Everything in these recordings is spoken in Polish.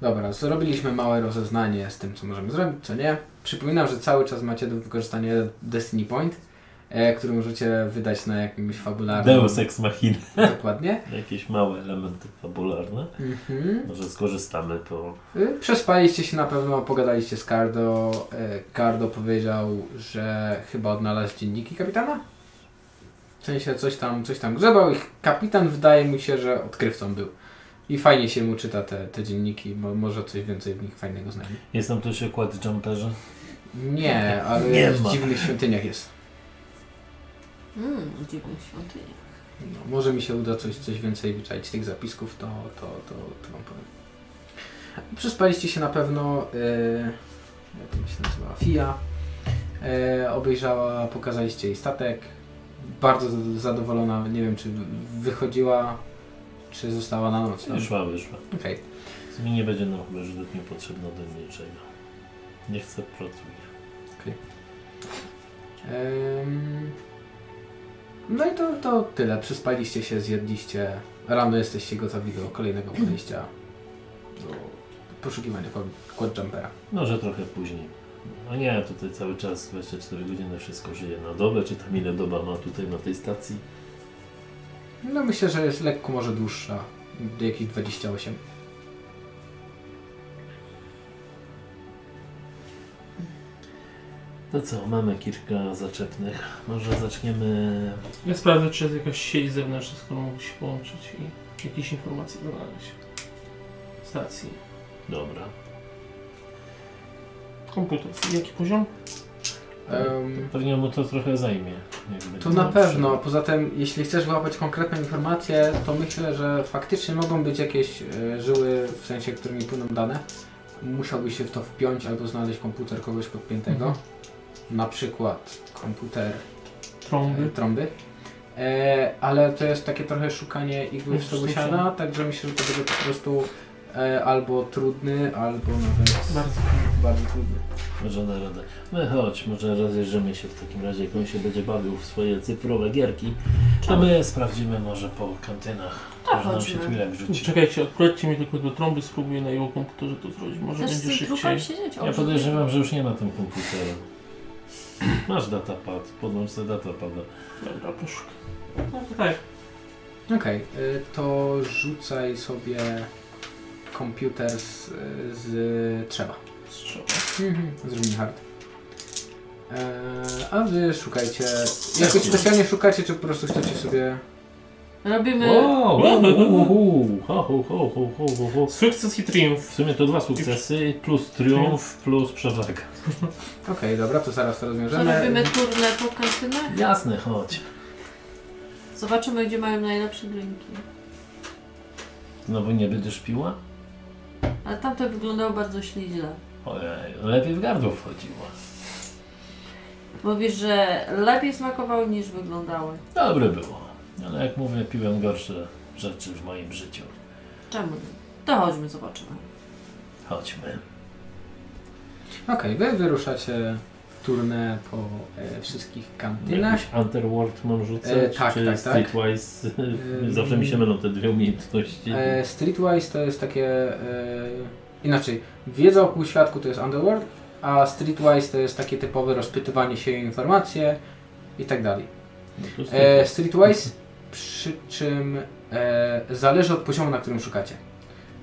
Dobra, zrobiliśmy małe rozeznanie z tym, co możemy zrobić, co nie. Przypominam, że cały czas macie do wykorzystania Destiny Point, e, który możecie wydać na jakimś fabularnym... Deus Ex Machina. Dokładnie. Jakieś małe elementy fabularne. Mhm. Może skorzystamy po... Y, Przespaliście się na pewno, pogadaliście z Cardo. Y, Cardo powiedział, że chyba odnalazł dzienniki kapitana? W sensie coś tam, coś tam grzebał i kapitan wydaje mu się, że odkrywcą był. I fajnie się mu czyta te, te dzienniki, bo może coś więcej w nich fajnego znajdzie. Jest tam też okład jumperze? Nie, ale Nie w ma. dziwnych świątyniach jest. Mmm, dziwny świątynia. No, może mi się uda coś, coś więcej wyczaić z tych zapisków, to, to, to, to wam powiem. Przespaliście się na pewno, e, jak to się nazywała, FIA, e, obejrzała, pokazaliście jej statek, bardzo zad- zadowolona, nie wiem czy wy- wychodziła, czy została na noc. tam. Wyszła, wyszła. Okej. Z Mi nie będzie nam chyba żydnie potrzebna do niczego. Nie chcę pracuj. Em, No i to, to tyle. Przyspaliście się, zjedliście. Rano jesteście gotowi do kolejnego podejścia do poszukiwania quadjumpera. Może trochę później. No nie, tutaj cały czas 24 godziny wszystko żyje na dobę, czy tam ile doba ma tutaj na tej stacji. No myślę, że jest lekko może dłuższa. Jakieś 28. To No co, mamy kilka zaczepnych. Może zaczniemy... Ja sprawdzę, czy jest jakaś sieć zewnętrzna, z którą mógł się połączyć i jakieś informacje znaleźć. Stacji. Dobra. Komputer. Jaki poziom? Em, Pewnie mu to trochę zajmie. jak To będzie na miał pewno. Poza tym, jeśli chcesz łapać konkretne informacje, to myślę, że faktycznie mogą być jakieś e, żyły, w sensie, którymi płyną dane. Musiałbyś się w to wpiąć albo znaleźć komputer kogoś podpiętego. Mhm. Na przykład komputer Trąby. e, trąby. E, ale to jest takie trochę szukanie igły w Już stogu sztuczne. siana, także myślę, że to będzie po prostu e, albo trudny, albo nawet bardzo, Bardzo. trudny. Może da radę. My chodź, może rozejrzymy się w takim razie, jak on się będzie bawił w swoje cyfrowe gierki. A my sprawdzimy może po kantynach. Tak, może nam się chodźmy. twilek rzuci. Czekajcie, akuratcie mi tylko do trąby, spróbuję na jego komputerze to zrobić. Może Chcesz będzie z szybciej. drukiem siedzieć? Ja podejrzewam, że już nie ma tym komputera. Masz datapad, podłącz sobie datapada. Dobra, poszukaj. No to tak. Okej, y, to rzucaj sobie komputer z, z trzeba. Strzał. Mhm. Zrobimy hard. E, a wy szukajcie. Jakoś Jasne. specjalnie szukacie, czy po prostu chcecie sobie. Robimy... Wow, uhuhu, ho, ho, ho, ho, ho, ho, ho. Sukces i triumf. W sumie to dwa sukcesy, plus triumf, plus przewaga. Okej, dobra, to zaraz to To rozwiążemy. robimy turnę po kantynach? Jasne, chodź. Zobaczymy, gdzie mają najlepsze drinki. Znowu nie będziesz piła? Ale tamte wyglądało bardzo śliźle. Ojej, lepiej w gardło wchodziło. Mówisz, że lepiej smakowały niż wyglądały. Dobre było, ale jak mówię, piłem gorsze rzeczy w moim życiu. Czemu nie? To chodźmy, zobaczymy. Chodźmy. Okej, wy wyruszacie w turnę po e, wszystkich kantynach. Jakiś Underworld mam rzucać? E, tak, czy tak, tak. Streetwise? Ym. Zawsze mi się mylą te dwie umiejętności. E, streetwise to jest takie. E, inaczej, wiedza o półświadku to jest Underworld, a Streetwise to jest takie typowe rozpytywanie się o informacje i tak dalej. No to E, streetwise. streetwise, przy czym e, zależy od poziomu, na którym szukacie.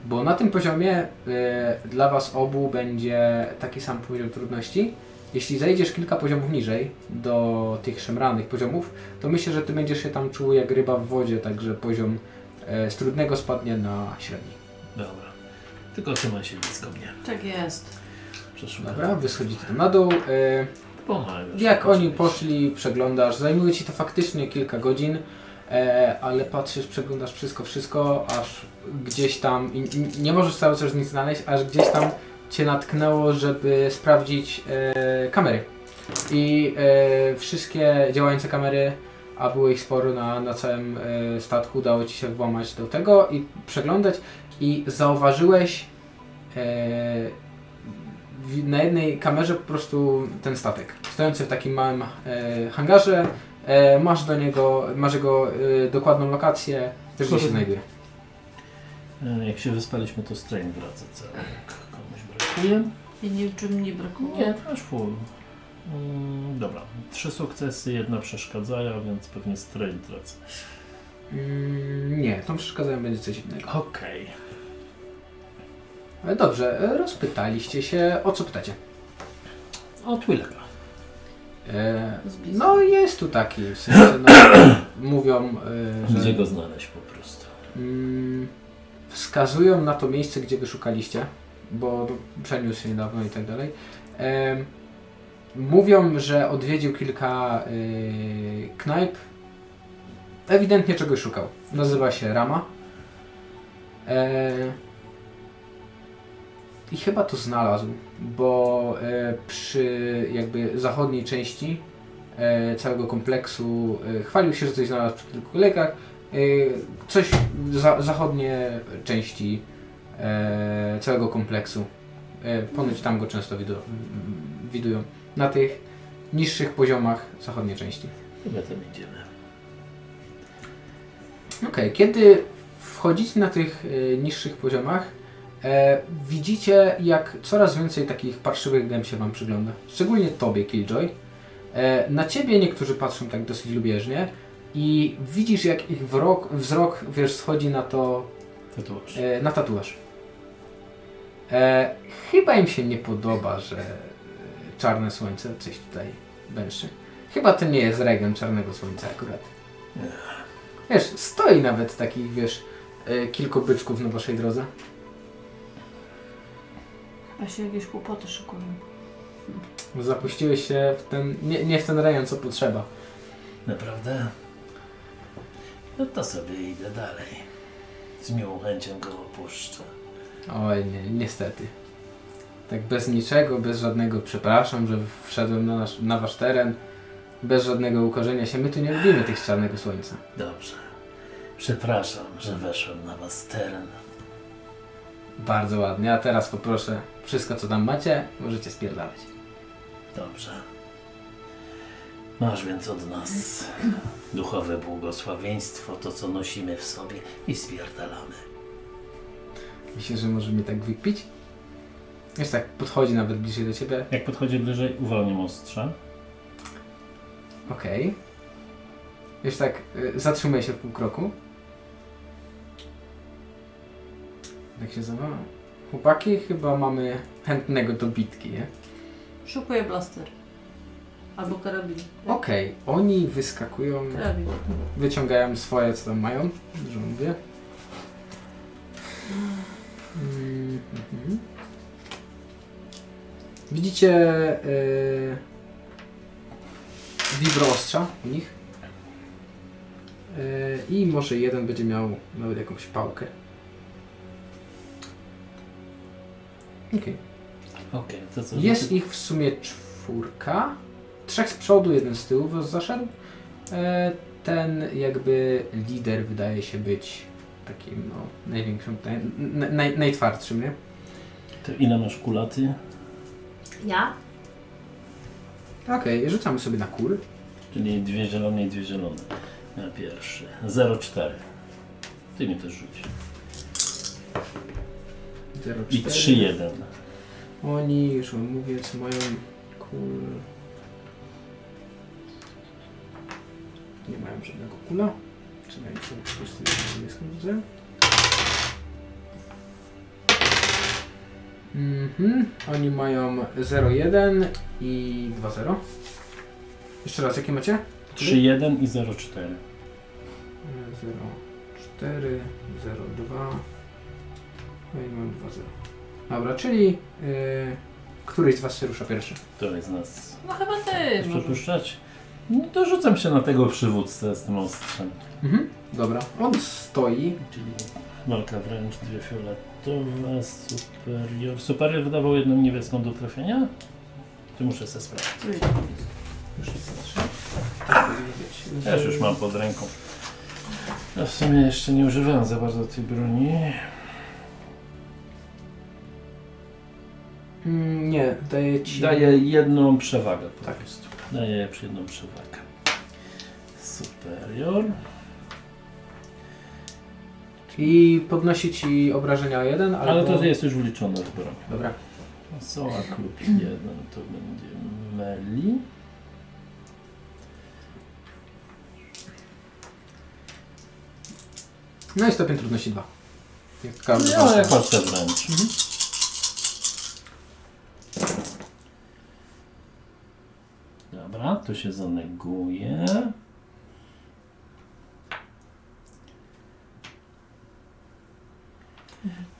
Bo na tym poziomie e, dla Was obu będzie taki sam poziom trudności. Jeśli zejdziesz kilka poziomów niżej do tych szemranych poziomów, to myślę, że Ty będziesz się tam czuł jak ryba w wodzie, także poziom e, z trudnego spadnie na średni. Dobra. Tylko trzymaj się blisko mnie. Tak jest. Przeszukam. Dobra, wyschodzicie tam na dół. E, Pomagasz. Jak oni poszli, przeglądasz, zajmuje ci to faktycznie kilka godzin, e, ale patrzysz, przeglądasz wszystko, wszystko, aż gdzieś tam, i, i nie możesz cały czas nic znaleźć, aż gdzieś tam cię natknęło, żeby sprawdzić e, kamery. I e, wszystkie działające kamery, a było ich sporo na, na całym e, statku, udało ci się włamać do tego i przeglądać i zauważyłeś e, w- na jednej kamerze po prostu ten statek. Stojący w takim małym e, hangarze, e, masz do niego, masz jego e, dokładną lokację, też gdzie się znajduje. E, Jak się wyspaliśmy, to strain wraca cały. Jak Komuś brakuje. I niczym nie No. brakowało. Nie, też full. Mm, dobra, trzy sukcesy, jedna przeszkadzają, więc pewnie strain tracę. Mm, nie, tą przeszkadzają będzie coś innego. Okej. Ale dobrze, e, rozpytaliście się, o co pytacie? O Od Willeka. E, Z bliska. no jest tu taki, w sensie no, mówią, e, że... Gdzie go znaleźć po prostu? Mm, wskazują na to miejsce, gdzie go szukaliście, bo przeniósł się niedawno i tak dalej. Em, mówią, że odwiedził kilka y, knajp. Ewidentnie czegoś szukał. Nazywa się Rama. E, I chyba to znalazł, bo e, przy jakby zachodniej części e, całego kompleksu e, chwalił się, że coś znalazł przy kilku lekach. Y, coś za, zachodnie części e, całego kompleksu. E, ponoć tam go często widu, m, widują. Na tych niższych poziomach zachodniej części. I my tam idziemy. Okej, kiedy wchodzicie na tych e, niższych poziomach, e, widzicie jak coraz więcej takich parszywych gem się wam przygląda. Szczególnie tobie, Killjoy. E, na ciebie niektórzy patrzą tak dosyć lubieżnie i widzisz jak ich wrok, wzrok, wiesz, schodzi na to Tatuaż. E, na tatuaż. E, chyba im się nie podoba, że e, czarne słońce coś tutaj bęszy. Chyba to nie jest region czarnego słońca akurat. Wiesz, stoi nawet takich, wiesz, e, kilku byczków na waszej drodze. A się jakieś kłopoty szykują. Zapuściłeś się w ten, nie, nie w ten rejon, co potrzeba. Naprawdę? No to sobie idę dalej. Z miłą chęcią go opuszczę. Oj, nie, niestety. Tak bez niczego, bez żadnego przepraszam, że wszedłem na, nasz, na wasz teren, bez żadnego ukorzenia się. My tu nie lubimy tych z czarnego słońca. Dobrze. Przepraszam, że weszłem na was teren. Bardzo ładnie, a teraz poproszę wszystko co tam macie, możecie spierdalać. Dobrze. Masz więc od nas duchowe błogosławieństwo, to co nosimy w sobie i spierdalamy. Myślę, że może mnie tak wykpić? Wiesz tak, podchodzi nawet bliżej do ciebie. Jak podchodzi bliżej, uwalniam ostrze. Okej. Wiesz tak, y, zatrzymuje się w pół kroku. Jak Tak się zawoła? Chłopaki, chyba mamy chętnego do bitki, nie? Szukuję blaster. Albo karabin. Okej, oni wyskakują, Karabin. wyciągają swoje co tam mają, że mówię. Mm, mhm. Widzicie yy, wibroostrza u nich. E, I może jeden będzie miał nawet jakąś pałkę. Okej. Okej, to co? Jest ich w sumie czwórka. Trzech z przodu, jeden z tyłu was zaszedł. E, Ten jakby lider wydaje się być takim no, największym, naj, naj- naj, najtwardszym, nie? To ile masz kulaty? Ja? Okej, rzucamy sobie na kul. Czyli dwie zielone i dwie zielone. Na pierwszy. 0,4. Ty mi też rzuć. Zero, I cztery. 3,1. Oni, już wam mówię, co mają kul... Nie mają żadnego kula. Czy mają sobie po prostu niebieską widzę? Mhm, oni mają 0,1 i 2,0. Jeszcze raz, jakie macie? 3,1 i 0,4, 0,4. 0,2. No i mam 2,0. Dobra, czyli yy, któryś z Was się rusza pierwszy. To jest nas. No chyba ty. może. Przepuszczać? No to rzucam się na tego przywódcę z tym ostrzem. Mhm. Dobra, on stoi. Czyli walka wręcz, dwie fioletowe, superior. Superior wydawał jedną niebieską do trafienia? To muszę se sprawdzić. Już nie patrzę. Tak powiedzieć. Też już mam pod ręką. No w sumie jeszcze nie używałem za bardzo tej broni. Mm, nie, daję Ci. Daje jedną przewagę po Tak. prostu. Daje jedną przewagę. Superior. I podnosi ci obrażenia o jeden, ale, Ale to jest już wliczone w broń. Dobra. Soła No klub 1 to będzie Meli. No i stopień trudności dwa. Jak każdy. Nie, No, ale jak masz te wręcz. Mhm. Dobra, to się zaneguje.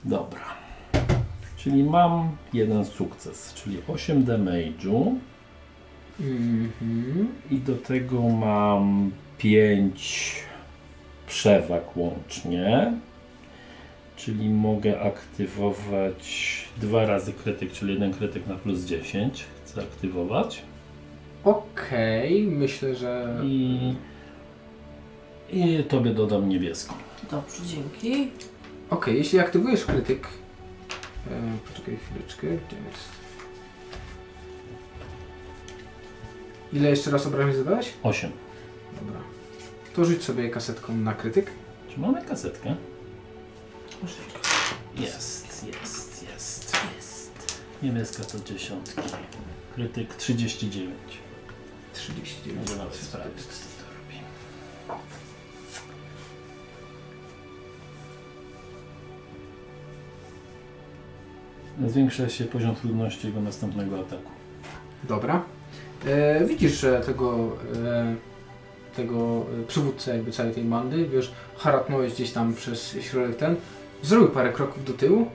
Dobra. Czyli mam jeden sukces, czyli 8 damage'u Mhm. i do tego mam 5 przewag łącznie. Czyli mogę aktywować dwa razy krytyk, czyli jeden krytyk na plus 10 chcę aktywować. Okej, myślę, że. I, I tobie dodam niebieską. Dobrze, dzięki. Okej, jeśli aktywujesz krytyk. E, poczekaj chwileczkę, gdzie jest? Ile jeszcze raz obrażeń zadałeś? 8. Dobra. To rzuć sobie kasetką na krytyk. Czy mamy kasetkę? Muszę Jest, jest, jest, jest. Niebieska to dziesiątki. Krytyk 39. 39. Może nawet sprawdzić, co to robi. Zwiększa się poziom trudności jego następnego ataku. Dobra. E, widzisz że tego, e, tego e, przywódcę jakby całej tej bandy, wiesz, haratnąłeś gdzieś tam przez środek ten, zrobił parę kroków do tyłu,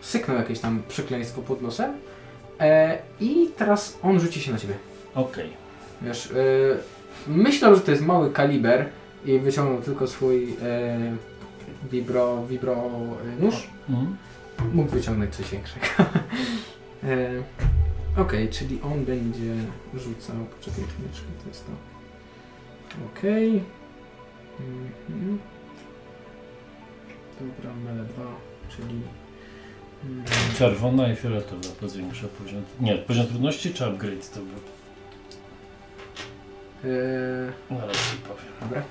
syknął jakieś tam przekleństwo pod nosem e, i teraz on rzuci się na ciebie. Okej. Wiesz, e, myślał, że to jest mały kaliber i wyciągnął tylko swój e, vibro, vibro e, nóż. Mhm. Mógł wyciągnąć coś większego. e, Okej, czyli on będzie rzucał. Poczekaj chwileczkę, to jest to. Okej. Mhm. Dobra, mele 2, czyli. Mm, Czerwona i fioletowa to zwiększa poziom. Nie, poziom trudności czy upgrade to był? e, Zaraz No, ci powiem. dobra.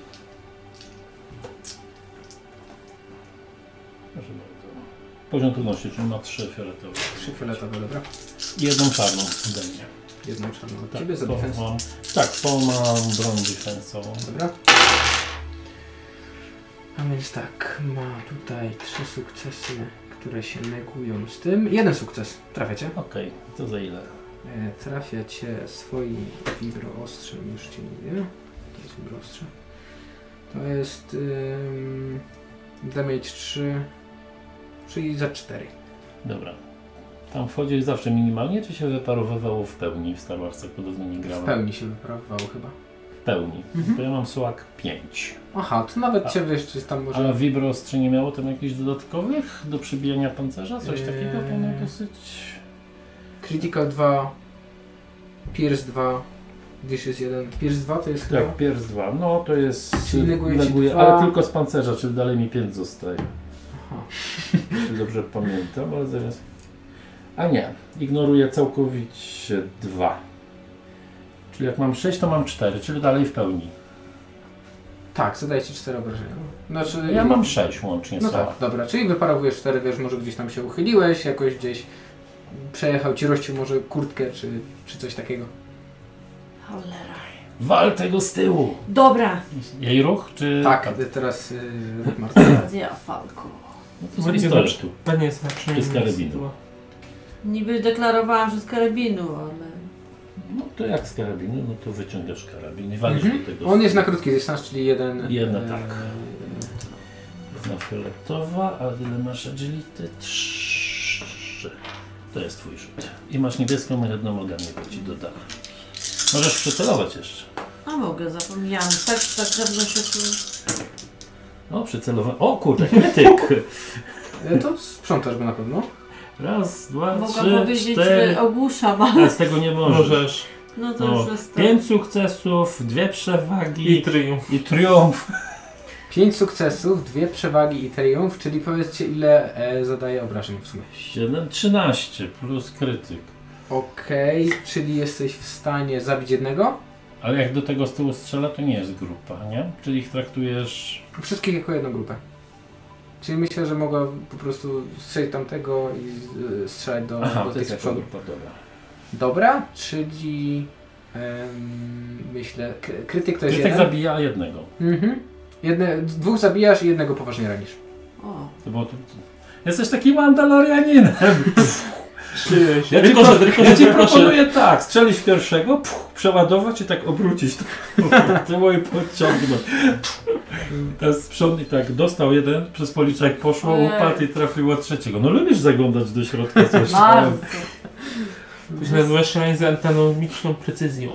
Proszę bardzo. Poziom trudności, czyli ma trzy fioletowe. Trzy fioletowe, dobra. I jedną czarną ode mnie. Jedną czarną od Tak, ciebie za to defense. mam- Tak, to mam broń defensową. Dobra. A więc tak, ma tutaj trzy sukcesy, które się negują z tym. Jeden sukces, trafiacie. Okej, to za ile? E, Trafia cię swoim wibroostrzem, już cię mówię. To jest wibrostrze. To jest ym, damage 3, czyli za 4. Dobra. Tam wchodziłeś zawsze minimalnie, czy się wyparowywało w pełni? W Star Warsach podobno nie W grałem. pełni się wyprawowało chyba. W pełni. Mhm. Bo ja mam słak 5. Aha, to nawet A- cię wiesz, czy jest tam może... A Vibrostrzy nie miało tam jakichś dodatkowych do przybijania pancerza? Coś takiego? Eee. Ono dosyć... Critical 2, Pierce 2, Dishes 1. Pierce 2 to jest chyba... Tak, pierś 2. No to jest... Czyli neguje ci dwa. ale tylko z pancerza, czyli dalej mi 5 zostaje. Aha. Jeśli dobrze pamiętam, ale zamiast... A nie, ignoruję całkowicie 2. Czyli jak mam 6, to mam 4, czyli dalej w pełni. Tak, zadaję ci 4 obrażenia. Znaczy... Ja mam 6 łącznie No no tak, dobra, czyli wyparowujesz cztery, wiesz, może gdzieś tam się uchyliłeś, jakoś gdzieś przejechał ci rościł może kurtkę czy, czy coś takiego. Cholera. Wal tego z tyłu! Dobra, Jej ruch, czy... Tak, Tam. teraz yy, Marta. ja falko. No to z pistoletu. To nie jest tak, Jest karabinu. Niby deklarowałam, że z karabinu, ale... No to jak z karabinu, no to wyciągasz karabin i walisz Mhm. do tego. On jest na krótki dystans, czyli jeden. Jedna, e, tak. Na fioletowa, a ile masz agility? 3. To jest twój rzut. I masz niebieską i jedną ode mnie, bo ci dodam. Możesz przycelować jeszcze. A mogę, zapomniałam. Tak, tak dawno się tu... O, przycelowałem. O kurde, krytyk! e, to sprzątasz go na pewno. Raz, dwa, Mogłam trzy, powiedzieć, że cztery. ogłuszam, ale... A z tego nie możesz. Możesz. No to No, już jest tak. pięć sukcesów, dwie I przewagi triumf. i triumf. Pięć sukcesów, dwie przewagi i triumf, czyli powiedzcie ile e, zadaje obrażeń w sumie. 7, 13 plus krytyk. Okej, czyli jesteś w stanie zabić jednego, Ale jak do tego z tyłu strzela, to nie jest grupa, nie? Czyli ich traktujesz wszystkich jako jedną grupę. Czyli myślę, że mogła po prostu strzelić tamtego i z- strzelać do, Aha, do to tych jest z jako przodu. grupa, dobra. Dobra, czyli em, myślę, k- krytyk to jest Czyli tak jeden. zabija jednego. Mhm. Jedne, dwóch zabijasz i jednego poważnie ranisz. O, To było tu, tu. Jesteś takim Mandalorianinem. Przyjeźdź. Ja ci, tylko, pro, że, tylko, ja że ci tylko, że... proponuję tak, strzelić pierwszego, pff, przeładować i tak obrócić. Ty moje podciągnąć. Ten sprząt i tak dostał jeden, przez policzek poszło, Ojej. upadł i trafiło trzeciego. No lubisz zaglądać do środka coś. bardzo. Później byłeś szalenie z anatomiczną precyzją.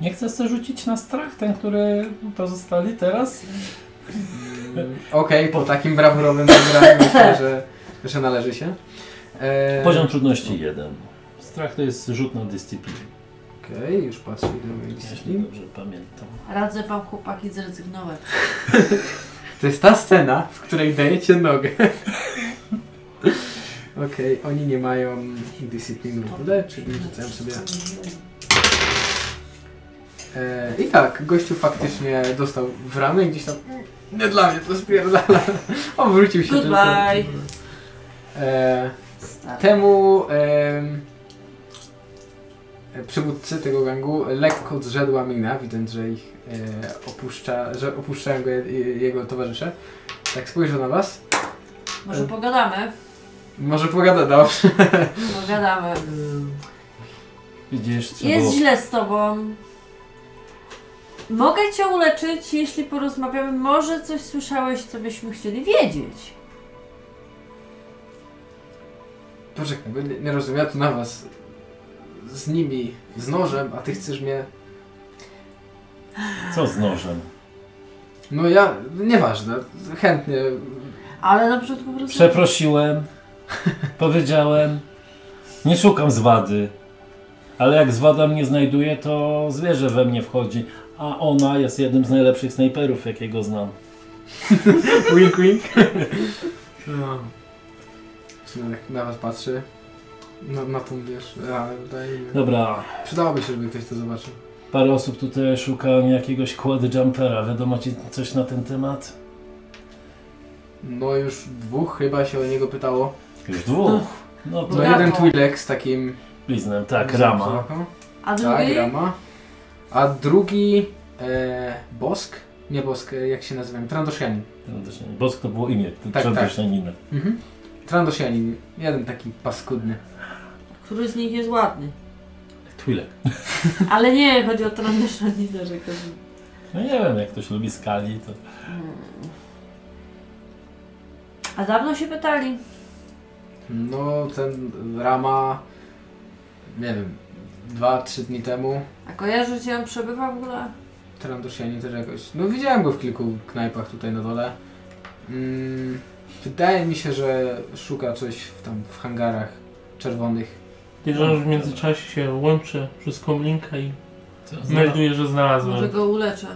Nie chcesz sobie rzucić na strach ten, który to zostali teraz? Mm, Okej, po takim brawurowym zagraniu myślę, że, że należy się. E, Poziom trudności jeden. Strach to jest rzut na dyscyplinę. Okej, już patrzę ile mojej Jeśli dyscyplin. dobrze pamiętam. Radzę wam chłopaki zrezygnować. To jest ta scena, w której dajecie nogę. Okej, oni nie mają dyscypliny w ogóle, czyli rzucają sobie... E, I tak, gościu faktycznie dostał w ramy i gdzieś tam... Nie dla mnie, to spierdala. Obrócił się Goodbye. tylko. E, Stary. Temu em, przywódcy tego gangu lekko zrzedła mina, widząc, że ich e, opuszcza, że opuszczają go je, jego towarzysze. Tak spojrzę na was. Może pogadamy? Może pogada dobrze. Pogadamy. Yy, Widzisz, trzeba Jest źle z tobą. Mogę cię uleczyć, jeśli porozmawiamy. Może coś słyszałeś, co byśmy chcieli wiedzieć. Poczekaj, bo nie, nie rozumiem, ja tu na was z nimi, z nożem, a ty chcesz mnie... Co z nożem? No ja, nieważne, chętnie. Ale na przykład po prostu. Przeprosiłem, powiedziałem, nie szukam zwady, ale jak zwada mnie znajduje, to zwierzę we mnie wchodzi, a ona jest jednym z najlepszych snajperów, jakiego znam. Wink, wink. No. W sumie jak na was patrzy, na, na tą wiesz, ale wydaje mi się... Dobra, Przydałoby się, żeby ktoś to zobaczył. parę osób tutaj szuka jakiegoś quad jumpera, wiadomo ci coś na ten temat? No już dwóch chyba się o niego pytało. Już dwóch. No No to Brawo. jeden Twi'lek z takim... bliznem, tak, rama. A Tak, drugi? Rama. A drugi... E, Bosk? Nie Bosk, e, jak się nazywają? Trandoshianin. Bosk to było imię, Tak, tak. tak, tak. Mhm. Trandoshianin. Jeden taki paskudny. Który z nich jest ładny? Twilek. Ale nie, chodzi o Trandeszanina, że każdy. No nie wiem, jak ktoś lubi skali, to Mm. A dawno się pytali. No ten Rama... Nie wiem. Dwa, trzy dni temu. A kojarzy cię, on przebywa w ogóle? Trandoshianin też jakoś... No widziałem go w kilku knajpach tutaj na dole. Mm, wydaje mi się, że szuka coś w, tam w hangarach czerwonych. Wiedziałem, że w międzyczasie się łączę przez komlinka No i co melduję, że Może znalazłem. go uleczę.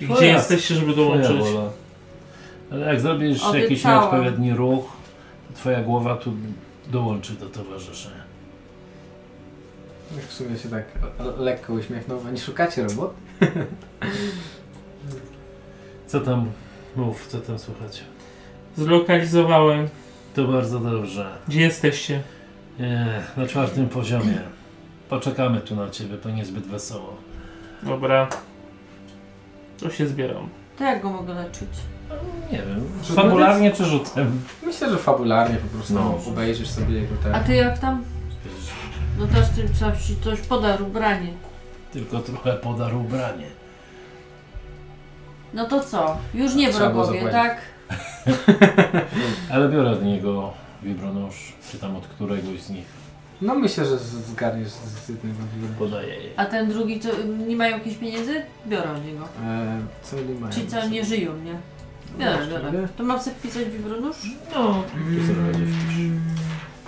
I Twoja- Gdzie jesteście, żeby Twoja dołączyć? wola. Ale jak zrobisz Obiecałam. jakiś nieodpowiedni ruch, to twoja głowa tu dołączy do towarzyszenia. Już w sumie się tak le- lekko uśmiechnął, a nie szukacie robot? Co tam? Mów, co tam słuchać? Zlokalizowałem. To bardzo dobrze. Gdzie jesteście? Nie, na czwartym poziomie. Poczekamy tu na ciebie, to niezbyt wesoło. Dobra. To się zbieram. To jak go mogę leczyć? Nie wiem, Rzutem fabularnie czy rzutem? Myślę, że fabularnie po prostu No. obejrzysz sobie jego te... A ty jak tam? No teraz ty trzeba ci coś podar ubranie. Tylko trochę podar ubranie. No to co? Już nie Trzeba było wrogowie, zapłacić. tak? Ale biorę od niego wibronóż, czy tam od któregoś z nich. No myślę, że z- zgarniesz z z jednego w Podaję jej. A ten drugi, to nie mają jakichś pieniędzy? Biorę od niego. e, Co oni mają? Ci co nie żyją, nie? Biorę, biorę. To mam sobie wpisać wibronusz? No, Tu sobie będzie wpisz.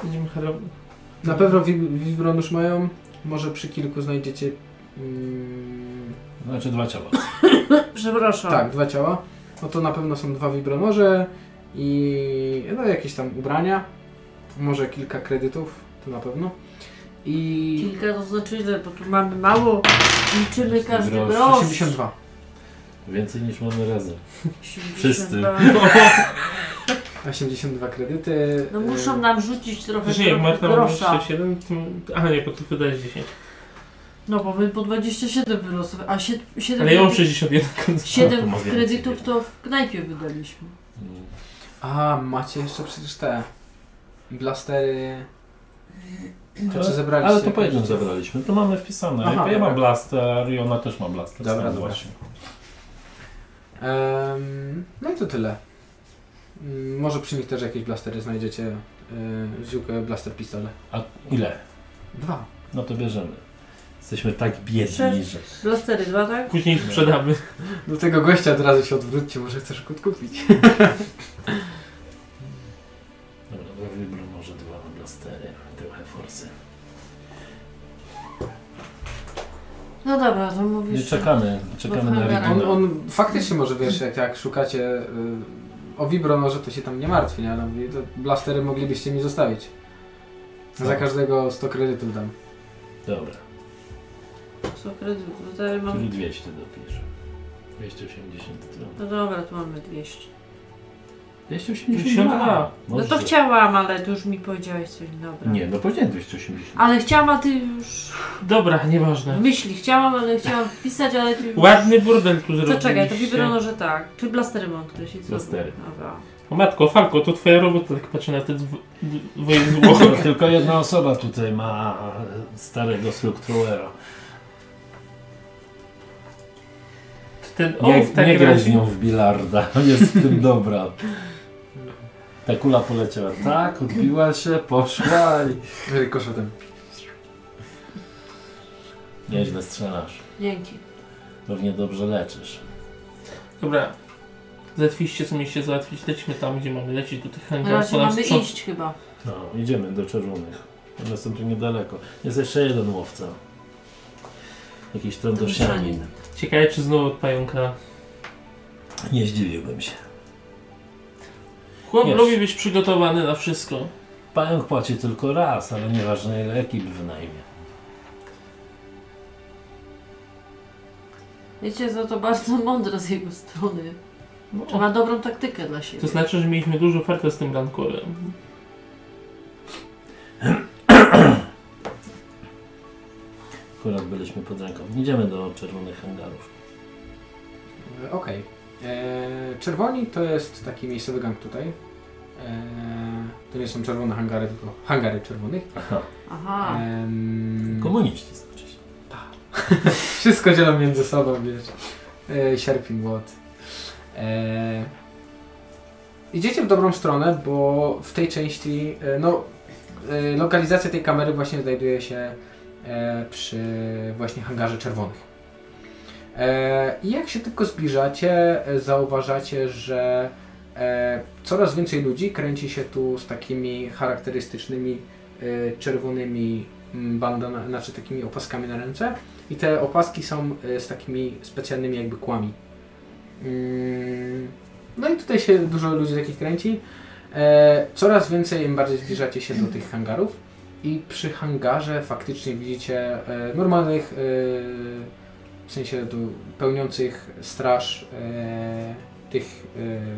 będziemy chyba... Na pewno wi- Wibronusz mają, może przy kilku znajdziecie... Mm, Znaczy dwa ciała. Przepraszam. tak, dwa ciała. No to na pewno są dwa Wibronoże i no, jakieś tam ubrania, może kilka kredytów, to na pewno. I... Kilka to znaczy ile, bo tu mamy mało. Liczymy każdy Grosz. grosz. 82. Więcej niż mamy razem. 82. Wszyscy. 82 kredyty. No muszą y, nam rzucić trochę Znaczy nie, jak Marta ma grosza. 27, to... A nie, bo ty wydajesz 10. No bo my po 27 wylosowali, a 7, 7, Ale ja mam 61. A, No to 7 ma więcej. kredytów to w knajpie wydaliśmy. Mm. A, macie jeszcze przecież te blastery. To Ale- co zebraliście? Znaczy, Ale to po jednym zebraliśmy, to mamy wpisane. Aha, ja mam dobra. blaster i ona też ma blaster. Dobra, stąd dobra. właśnie. Em, no i to tyle. Mm, Może przy nich też jakieś blastery znajdziecie. Yy, ziółkę blaster pistole. A ile? Dwa. No to bierzemy. Jesteśmy tak biedni, Sześć. że... Blastery 2, tak? Później sprzedamy. Do tego gościa od razu się odwróćcie, może chcesz kut kupić. Dobra, ja wybrę może dwa blastery, trochę forsy. No dobra, to mówisz. Nie czekamy, czekamy na hangarach. On, Rigina. on faktycznie może wiesz, jak, jak szukacie y, o Vibro, może to się tam nie martwi, nie? Ale mówi, to blastery moglibyście mi zostawić. Za Tak. każdego 100 kredytów dam. Dobra, Co kredytów? Tutaj czyli mam... 200 dopisz. 280 to... No dobra, tu mamy 200. 282! No to chciałam, ale tu już mi powiedziałeś coś, Tak. dobra. Nie, no powiedziałem 280. Ale chciałam, a ty już Dobra, w nieważne. myśli chciałam, ale chciałam wpisać, ale ty już... No. Ładny burdel tu To zrobiliście. czekaj, to wibrono, że tak. Czy blastery mam określić? co? Blastery. Dobra. O matko, Falko, to twoja robota, tak patrzę na te dw- dwoje Bo zło. tylko jedna osoba tutaj ma starego Slugtruera. Ten tak on Nie, w takim nie gra z razie... nią w bilarda, jest w tym dobra. Ta kula poleciała tak, odbiła się, poszła i... Rykoszetem. Nieźle strzelasz, Dzięki. pewnie dobrze leczysz. Dobra. Załatwiliście, co mieliście załatwić. Lećmy tam, gdzie mamy lecieć, do tych hangarów. Raczej po nas mamy sprząt- iść chyba. No, idziemy do czerwonych. One są tu niedaleko. Jest jeszcze jeden łowca. Jakiś trądosianin. Ciekawe, czy znowu od pająka. Nie zdziwiłbym się. Chłop Wiesz. lubi być przygotowany na wszystko. Pająk płaci tylko raz, ale nieważne ile ekip wynajmie. Wiecie, za to bardzo mądre z jego strony. No, Czy ma dobrą taktykę dla siebie. to znaczy, że mieliśmy dużą ofertę z tym rancorem. Akurat byliśmy pod ręką. Idziemy do czerwonych hangarów. E, Okej. E, Czerwoni to jest taki miejscowy gang tutaj. E, to nie są czerwone hangary, tylko hangary czerwonych. Aha, Aha. E, Em, komuniści znaczy się. Wszystko dzielą między sobą, wiesz. E, sierpień, łot. E, idziecie w dobrą stronę, bo w tej części, e, no, e, lokalizacja tej kamery właśnie znajduje się e, przy właśnie hangarze czerwonych. E, I jak się tylko zbliżacie, e, zauważacie, że e, coraz więcej ludzi kręci się tu z takimi charakterystycznymi e, czerwonymi mm, bandana, znaczy takimi opaskami na ręce. I te opaski są y, z takimi specjalnymi jakby kłami. Mm, No i tutaj się dużo ludzi takich kręci. E, Coraz więcej, im bardziej zbliżacie się do tych hangarów. I przy hangarze faktycznie widzicie e, normalnych, e, w sensie tu pełniących straż e, tych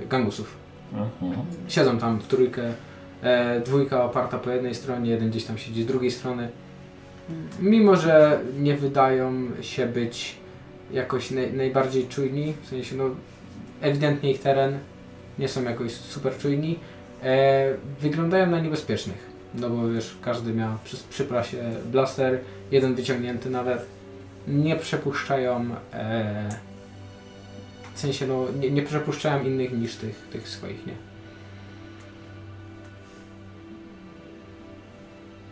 e, gangusów. no. Mhm. Siedzą tam w trójkę, e, dwójka oparta po jednej stronie, jeden gdzieś tam siedzi z drugiej strony. Hmm. Mimo, że nie wydają się być jakoś naj, najbardziej czujni, w sensie no, ewidentnie ich teren nie są jakoś super czujni, e, wyglądają na niebezpiecznych. No bo wiesz, każdy miał przy, przy prasie blaster, jeden wyciągnięty nawet. Nie przepuszczają, e, w sensie no, nie, nie przepuszczają innych niż tych, tych swoich, nie?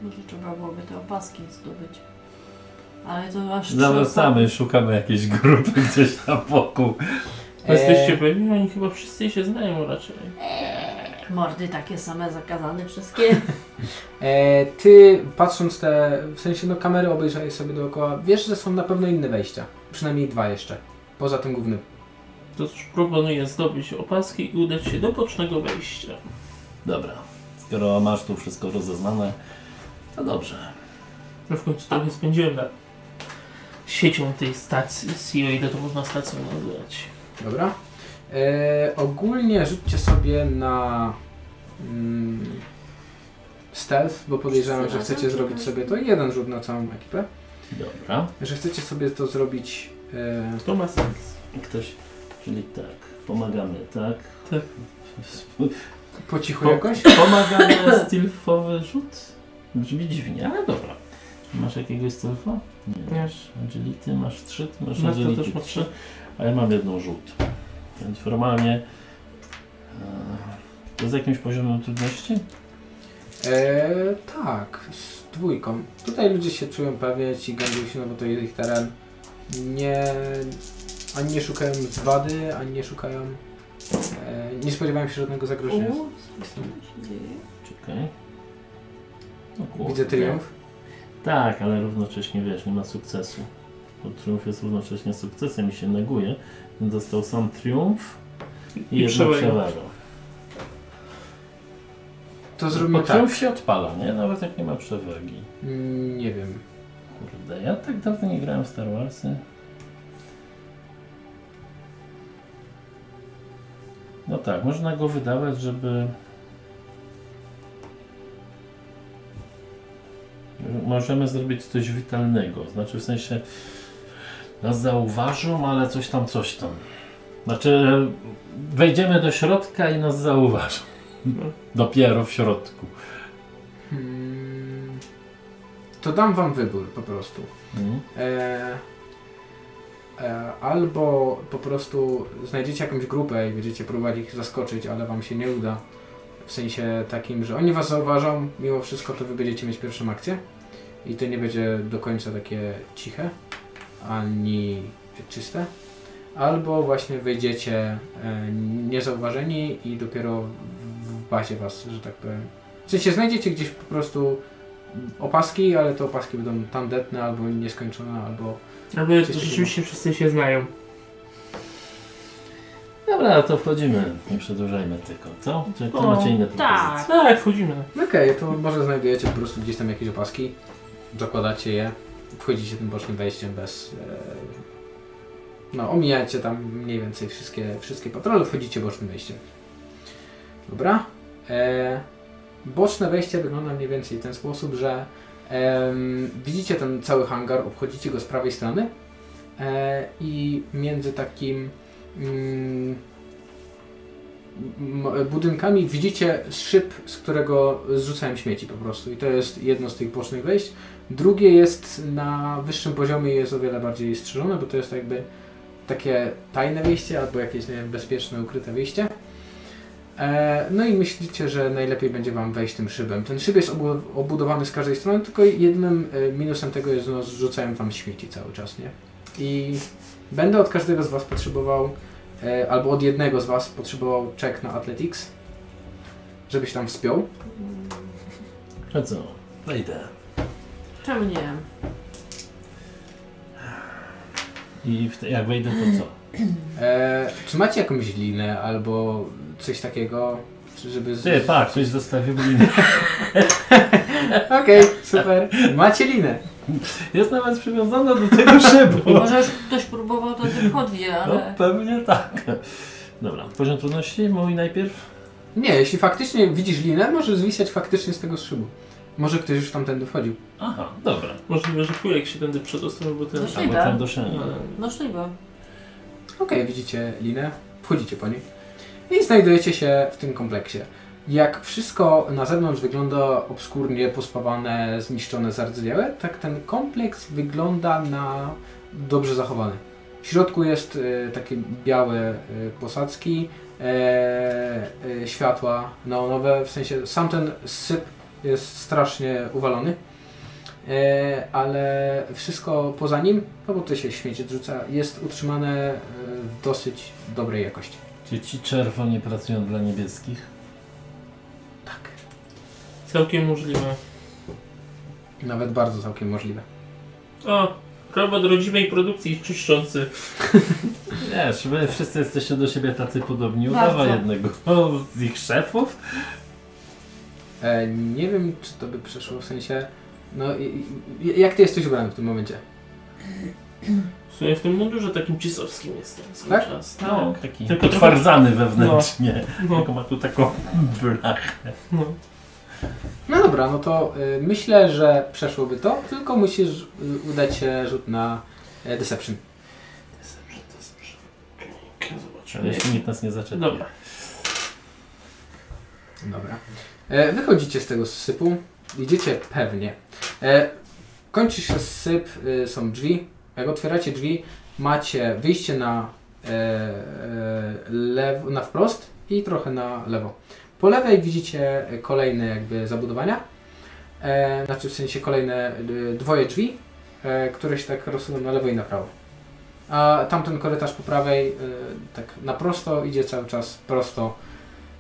Może No trzeba byłoby te opaski zdobyć. Ale to aż trzy Zawracamy, szukamy jakiejś grupy gdzieś na boku. Eee. E, No, Jesteście pewni? Oni chyba wszyscy się znają raczej. osoby- Mordy takie same, zakazane wszystkie. E, ty patrząc te, w sensie no kamery obejrzałeś sobie dookoła, wiesz, że są na pewno inne wejścia. Przynajmniej dwa jeszcze. Poza tym głównym. To cóż, proponuję zdobyć opaski i udać się do bocznego wejścia. Dobra, skoro masz tu wszystko rozeznane, to dobrze. No w końcu trochę spędziłem nad siecią tej stacji, CEO, ile to można stacją nazwać. Dobra. E, ogólnie rzućcie sobie na mm, stealth, bo podejrzewam, Wszyscy że chcecie razem? zrobić Okej. sobie to jeden rzut na całą ekipę. Dobra. Że chcecie sobie to zrobić. E, To ma sens. Ktoś, czyli tak, pomagamy, tak? Tak. po cichu Po- jakoś? Pomagamy na stealthowy rzut? Brzmi dziwnie, ale dobra. Masz jakiegoś stealtha? Nie. masz. Agility, masz trzy, ty masz Na to agility też ma trzy. A ja mam jedną rzut. Więc formalnie... e, To z jakimś poziomem trudności? E, tak, z dwójką. Tutaj ludzie się czują pewnie, ci gębią się, no bo to jest ich teren. Nie, ani nie szukają zwady, ani nie szukają. E, nie spodziewają się żadnego zagrożenia. Uuu, coś tam się dzieje. Czekaj. No kurde. Widzę triumf. Tak, ale równocześnie wiesz, nie ma sukcesu. Bo triumf jest równocześnie sukcesem i się neguje. Więc Dostał sam triumf i, I jedną przewaga. przewagę. To Bo zrobimy tak. triumf się odpala, nie? Nawet jak nie ma przewagi. Mm, Nie wiem. Kurde, ja tak dawno nie grałem w Star Warsy. No tak, można go wydawać, żeby... Możemy zrobić coś witalnego, znaczy w sensie nas zauważą, ale coś tam, coś tam. Znaczy wejdziemy do środka i nas zauważą. Dopiero w środku. Mm, To dam wam wybór po prostu. Mhm. E, e, albo po prostu znajdziecie jakąś grupę i będziecie próbować ich zaskoczyć, ale wam się nie uda. W sensie takim, że oni was zauważą, mimo wszystko to wy będziecie mieć pierwszą akcję. I to nie będzie do końca takie ciche, ani czyste. Albo właśnie wejdziecie e, niezauważeni i dopiero w- w bazie was, że tak powiem. W sensie znajdziecie gdzieś po prostu opaski, ale te opaski będą tandetne albo nieskończone, albo Albo jest, Coś to takiego. rzeczywiście wszyscy się znają. Dobra, to wchodzimy. Nie przedłużajmy tylko, co? Czy to O, macie inne tak. propozycje? Tak, wchodzimy. No Okej, to może znajdujecie po prostu gdzieś tam jakieś opaski, zakładacie je, wchodzicie tym bocznym wejściem bez... E, no, omijacie tam mniej więcej wszystkie, wszystkie patrole, wchodzicie bocznym wejściem. Dobra. E, boczne wejście wygląda mniej więcej w ten sposób, że em, widzicie ten cały hangar, obchodzicie go z prawej strony e, i między takim... Mm, m- budynkami widzicie szyb, z którego zrzucają śmieci po prostu. I to jest jedno z tych bocznych wejść. Drugie jest na wyższym poziomie i jest o wiele bardziej strzeżone, bo to jest jakby takie tajne wyjście albo jakieś nie wiem, bezpieczne, ukryte wyjście. E, No i myślicie, że najlepiej będzie Wam wejść tym szybem. Ten szyb jest obu- obudowany z każdej strony, tylko jednym e, minusem tego jest, no, zrzucają Wam śmieci cały czas, nie? I będę od każdego z Was potrzebował e, albo od jednego z Was potrzebował czek na Athletics, żebyś tam wspiął. To No co? Wejdę. Czemu nie? I w te, jak wejdę, to co? E, czy macie jakąś linę albo coś takiego, czy żeby... Z... Ty, patrz, coś zostawił linę. Okej, super. Macie linę. Jest nawet przywiązana do tego szybu. Może już ktoś próbował, to tym chodzi, No ale... pewnie tak. Dobra, poziom trudności mój najpierw. Nie, jeśli faktycznie widzisz linę, możesz zwisać faktycznie z tego szybu. Może ktoś już tamtędy wchodził. Aha, dobra. Możliwe, że Kujek się tędy przedostał, bo ten... Zresztą- Albo Idę. tam do szyi. Ale... Możliwe. Okej, widzicie linę, wchodzicie po niej i znajdujecie się w tym kompleksie. Jak wszystko na zewnątrz wygląda obskurnie, pospawane, zniszczone, zardzwiałe, tak ten kompleks wygląda na dobrze zachowany. W środku jest e, takie białe e, posadzki, e, e, światła neonowe, w sensie sam ten syp jest strasznie uwalony, e, ale wszystko poza nim, no bo to się śmieci odrzuca, jest utrzymane e, w dosyć dobrej jakości. Czy ci czerwoni pracują dla niebieskich? Tak. Całkiem możliwe. Nawet bardzo całkiem możliwe. O, robot rodzimej produkcji czyszczący. Wiesz, wy wszyscy jesteście do siebie tacy podobni. Bardzo. Udawa jednego z ich szefów. E, nie wiem, czy to by przeszło w sensie. No, i- i- jak ty jesteś ubrany w tym momencie? W sumie w tym mundurze takim cisowskim jestem cały Tak? czas. Tak. No, taki Tylko Tylko potwardzany wewnętrznie. No, Tylko ma tu taką blachę. no. No dobra, no to y, myślę, że przeszłoby to, tylko musisz y, udać się rzut na y, Deception. Deception, deception. Okej, Ale Zobaczymy. jeśli nikt nas nie zaczepia. Dobra. Dobra. E, Wychodzicie z tego sypu, idziecie pewnie. E, Kończy się syp, y, są drzwi. Jak otwieracie drzwi, macie wyjście na, e, e, lewo, na wprost i trochę na lewo. Po lewej widzicie kolejne jakby zabudowania, e, znaczy w sensie kolejne y, dwoje drzwi, e, które się tak rozsuną na lewo i na prawo. A tamten korytarz po prawej y, tak na prosto idzie cały czas prosto.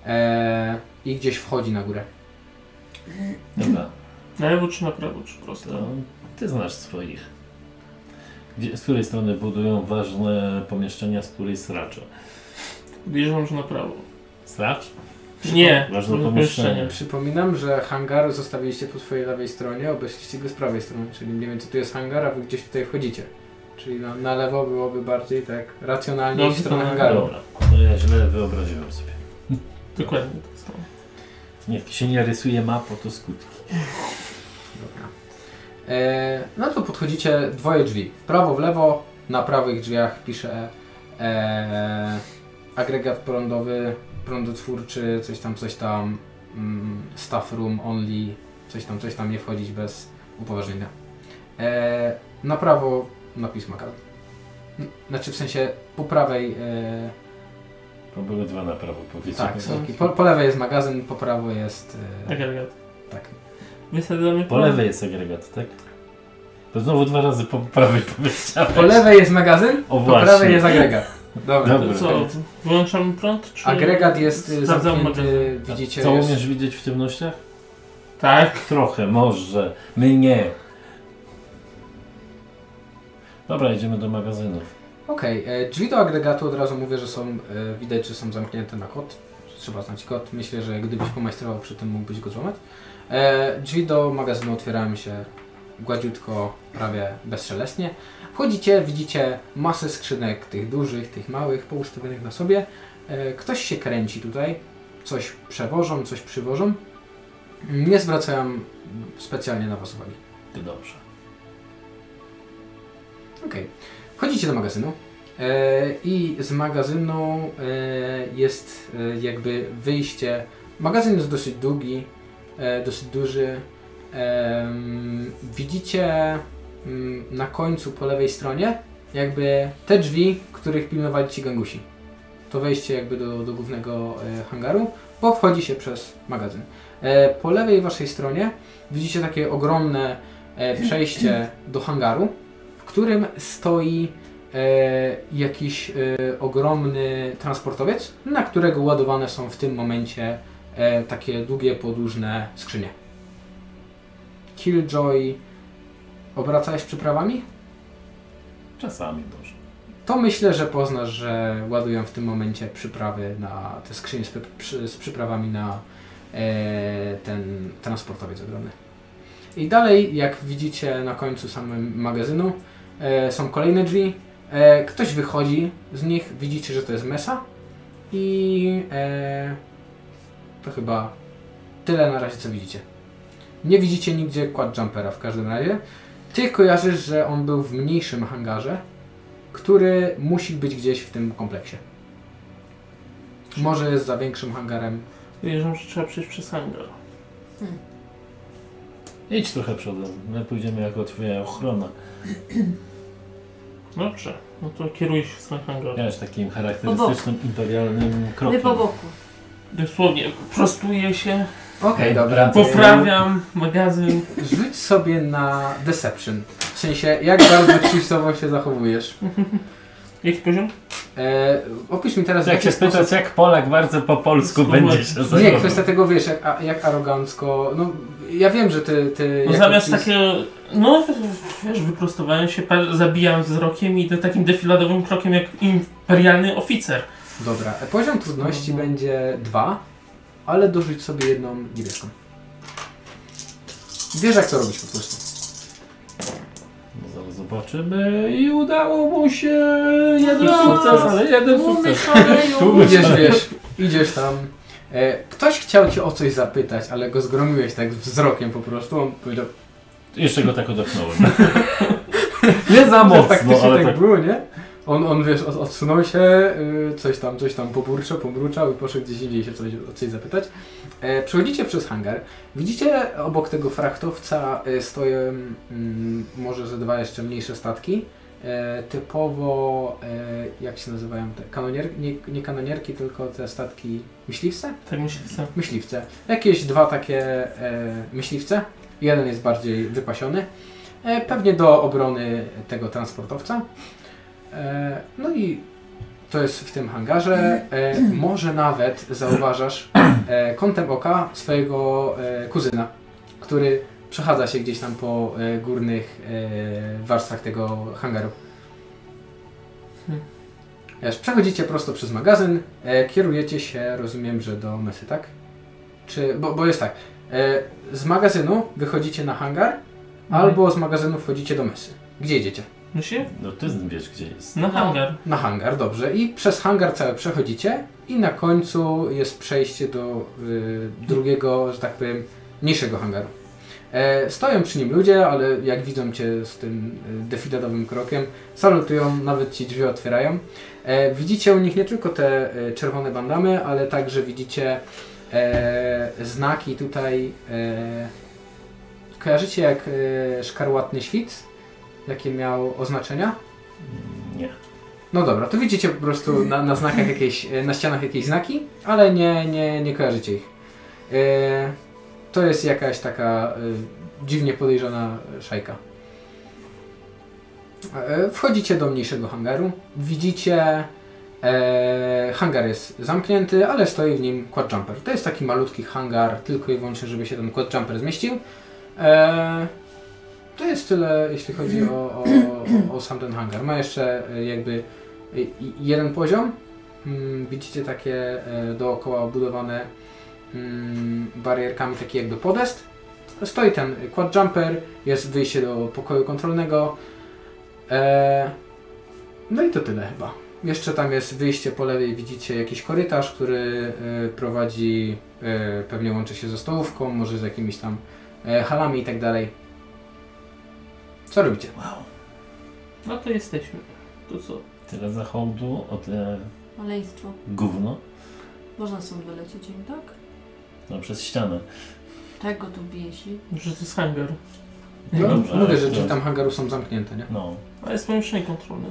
E, i gdzieś wchodzi na górę. Dobra. Na lewo czy na prawo, czy To prosto? ty znasz swoich. Gdzie, z której strony budują ważne pomieszczenia, z której sracze? Podejrzewam, że na prawo. Sracz? Nie, Ważne to pomieszczenie. Przypominam, że hangar zostawiliście po swojej lewej stronie, obeszliście go z prawej strony, czyli nie wiem co tu jest hangar, a wy gdzieś tutaj wchodzicie. Czyli na, na lewo byłoby bardziej tak racjonalnie Dobrze, iść w stronę to na hangaru. Dobra, to ja źle wyobraziłem sobie. Dokładnie tak samo. Jak się nie rysuje mapa, to skutki. Dobra. E, no to podchodzicie dwoje drzwi. W prawo, w lewo. Na prawych drzwiach pisze e, agregat prądowy, prądotwórczy, coś tam, coś tam, mm, staff room only, coś tam, coś tam, nie wchodzić bez upoważnienia. E, na prawo napis Macal. N- Znaczy w sensie po prawej, e, To były dwa na prawo, powiedzmy. tak, są, po, po lewej jest magazyn, po prawo jest, e, Agregat. tak, Wysadzamy Po lewej jest agregat, tak? To znowu dwa razy po prawej powiedziałeś. po lewej jest magazyn, O po właśnie. prawej jest agregat. Dobra. To Dobra. co, wyłączamy prąd, czy... Agregat jest y, Sprawdzam zamknięty, A widzicie, Co jest, umiesz widzieć w ciemnościach? Tak. Trochę, może. My nie. Dobra, idziemy do magazynów. Okej, e, drzwi do agregatu od razu mówię, że są, e, widać, że są zamknięte na kod. Trzeba znać kod. Myślę, że gdybyś pomajstrował przy tym, mógłbyś go złamać. E, drzwi do magazynu otwierają się gładziutko, prawie bezszelestnie. Wchodzicie, widzicie masę skrzynek, tych dużych, tych małych, poustawionych na sobie. E, ktoś się kręci tutaj, coś przewożą, coś przywożą. Nie zwracają specjalnie na was uwagi. Ty dobrze. Okej. Wchodzicie do magazynu e, i z magazynu e, jest e, jakby wyjście. Magazyn jest dosyć długi, e, dosyć duży. Em, widzicie mm, na końcu po lewej stronie jakby te drzwi, których pilnowali ci gangusi. To wejście jakby do, do głównego e, hangaru, bo wchodzi się przez magazyn. E, po lewej waszej stronie widzicie takie ogromne e, przejście do hangaru w którym stoi e, jakiś e, ogromny transportowiec, na którego ładowane są w tym momencie e, takie długie, podłużne skrzynie. Killjoy, obracałeś przyprawami? Czasami może. To myślę, że poznasz, że ładują w tym momencie przyprawy na te skrzynie z, py- przy, z przyprawami na e, ten transportowiec ogromny. I dalej, jak widzicie na końcu samym magazynu, e, są kolejne drzwi. E, ktoś wychodzi z nich, widzicie, że to jest mesa. I e, to chyba tyle na razie, co widzicie. Nie widzicie nigdzie quad jumpera w każdym razie. Ty kojarzysz, że on był w mniejszym hangarze który musi być gdzieś w tym kompleksie. Może jest za większym hangarem. Wierzę, że trzeba przejść przez hangar. Idź trochę przodem. My pójdziemy jako twoja ochrona. Dobrze, no to kieruj się w stronę hangaru. Miałeś takim charakterystycznym, imperialnym My krokiem. po boku. Dosłownie, prostuję się, Okej, dobra. to- poprawiam magazyn. Rzuć sobie na deception. W sensie, jak bardzo przystowo się zachowujesz. Jaki poziom? No, E, opisz mi teraz, w Jak jaki się spytać, jak Polak bardzo po polsku Słuchaj. będzie się sposób... Nie, zachowywał. kwestia tego, wiesz, jak, a, jak arogancko... No, ja wiem, że ty... ty No jako zamiast ty- takiego, no wiesz, wyprostowałem się, pa- zabijam wzrokiem i idę takim defiladowym krokiem jak imperialny oficer. Dobra, e, poziom trudności będzie dwa, ale dorzuć sobie jedną niebieską. Wiesz, jak to robić po prostu. No to zobaczymy. I udało mu się jeden No. sukces, ale jeden Tłumy sukces. szaleją. Tłumy. Idziesz, wiesz, idziesz tam. E, ktoś chciał cię o coś zapytać, ale go zgromiłeś tak wzrokiem po prostu. On powiedział, Jeszcze go tak odepchnąłem. Nie za mocno, faktycznie ale tak, tak. było, nie? On, on wiesz, od, odsunął się, y, coś tam, coś tam poburczał, pobruczał i poszedł gdzieś indziej się coś, o coś zapytać. E, przechodzicie przez hangar, widzicie obok tego frachtowca e, stoją mm, może ze dwa jeszcze mniejsze statki. E, typowo, e, jak się nazywają te, kanonier, nie, nie kanonierki, tylko te statki myśliwce? Tak myślę. myśliwce. Jakieś dwa takie e, myśliwce. Jeden jest bardziej wypasiony. E, pewnie do obrony tego transportowca. E, no i to jest w tym hangarze. E, może nawet zauważasz e, kątem oka swojego e, kuzyna, który przechadza się gdzieś tam po e, górnych e, warstwach tego hangaru. Hmm. Wiesz, Przechodzicie prosto przez magazyn, e, kierujecie się, rozumiem, że do mesy, tak? Czy, bo, bo jest tak, e, z magazynu wychodzicie na hangar, albo z magazynu wchodzicie do mesy. Gdzie idziecie? Myślisz? No ty wiesz gdzie jest. Na hangar. Na hangar, dobrze. I przez hangar cały przechodzicie i na końcu jest przejście do y, drugiego, że tak powiem, mniejszego hangaru. E, stoją przy nim ludzie, ale jak widzą cię z tym y, defiladowym krokiem, salutują, nawet ci drzwi otwierają. E, widzicie u nich nie tylko te y, czerwone bandamy, ale także widzicie e, znaki tutaj. E, kojarzycie jak e, szkarłatny świt? Jakie miał oznaczenia? Nie. No dobra, to widzicie po prostu na, na znakach jakieś, e, na ścianach jakieś znaki, ale nie, nie, nie kojarzycie ich. E, to jest jakaś taka e, dziwnie podejrzana szajka. E, wchodzicie do mniejszego hangaru, widzicie e, hangar jest zamknięty, ale stoi w nim quadjumper. To jest taki malutki hangar, tylko i wyłącznie, żeby się ten quadjumper zmieścił. E, to jest tyle, jeśli chodzi o, o, o, o sam ten hangar. Ma jeszcze e, jakby e, i- jeden poziom. Mm, Widzicie takie e, dookoła obudowane mm, barierkami, taki jakby podest. Stoi ten quad jumper, jest wyjście do pokoju kontrolnego. E, No i to tyle chyba. Jeszcze tam jest wyjście po lewej, widzicie jakiś korytarz, który e, prowadzi, e, pewnie łączy się ze stołówką, może z jakimiś tam e, halami i tak dalej. Co robicie? No to jesteśmy. To co? Tyle zachodu, o tyle Maleństwo. gówno. Można stąd wylecieć, nie tak? No przez ścianę. Tego tu biesi. Że to jest hangar. No, Dobrze, mówię, ale że to- drzwi tam hangaru są zamknięte, nie? No. A jest pomieszczenie kontrolne.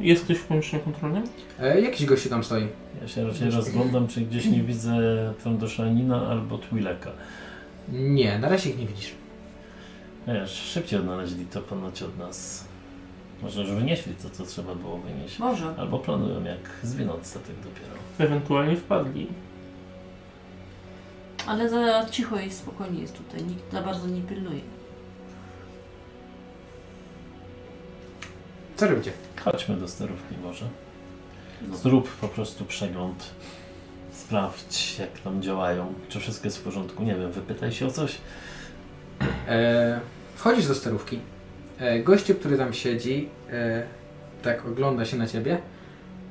Jest ktoś w pomieszczeniu kontrolnym? E, jakiś gościu tam stoi. Ja się raczej rozglądam, czy gdzieś nie widzę Trondoshanina albo Twileka. Nie, na razie ich nie widzisz. Wiesz, szybciej odnaleźli to ponoć od nas. Może już wynieśli to, co trzeba było wynieść. Może. Albo planują, jak zwinąć statek dopiero. Ewentualnie wpadli. Ale za cicho i spokojnie jest tutaj. Nikt za bardzo nie pilnuje. Co robicie? Chodźmy do sterówki może. No. Zrób po prostu przegląd. Sprawdź, jak tam działają. Czy wszystko jest w porządku. Nie wiem, wypytaj się o coś. E, wchodzisz do sterówki. E, gościu, który tam siedzi, e, tak ogląda się na ciebie.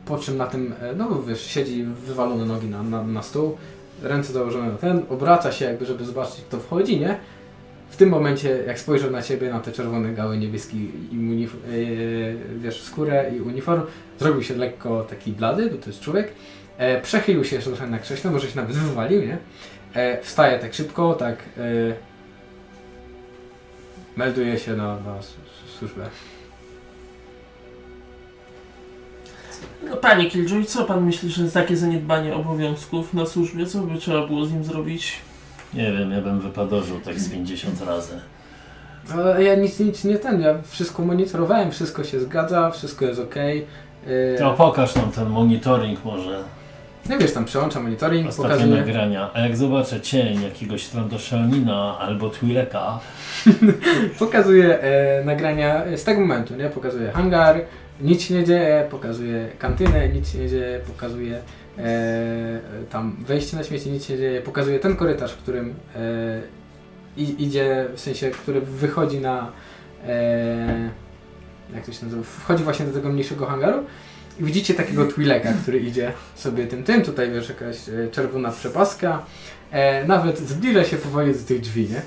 Po czym na tym, e, no wiesz, siedzi wywalone nogi na, na, na stół, ręce założone na ten, obraca się jakby, żeby zobaczyć kto wchodzi, nie? W tym momencie, jak spojrzał na ciebie, na te czerwone gały, niebieski i unif- e, wiesz, skórę i uniform, zrobił się lekko taki blady, bo to jest człowiek. E, przechylił się jeszcze trochę na krześle, może się nawet wywalił, nie? E, wstaje tak szybko, tak e, Melduje się na, na s- s- służbę. No panie Killjoy, co pan myśli, że jest takie zaniedbanie obowiązków na służbie? Co by trzeba było z nim zrobić? Nie wiem, ja bym wypadorzył tak z 50 razy. No, Ale ja nic, nic nie ten, ja wszystko monitorowałem, wszystko się zgadza, wszystko jest ok. To pokaż nam ten monitoring może. No wiesz, tam przełącza monitoring, Ostatnie pokazuje. nagrania. A jak zobaczę cień jakiegoś Trandoshanina albo Twileka, Pokazuje e, nagrania e, z tego momentu, nie? Pokazuje hangar, nic się nie dzieje, pokazuje kantynę, nic się nie dzieje, pokazuje e, tam wejście na śmieci, nic się nie dzieje, pokazuje ten korytarz, w którym e, i- idzie, w sensie, który wychodzi na e, jak to się nazywa, wchodzi właśnie do tego mniejszego hangaru i widzicie takiego Twileka, który idzie sobie tym tym, tutaj wiesz, jakaś e, czerwona przepaska, e, nawet zbliża się powoli do tych drzwi, nie?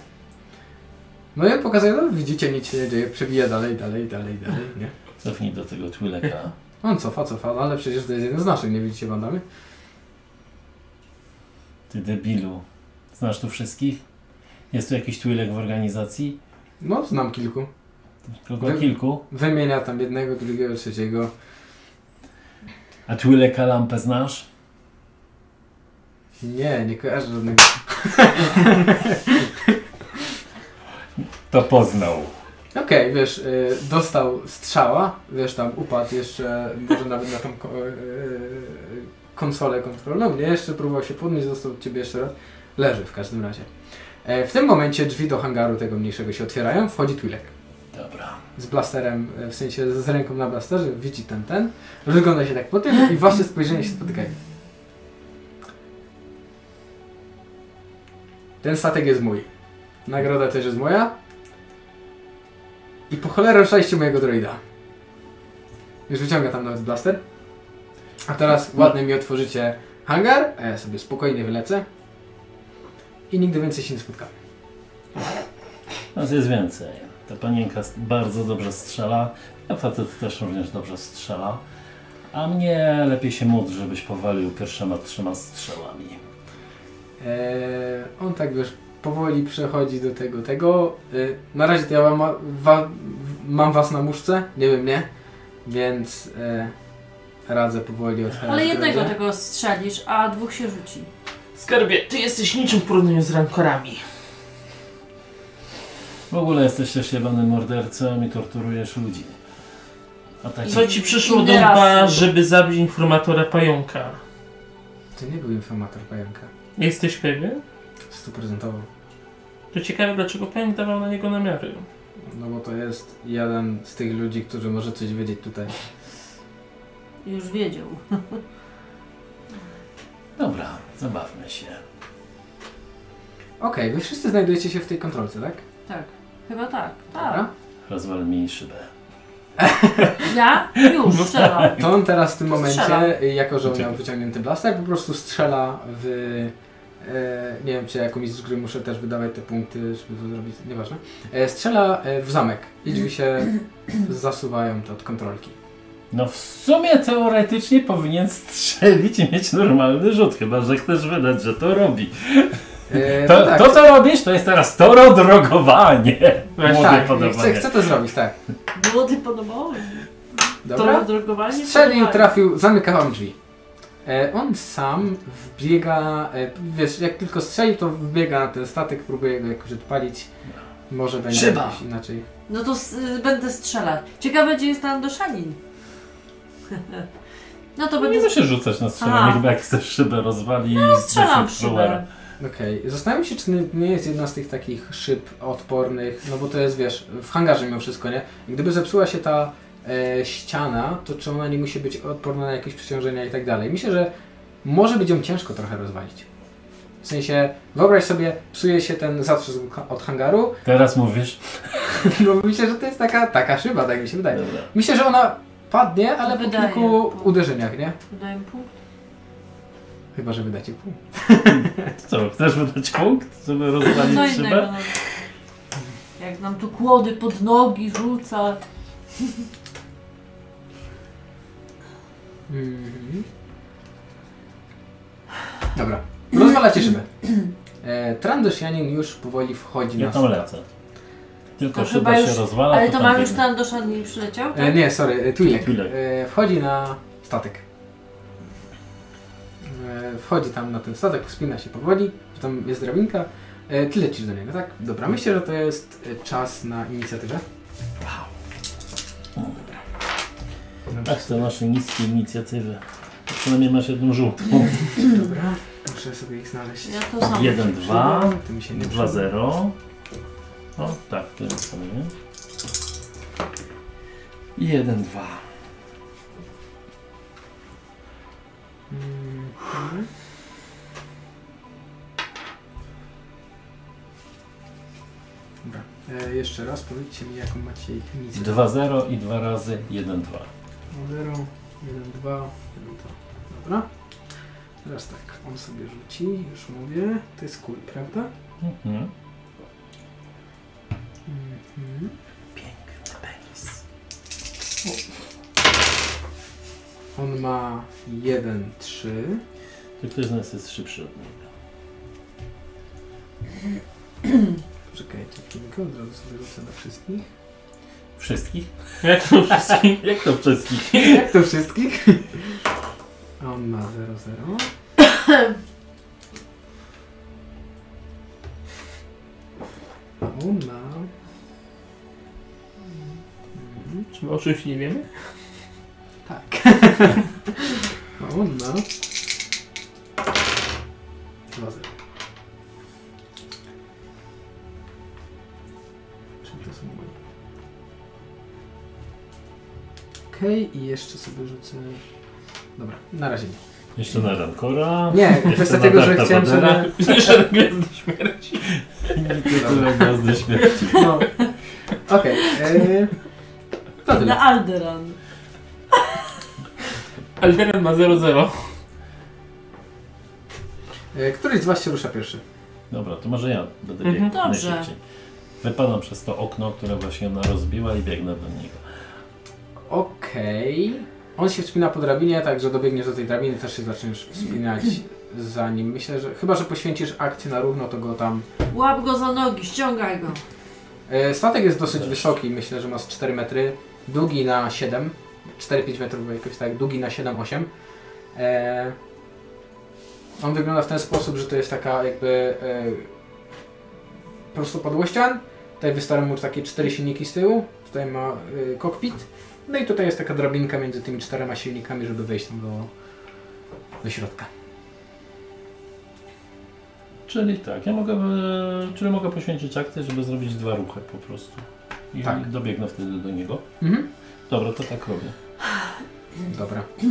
No i pokazuje, no widzicie, nic się nie dzieje, przebija dalej, dalej, dalej, dalej, nie? Cofnij do tego Twileka. On cofa, cofa, no ale przecież to jest jeden z naszych, nie widzicie bandamy? Ty debilu. Znasz tu wszystkich? Jest tu jakiś Twilek w organizacji? No, znam kilku. Tylko Wy- kilku. Wymienia tam jednego, drugiego, trzeciego. A Twileka lampę znasz? Nie, nie kojarzę żadnego. To poznał. Okej, wiesz, y, dostał strzała, wiesz, tam upadł jeszcze, może nawet na tą ko- y, konsolę kontrolną, nie? Jeszcze próbował się podnieść, dostał od ciebie jeszcze raz. Leży w każdym razie. E, w tym momencie drzwi do hangaru tego mniejszego się otwierają, wchodzi Twilek. Dobra. z blasterem, e, w sensie z ręką na blasterze, widzi ten, ten, rozgląda się tak po tym i wasze spojrzenia się spotykają. Ten statek jest mój. Nagroda też jest moja. I po cholerę ruszaliście mojego droida. Już wyciąga tam nawet blaster. A teraz ładnie mi otworzycie hangar, a ja sobie spokojnie wylecę. I nigdy więcej się nie spotkamy. Nas jest więcej. Ta panienka s- bardzo dobrze strzela. Ja facet też również dobrze strzela. A mnie lepiej się módl, żebyś powalił pierwszema trzema strzałami. Eee, on tak wiesz, powoli przechodzi do tego, tego. Eee, na razie to ja mam, wa, mam was na muszce, nie wiem, nie? Więc eee, radzę powoli Tak, otwierać. Ale jednego drodze. tego strzelisz, a dwóch się rzuci. Skarbie, ty jesteś niczym w porównaniu z rankorami. W ogóle jesteś też jebanym mordercą i torturujesz ludzi. A tak Co ci przyszło do Inny raz. łba, żeby zabić informatora pająka? tak- To nie był informator pająka. Jesteś pewien? Stuprocentowo. To ciekawe, dlaczego pająk dawał na niego namiary. No bo to jest jeden z tych ludzi, którzy może coś wiedzieć tutaj. Już wiedział. Dobra, zabawmy się. Okej, wy wszyscy znajdujecie się w tej kontrolce, tak? Tak. Chyba tak. Tak. Dobra. Rozwal mi szybę. Ja No. już strzelam. To on teraz w tym momencie, Strzela. jako że on miał Uciekł. wyciągnięty blaster, po prostu strzela w... E, nie wiem, czy jako mistrz gry muszę też wydawać te punkty, żeby to zrobić, nieważne. E, strzela e, w zamek i drzwi się zasuwają od kontrolki. No w sumie teoretycznie powinien strzelić i mieć normalny rzut, chyba że chcesz wydać, że to robi. E, To, no tak, to co robisz, to jest teraz torodrogowanie. Weź, Młode tak, podobanie. chcę, chcę to zrobić, tak. Młody podobało mi. To Dobra? drogowanie Strzelił, podobało. trafił, zamyka wam drzwi. E, on sam wbiega, e, wiesz, jak tylko strzelił, to wbiega na ten statek, próbuje go jakoś odpalić. Może będzie Szyba. jakoś inaczej. No to s- będę strzelać. Ciekawe, gdzie jest ten Andoszanin. no to No nie będę musisz rzucać na strzelanie, A. chyba jak chcesz szybę rozwali i strzelam bez throwera. szybę. Okej, zastanawiam się, czy nie- nie jest jedna z tych takich szyb odpornych, no bo to jest, wiesz, w hangarze mimo wszystko, nie? I Gdyby zepsuła się ta e, ściana, to czy ona nie musi być odporna na jakieś przeciążenia i tak dalej? Myślę, że może być ją ciężko trochę rozwalić. W sensie, wyobraź sobie, psuje się ten zatrzus od hangaru, Teraz mówisz? no myślę, że to jest taka, taka szyba, tak mi się wydaje. Dobra. Myślę, że ona padnie, ale po Wydaje. kilku uderzeniach, nie? Dałem punkt. Chyba, że wydacie pół. Co, chcesz wydać punkt, żeby No co rozwalić innego. szybę? No. Jak nam tu kłody pod nogi rzuca. Mhm. Dobra, Mhm. rozwalacie szybę. E, Trandoshianin już powoli wchodzi Ja na tam stół. lecę. Tylko To szyba chyba się już- rozwala, Ale to to tam mam już biegnę. ten Andoszanin przyleciał, E, tak? nie, sorry, e, Twi'lek. Twi'lek. E, wchodzi na statek. E, wchodzi tam na ten statek, wspina się powoli, tam jest drabinka. E, ty lecisz do niego, tak? Dobra, myślę, że to jest e, czas na inicjatywę. Ach, Tak, te nasze niskie inicjatywy. Przynajmniej masz jedną żółtą. No. Dobra, muszę sobie ich znaleźć. Ja to samo. Jeden, dwa, To mi się nie dwa, przyda. zero. O, tak, to jest sobie. I jeden, dwa. Mhm. Dobra. E, jeszcze raz powiedzcie mi, jaką macie misję. 2-0 i dwa razy 1-2. 0, 1, 2, 1, 2. Dobra. Teraz tak, on sobie rzuci, już mówię. To jest kul, prawda? Mhm. Mhm. Piękny penis. On ma 1, 3. To ktoś z nas jest szybszy od niego. Czekajcie chwilkę, od razu sobie rzucę na wszystkich. Wszystkich? No Jak to wszystkim? Jak to wszystkich? Jak to wszystkich? A on ma 0, 0. A on ma... Mhm. Czy my o czymś nie wiemy? Tak. A on ma... 2, 0. Czyli to są moje. Okej, i jeszcze sobie rzucę... Dobra, na razie nie. Jeszcze na Rancora. Nie, Jeszcze kwestia na tego, że Darta chciałem Vadera. sobie... Jeszcze do gwiazdy śmierci. Tyle gwiazdy śmierci. No. Okej. e, To Na tyle. Alderan. Alderen ma 0-0. E, Któryś z was się rusza pierwszy. Dobra, to może ja będę Mhm. biegł Dobrze. najszybciej. Wypadam przez to okno, które właśnie ona rozbiła i biegnę do niego. Okej. On się wspina po drabinie, tak że dobiegniesz do tej drabiny, też się zaczniesz wspinać za nim. Myślę, że chyba, że poświęcisz akcję na równo, to go tam... Łap go za nogi, ściągaj go. E, Statek jest dosyć Też. wysoki, myślę, że ma z 4 metry. Długi na 7. 4-5 metrów, bo jakoś tak. Długi na 7-8. E, on wygląda w ten sposób, że to jest taka jakby e, prostopadłościan. Tutaj wystawiam mu takie cztery silniki z tyłu. Tutaj ma e, kokpit. No i tutaj jest taka drabinka między tymi czterema silnikami, żeby wejść tam do, do środka. Czyli tak, ja mogę, e, czyli mogę poświęcić akcję, żeby zrobić dwa ruchy po prostu. I Tak. dobiegnę wtedy do niego. Mhm. Dobra, to tak robię. Dobra. Okej,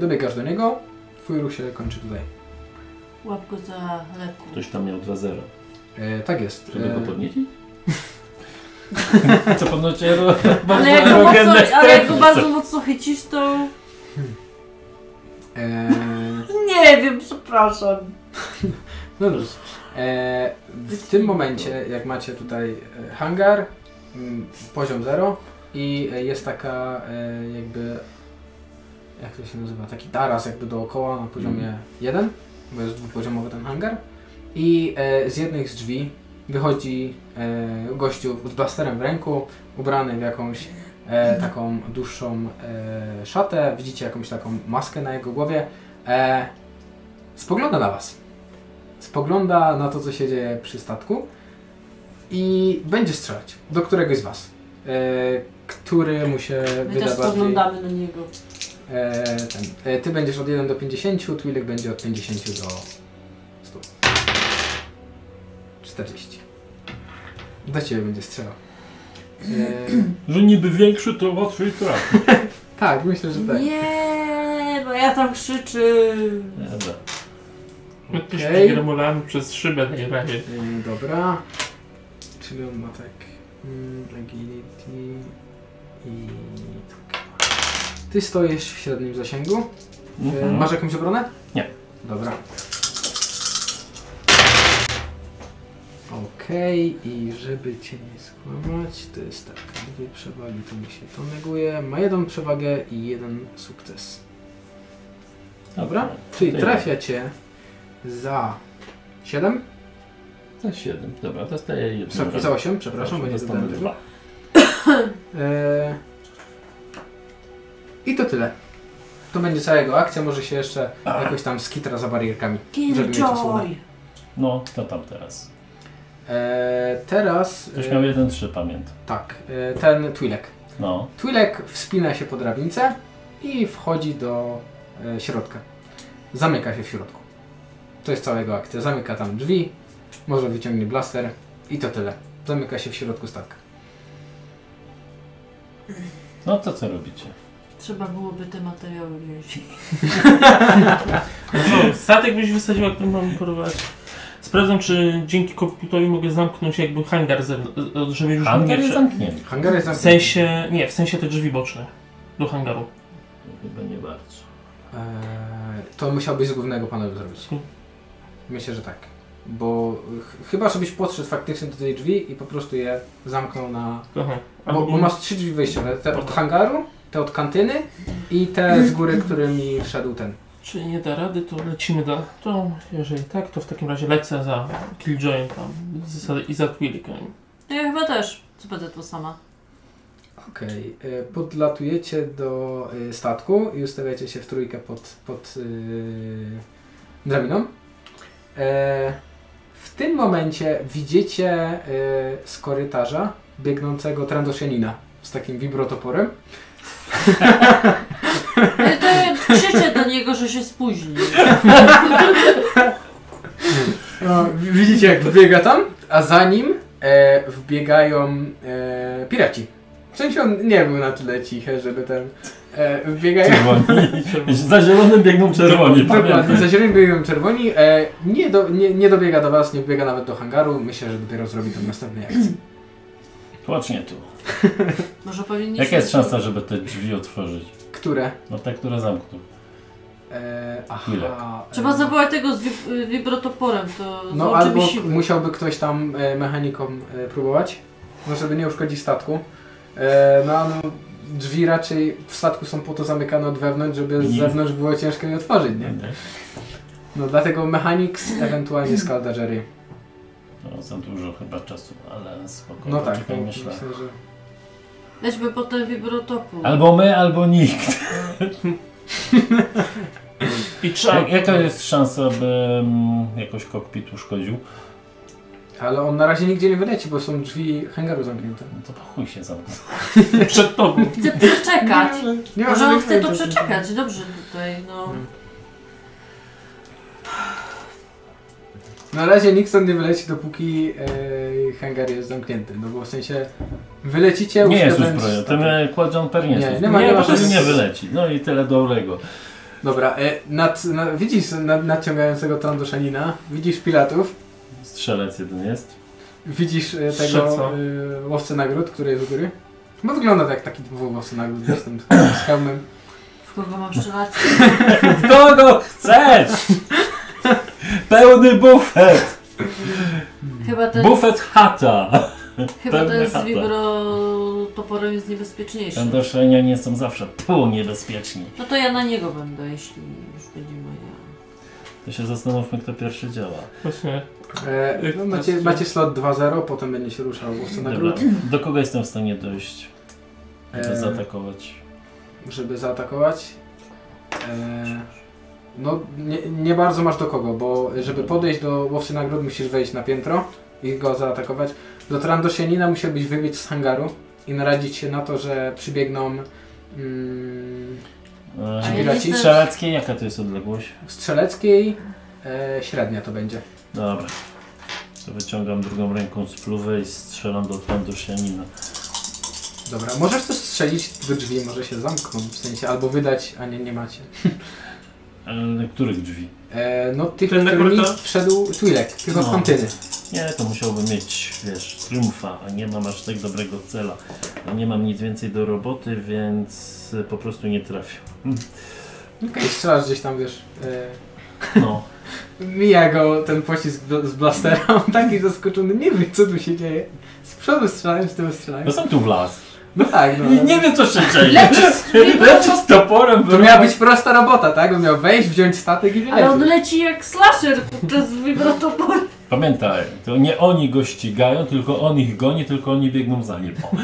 dobiegasz do niego. Twój ruch się kończy tutaj. Łap go za lekko. Ktoś tam miał 2-0. E, tak jest. Żeby go E, podnieśli? Co ponoć ja ro- bardzo Ale jak, go arogantne mocno, ale jak go stanowisko. bardzo mocno chycisz, to... Eee, Nie wiem, przepraszam. no dobrze. Eee, w tym momencie, jak macie tutaj e, hangar, mm, poziom 0 i e, jest taka e, jakby, jak to się nazywa, taki taras jakby dookoła na poziomie Mhm. 1, bo jest dwupoziomowy ten hangar. I e, z jednych z drzwi wychodzi e, gościu z blasterem w ręku, ubrany w jakąś e, taką dłuższą e, szatę. Widzicie jakąś taką maskę na jego głowie. E, spogląda na was. Spogląda na to, co się dzieje przy statku i będzie strzelać do któregoś z was. E, który mu się My wyda też bardziej... spoglądamy na niego. E, ten, e, ty będziesz od 1 do 50, Twilek będzie od 50 do 100. 40. Do ciebie będzie strzelał. E, Że niby większy to łatwiej trafi. tak, myślę, że tak. Nie, bo ja tam krzyczę. E, Dobra. Jakieś Okej. okay. gramulami przez szybę najrazie. E, dobra. Czyli on ma tak. Mm, agility i. Tak. Ty stoisz w średnim zasięgu. E, Mhm. masz jakąś obronę? Nie. Dobra. Okej, i żeby cię nie skłamać, to jest tak, dwie przewagi, to mi się to neguje. Ma jedną przewagę i jeden sukces. Dobra, czyli Tyle. trafia cię za 7, Za 7. Dobra, dostaję jedną. sorry, za ranę. 8, przepraszam, bo nie dostanę dodałem tego. dwa. E, I to tyle. To będzie cała jego akcja, może się jeszcze jakoś tam skitra za barierkami. Żeby mieć osłonę. Killjoy. No, to tam teraz. E, teraz... Ktoś e, miał 1-3, pamiętam. Tak, e, ten Twilek. No. Twilek wspina się po drabince i wchodzi do e, środka. Zamyka się w środku. To jest cała jego akcja. Zamyka tam drzwi, może wyciągnie blaster i to tyle. Zamyka się w środku statka. No to co robicie? Trzeba byłoby te materiały wziąć. No, statek byś wysadził, jak to mam porwać. Sprawdzam, czy dzięki komputerowi mogę zamknąć jakby hangar, zewn- e, żeby już Hangar nie jest wszedł. zamknięty. Hangar jest W sensie, nie, w sensie te drzwi boczne do hangaru. Chyba nie bardzo. Eee, to musiałbyś z głównego panelu zrobić. Hmm. Myślę, że tak. Bo ch chyba, żebyś podszedł faktycznie do tej drzwi i po prostu je zamknął na... Aha. Bo, Mhm. bo masz trzy drzwi wyjściowe. Te od hangaru, te od kantyny i te z góry, którymi wszedł ten. Czy nie da rady, to lecimy do... To jeżeli tak, to w takim razie lecę za Killjoyem tam z, i za Twillikiem. To No ja chyba też. Co będę tu sama. Okej. e, Podlatujecie do e, statku i ustawiacie się w trójkę pod, pod e, drabiną. E, W tym momencie widzicie e, z korytarza biegnącego Trandoszenina z takim wibrotoporem. Ja to ja krzyczę do niego, że się spóźni. No, wi- widzicie jak wbiega tam, a za nim e, wbiegają e, piraci. W sensie on nie był na tyle cichy, żeby ten... E, wbiegają... Czerwoni. Za zielonym biegną czerwoni, No, Dokładnie, za pamiętaj. zielonym biegiem czerwoni. E, nie, do, nie, nie dobiega do was, nie wbiega nawet do hangaru. Myślę, że dopiero zrobi to w następnej akcji. Właśnie tu. Może powinniśmy... Jaka jest szansa, żeby te drzwi otworzyć? Które? No te, które zamknął. E, Ile? aha. Trzeba e, zawołać tego z wib- y, wibrotoporem, to No złączy mi albo siły. musiałby ktoś tam e, mechanikom e, próbować, no żeby nie uszkodzić statku. E, no, a no drzwi raczej w statku są po to zamykane od wewnątrz, żeby z Nie. zewnątrz było ciężko je otworzyć, nie? No dlatego mechanik, z- ewentualnie Skalda Jerry. No, za dużo chyba czasu, ale spokojnie. No tak, Czekaj, no, myślę. myślę, że... Lećmy po ten wibrotopór. Albo my, albo nikt. I trzeba... Jak- Jaka jest szansa, by mm, jakoś kokpit uszkodził? Ale on na razie nigdzie nie wyleci, bo są drzwi hangaru zamknięte. No to po chuj się zamknął. Przed tobą. Chcę przeczekać. Nie ma- nie ma Może on żadnych chce to sensu. przeczekać. Dobrze tutaj, no. Na razie nikt stąd nie wyleci, dopóki e, hangar jest zamknięty. No bo w sensie wylecicie Nie jest uszkodzając uzbrojony. statek. Ten e, quadjumper nie jest Nie, nie uzbrojony. ma- nie ma bo to szans. nie wyleci. No i tyle dobrego. Dobra, e, nad, na, widzisz nad, nadciągającego Trandoszanina, widzisz pilatów, Strzelec jeden jest. widzisz e, tego Strzelca. e, łowcę nagród, który jest u góry. Bo wygląda tak taki typowy łowca nagród z tym z hełmem. W kogo mam strzelać? W kogo chcesz? Pełny bufet! Chyba ten, Bufet chata! chyba ten pewnie z wibrotoporem jest niebezpieczniejszy. Kandoszenianie są zawsze pół niebezpieczni. No to ja na niego będę, jeśli już będzie moja. To się zastanówmy, kto pierwszy działa. Właśnie. E, no, macie, macie slot 2-0, potem będzie się ruszał łowca Dobra, nagród, do kogo jestem w stanie dojść, żeby Eee. zaatakować? żeby zaatakować. E, no, nie, nie bardzo masz do kogo, bo żeby podejść do łowcy nagród musisz wejść na piętro i go zaatakować. Do Trandoshianina musiałbyś wybiec z hangaru i naradzić się na to, że przybiegną mm, A ja Eee, Piraci? jestem- strzeleckie, jaka to jest odległość? strzeleckiej, e, średnia to będzie. Dobra. To wyciągam drugą ręką spluwę i strzelam do Panduszianina. Dobra, możesz też strzelić do drzwi, może się zamkną, w sensie albo wydać, a nie, nie macie. Ale których drzwi? E, no tych, Ten na którymi korytarz? wszedł Twilek, tylko No. z kantyny. Nie, to musiałbym mieć, wiesz, triumfa, a nie mam aż tak dobrego cela. A nie mam nic więcej do roboty, więc e, po prostu nie trafię. Okay. Strzelasz gdzieś tam, wiesz, e, No, Mija go ten pocisk bl- z blastera, on taki zaskoczony, nie wie co tu się dzieje. Z przodu strzelają, z tyłu strzelają. no sam tu w las. No tak, no. Nie, nie wiem, co się dzieje. Lecisz z Lecisz z toporem. To wyrwa- miała być prosta robota, tak? On miał wejść, wziąć statek i Ale on wylecieć. leci jak slasher podczas wibrotopora. Pamiętaj, to nie oni go ścigają, tylko on ich goni, tylko oni biegną za nim. O.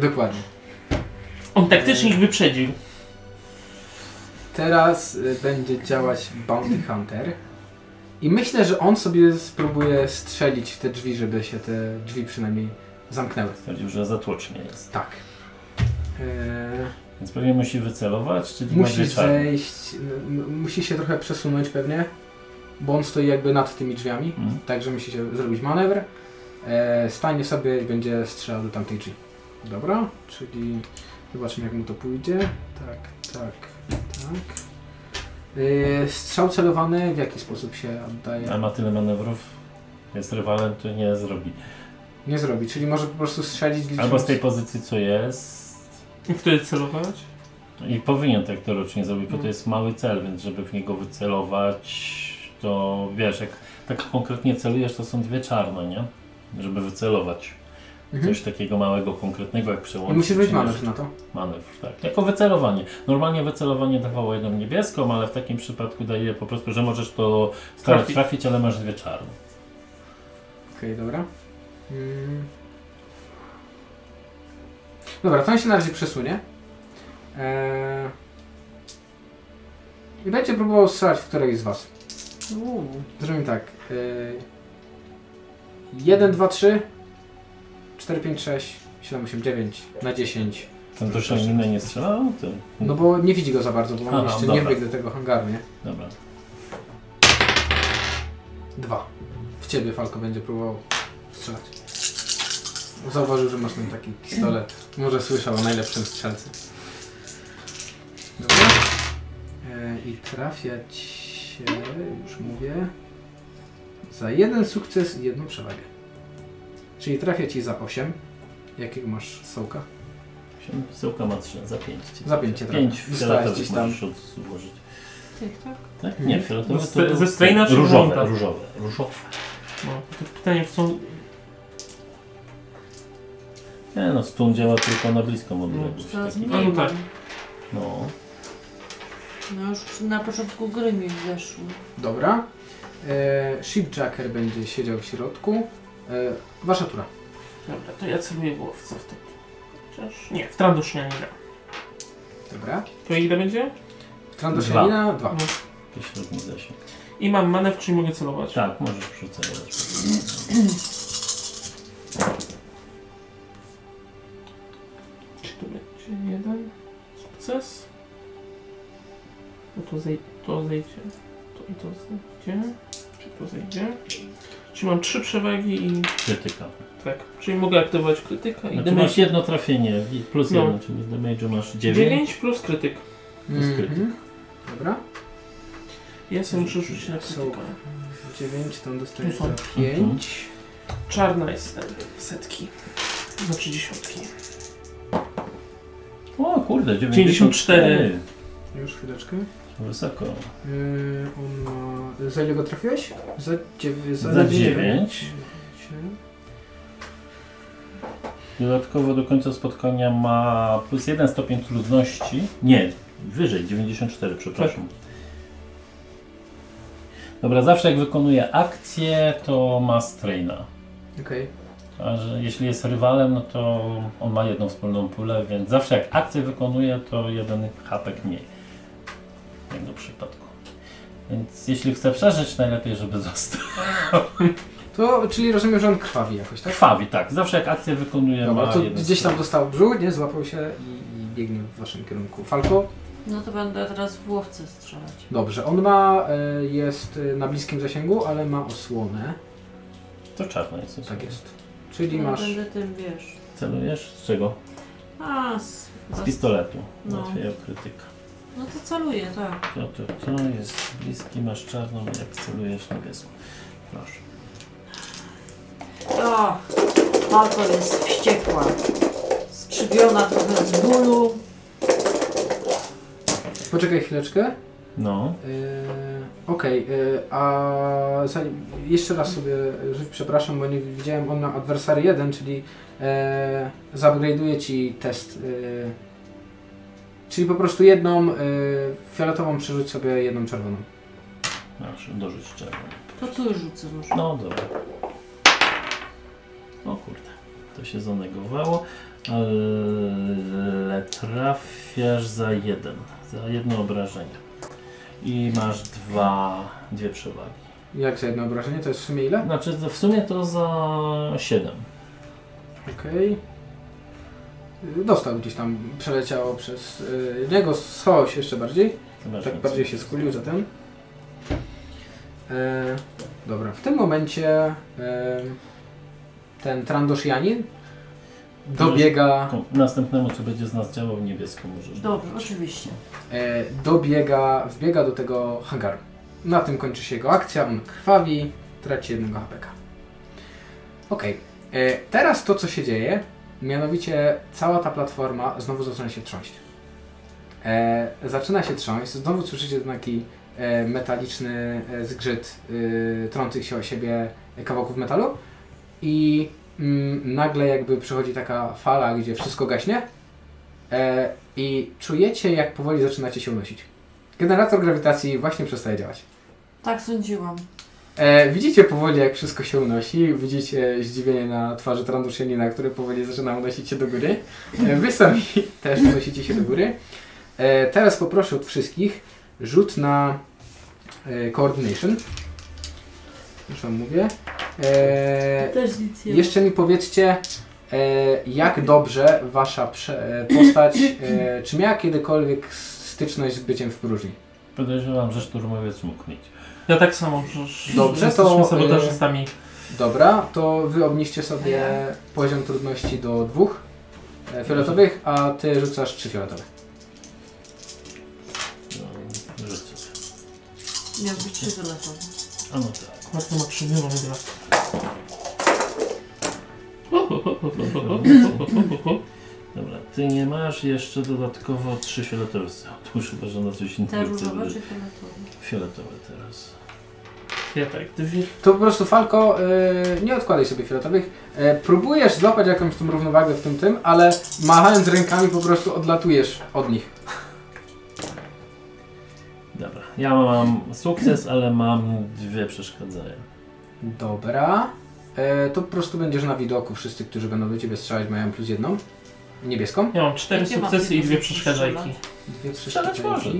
Dokładnie. On taktycznie ich wyprzedził. Teraz y, będzie działać Bounty Hunter. I myślę, że on sobie spróbuje strzelić w te drzwi, żeby się te drzwi przynajmniej zamknęły. Stwierdził, że zatłocznie jest. Tak. Eee, Więc pewnie musi wycelować, czyli musi będzie czarny. zejść, m- m- musi się trochę przesunąć pewnie, bo on stoi jakby nad tymi drzwiami. Mhm. Także musicie Tak, zrobić manewr. E, stanie sobie i będzie strzelał do tamtej drzwi. Dobra, czyli zobaczymy jak mu to pójdzie. Tak, tak, tak. E, strzał celowany w jaki sposób się oddaje? A ma tyle manewrów? Jest rywalem, to nie zrobi. Nie zrobi, czyli może po prostu strzelić licząc... Albo z tej pozycji, co jest. I wtedy celować? I powinien tak to rocznie zrobić, bo to Mm. jest mały cel, więc żeby w niego wycelować, to wiesz, jak tak konkretnie celujesz, to są dwie czarne, nie? Żeby wycelować. Mhm. Coś takiego małego, konkretnego, jak przełączyć. I musi być czy nie, manewr na to. manewr, tak. Jako wycelowanie. Normalnie wycelowanie dawało jedną niebieską, ale w takim przypadku daje po prostu, że możesz to starać Trafić. trafić, ale masz dwie czarne. Okej, dobra. Mm. Dobra, to on się na razie przesunie. Eee... I będzie próbował strzelać w któregoś z was. Uuu. Zrobimy tak. Eee... 1, 2, 3, 4, 5, 6, 7, 8, 9, na 10. Ten to inny nie strzelał? Ty. No bo nie widzi go za bardzo, bo on Aha, jeszcze nie dobra. wbiegł do tego hangaru, nie? Dobra. Dwa. W ciebie Falko będzie próbował strzelać. Zauważył, że masz ten taki pistolet. Może słyszał o najlepszym strzelcy. Dobra. E, I trafia cię, już mówię, za jeden sukces i jedną przewagę. Czyli trafia ci za 8. Jakiego masz sołka? Syłka ma trzy, za pięć. Za pięć cię trafia. 5 Dostałeś gdzieś fioletowych tam. możesz od- złożyć. Tak, tak. Tak? Nie, fioletowe Ze- to... No, ze Steina czy Różowe, żółta? różowe, różowe. No, to pytanie, czy są... Nie no, stun działa tylko na bliską odległość. Coraz taki. No, mniej. tak. No. No już na początku gry mi zeszło. Dobra. E, Shipjacker będzie siedział w środku. E, wasza tura. Dobra, to ja celuję głowca w tym. Chociaż... Nie, w Trandoszenia nie gra. Dobra. To ile będzie? Trandoszanina 2. No. To średni zasięg. I mam manewr, czyli mogę celować. Tak, możesz przycelować. Czy to będzie jeden sukces? No to, zej to zejdzie. To i to zejdzie. Czy to zejdzie? Czy mam trzy przewagi i Krytyka. tak. Czyli mogę aktywować krytyka i Znaczy damage. masz jedno trafienie i plus No. jedno, czyli damage'u masz 9. 9 plus krytyk. Jest krytyk. Mhm. Dobra. Ja sobie muszę rzucić na krytyka. 9, tam dostajesz Tu za są. 5. Czarna jest ten. Setki. Znaczy dziesiątki. O kurde, 94. 94. Już chwileczkę. Wysoko. Yy, on ma... Za ile go trafiłeś? Za 9. Za 9. Dodatkowo do końca spotkania ma plus 1 stopień trudności. Nie, wyżej, 94, przepraszam. Tak. Dobra, zawsze jak wykonuje akcję, to ma straina. Okej. A że jeśli jest rywalem, no to on ma jedną wspólną pulę, więc zawsze jak akcję wykonuje, to jeden hapek mniej. W jego przypadku. Więc jeśli chce przeżyć, najlepiej, żeby został. To, czyli rozumiem, że on krwawi jakoś, tak? Krwawi, tak. Zawsze jak akcję wykonuje, Dobra, ma to jeden gdzieś tam strzał. dostał brzuch, nie? Złapał się i, i biegnie w waszym kierunku. Falko? No to będę teraz w łowce strzelać. Dobrze, on ma... e, jest e, na bliskim zasięgu, ale ma osłonę. To czarne jest. Tak jest. Czyli No masz... będę tym, wiesz... Celujesz? Z czego? A, z, Z pistoletu. No. Łatwiej o krytyka. No to celuję, tak. To, to, to jest bliski, masz czarną, jak celujesz niebieską. Proszę. O, Malko jest wściekła. Skrzywiona trochę z bólu. Poczekaj chwileczkę. No. Yy, Okej, yy, a zanim, jeszcze raz sobie rzuć, przepraszam, bo nie widziałem, on na adwersary 1, czyli yy, zaupgrade'uje ci test. Yy, czyli po prostu jedną yy, fioletową przerzuć sobie jedną czerwoną. Masz, dorzuć czarną. To tu rzucę może. No dobra. O kurde, to się zanegowało, ale trafiasz za jeden, za jedno obrażenie. I masz dwa, dwie przewagi. Jak za jedno obrażenie? To jest w sumie ile? Znaczy to w sumie to za siedem. Okej. Yy, Dostał gdzieś tam, przeleciało przez yy, niego, schował się jeszcze bardziej. Ty masz Tak więcej. bardziej się skulił zatem. E, dobra, w tym momencie e, ten Trandoshianin dobiega, Ko- Następnemu, co będzie z nas działał, niebiesko możesz. Dobrze, oczywiście. e, dobiega, wbiega do tego hangaru. Na tym kończy się jego akcja, on krwawi, traci jednego hapeka. Okej. E, Teraz to, co się dzieje, mianowicie cała ta platforma znowu zaczyna się trząść. E, zaczyna się trząść, znowu słyszycie ten taki e, metaliczny e, zgrzyt e, trących się o siebie e, kawałków metalu i mm, nagle jakby przychodzi taka fala, gdzie wszystko gaśnie e, i czujecie, jak powoli zaczynacie się unosić. Generator grawitacji właśnie przestaje działać. Tak sądziłam. E, widzicie powoli, jak wszystko się unosi. Widzicie zdziwienie na twarzy Tranduszenina, który powoli zaczyna unosić się do góry. E, wy sami też unosicie się do góry. E, teraz poproszę od wszystkich rzut na e, coordination. Już wam mówię. E, Też nic jeszcze mi powiedzcie, e, jak dobrze wasza prze, e, postać, e, czy miała kiedykolwiek styczność z byciem w próżni? Podejrzewam, że szturmowiec mógł mieć. Ja tak samo, przecież Dobrze, jesteśmy to, e, sabotażystami. Dobra, to wy obniżcie sobie poziom trudności do dwóch e, fioletowych, a ty rzucasz trzy fioletowe. No, rzucę. Miał być trzy telefony. A no tak. Matko ma trzy dni, mam dwa. Dobra, ty nie masz jeszcze dodatkowo trzy fioletowe. Otóż chyba, że na coś Tak, Te innego. różowe chcę- czy fioletowe? Fioletowe teraz. Ja tak, dwie. To po prostu Falko, y, nie odkładaj sobie fioletowych. E, próbujesz złapać jakąś tą równowagę w tym tym, ale machając rękami po prostu odlatujesz od nich. Dobra, ja mam sukces, ale mam dwie przeszkadzania. Dobra. E, to po prostu będziesz na widoku. Wszyscy, którzy będą do ciebie strzelać, mają plus jedną. Niebieską. Ja mam cztery Jakie masz sukcesy i dwie sukcesy? przeszkadzajki. Dwie, trzy, Strzelać cztery.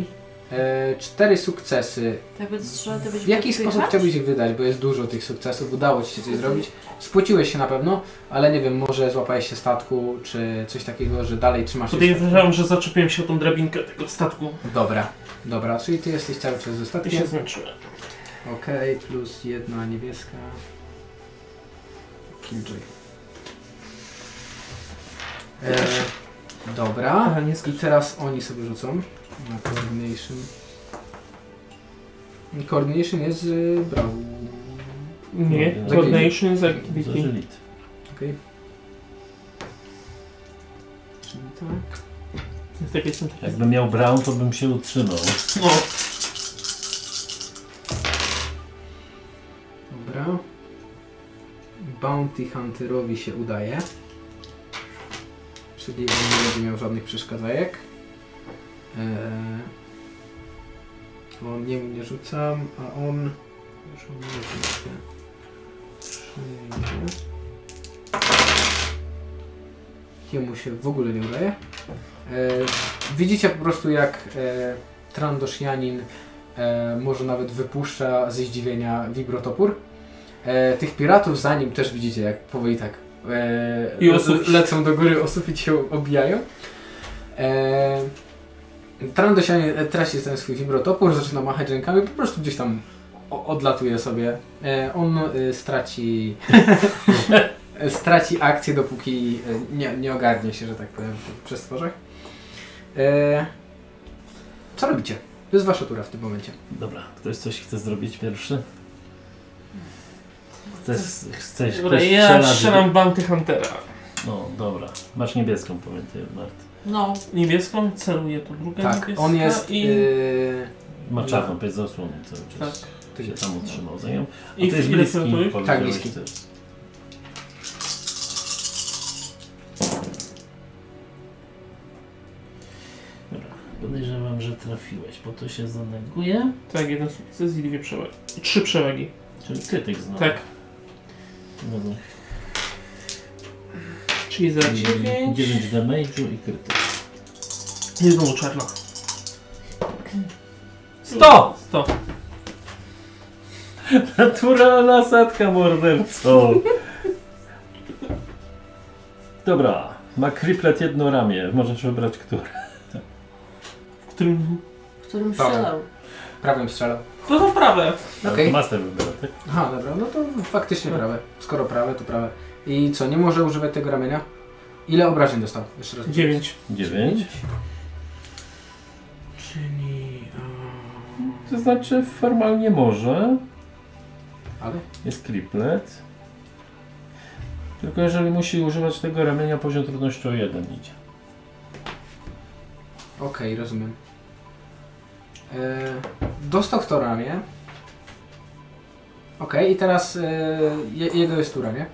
E, cztery sukcesy. Tak, To jak będę strzelał, to będzie W jaki sposób chciałbyś ich wydać? Bo jest dużo tych sukcesów, udało ci się coś zrobić. Spłaciłeś się na pewno, ale nie wiem, może złapałeś się statku, czy coś takiego, że dalej trzymasz się. Podejrzewam, że zaczepiłem się o tą drabinkę tego statku statku. Dobra, dobra, czyli ty jesteś cały czas ze i statkiem. się zmęczyłem. Okej, plus jedna niebieska. Killjoy. E, dobra. Aha, nie I skończyłem. teraz oni sobie rzucą na coordination. Coordination jest z brawu. Nie, Za coordination is Za activity. żelit. Okej. Czyli tak. Jest takie są takie. Jakbym miał brown, to bym się utrzymał. No, Dobra. Bounty Hunterowi się udaje. Czyli on nie będzie miał żadnych przeszkadzajek. Eee, bo on nie, nie rzucam, a on... Już on nie rzuca. Przyjdzie. Jemu się w ogóle nie udaje. Eee, widzicie po prostu jak e, Trandoshianin e, może nawet wypuszcza ze zdziwienia wibrotopór. E, tych piratów za nim też widzicie, jak powoli tak e, I o sufit. lecą do góry, o sufit się obijają. E, Trandosianie traci ten swój wibrotopór, zaczyna machać rękami, po prostu gdzieś tam o- odlatuje sobie. E, on y, straci straci akcję, dopóki e, nie, nie ogarnie się, że tak powiem, w przestworzach. E, co robicie? To jest wasza tura w tym momencie. Dobra, ktoś coś chce zrobić pierwszy? Chcesz, chcesz dobra, ktoś ja strzela, strzelam Bounty Huntera. No, dobra. Masz niebieską, pamiętaj, Mart. No, Niebieską, celuję tu drugą Tak, niebieską on jest. i... y, Maczawą, bez zasłony cały czas. Tak. Tak. się tam utrzymał za nią. A I to jest ile bliski, fioletowych? powiedziałeś Tak, bliski. ty. Dobra, podejrzewam, że trafiłeś, bo to się zaneguje. Tak, jeden sukces i dwie przewagi. Trzy przewagi. Czyli krytyk znowu. Tak. No, no. Czyli za Mm, 9. 9 damage'u i krytyk. Nie znowu czarna. 100! 100. Naturalna sadka mordercą. Dobra, ma kriplet jedno ramię, możesz wybrać które. W którym... w którym Dobra. strzelał. prawym strzelał. To to prawe. Okej. Okay. Master wybiera, tak? Aha, dobra, no to faktycznie prawe. Skoro prawe, to prawe. I co, nie może używać tego ramienia? Ile obrażeń dostał? Jeszcze raz. 9. 9. Czyli. To znaczy formalnie może. Ale? Jest kriplet. Tylko jeżeli musi używać tego ramienia, poziom trudności o jeden idzie. Okej, rozumiem. E, dostał w to ramię. Okej, i teraz e, je, jego jest tura, nie?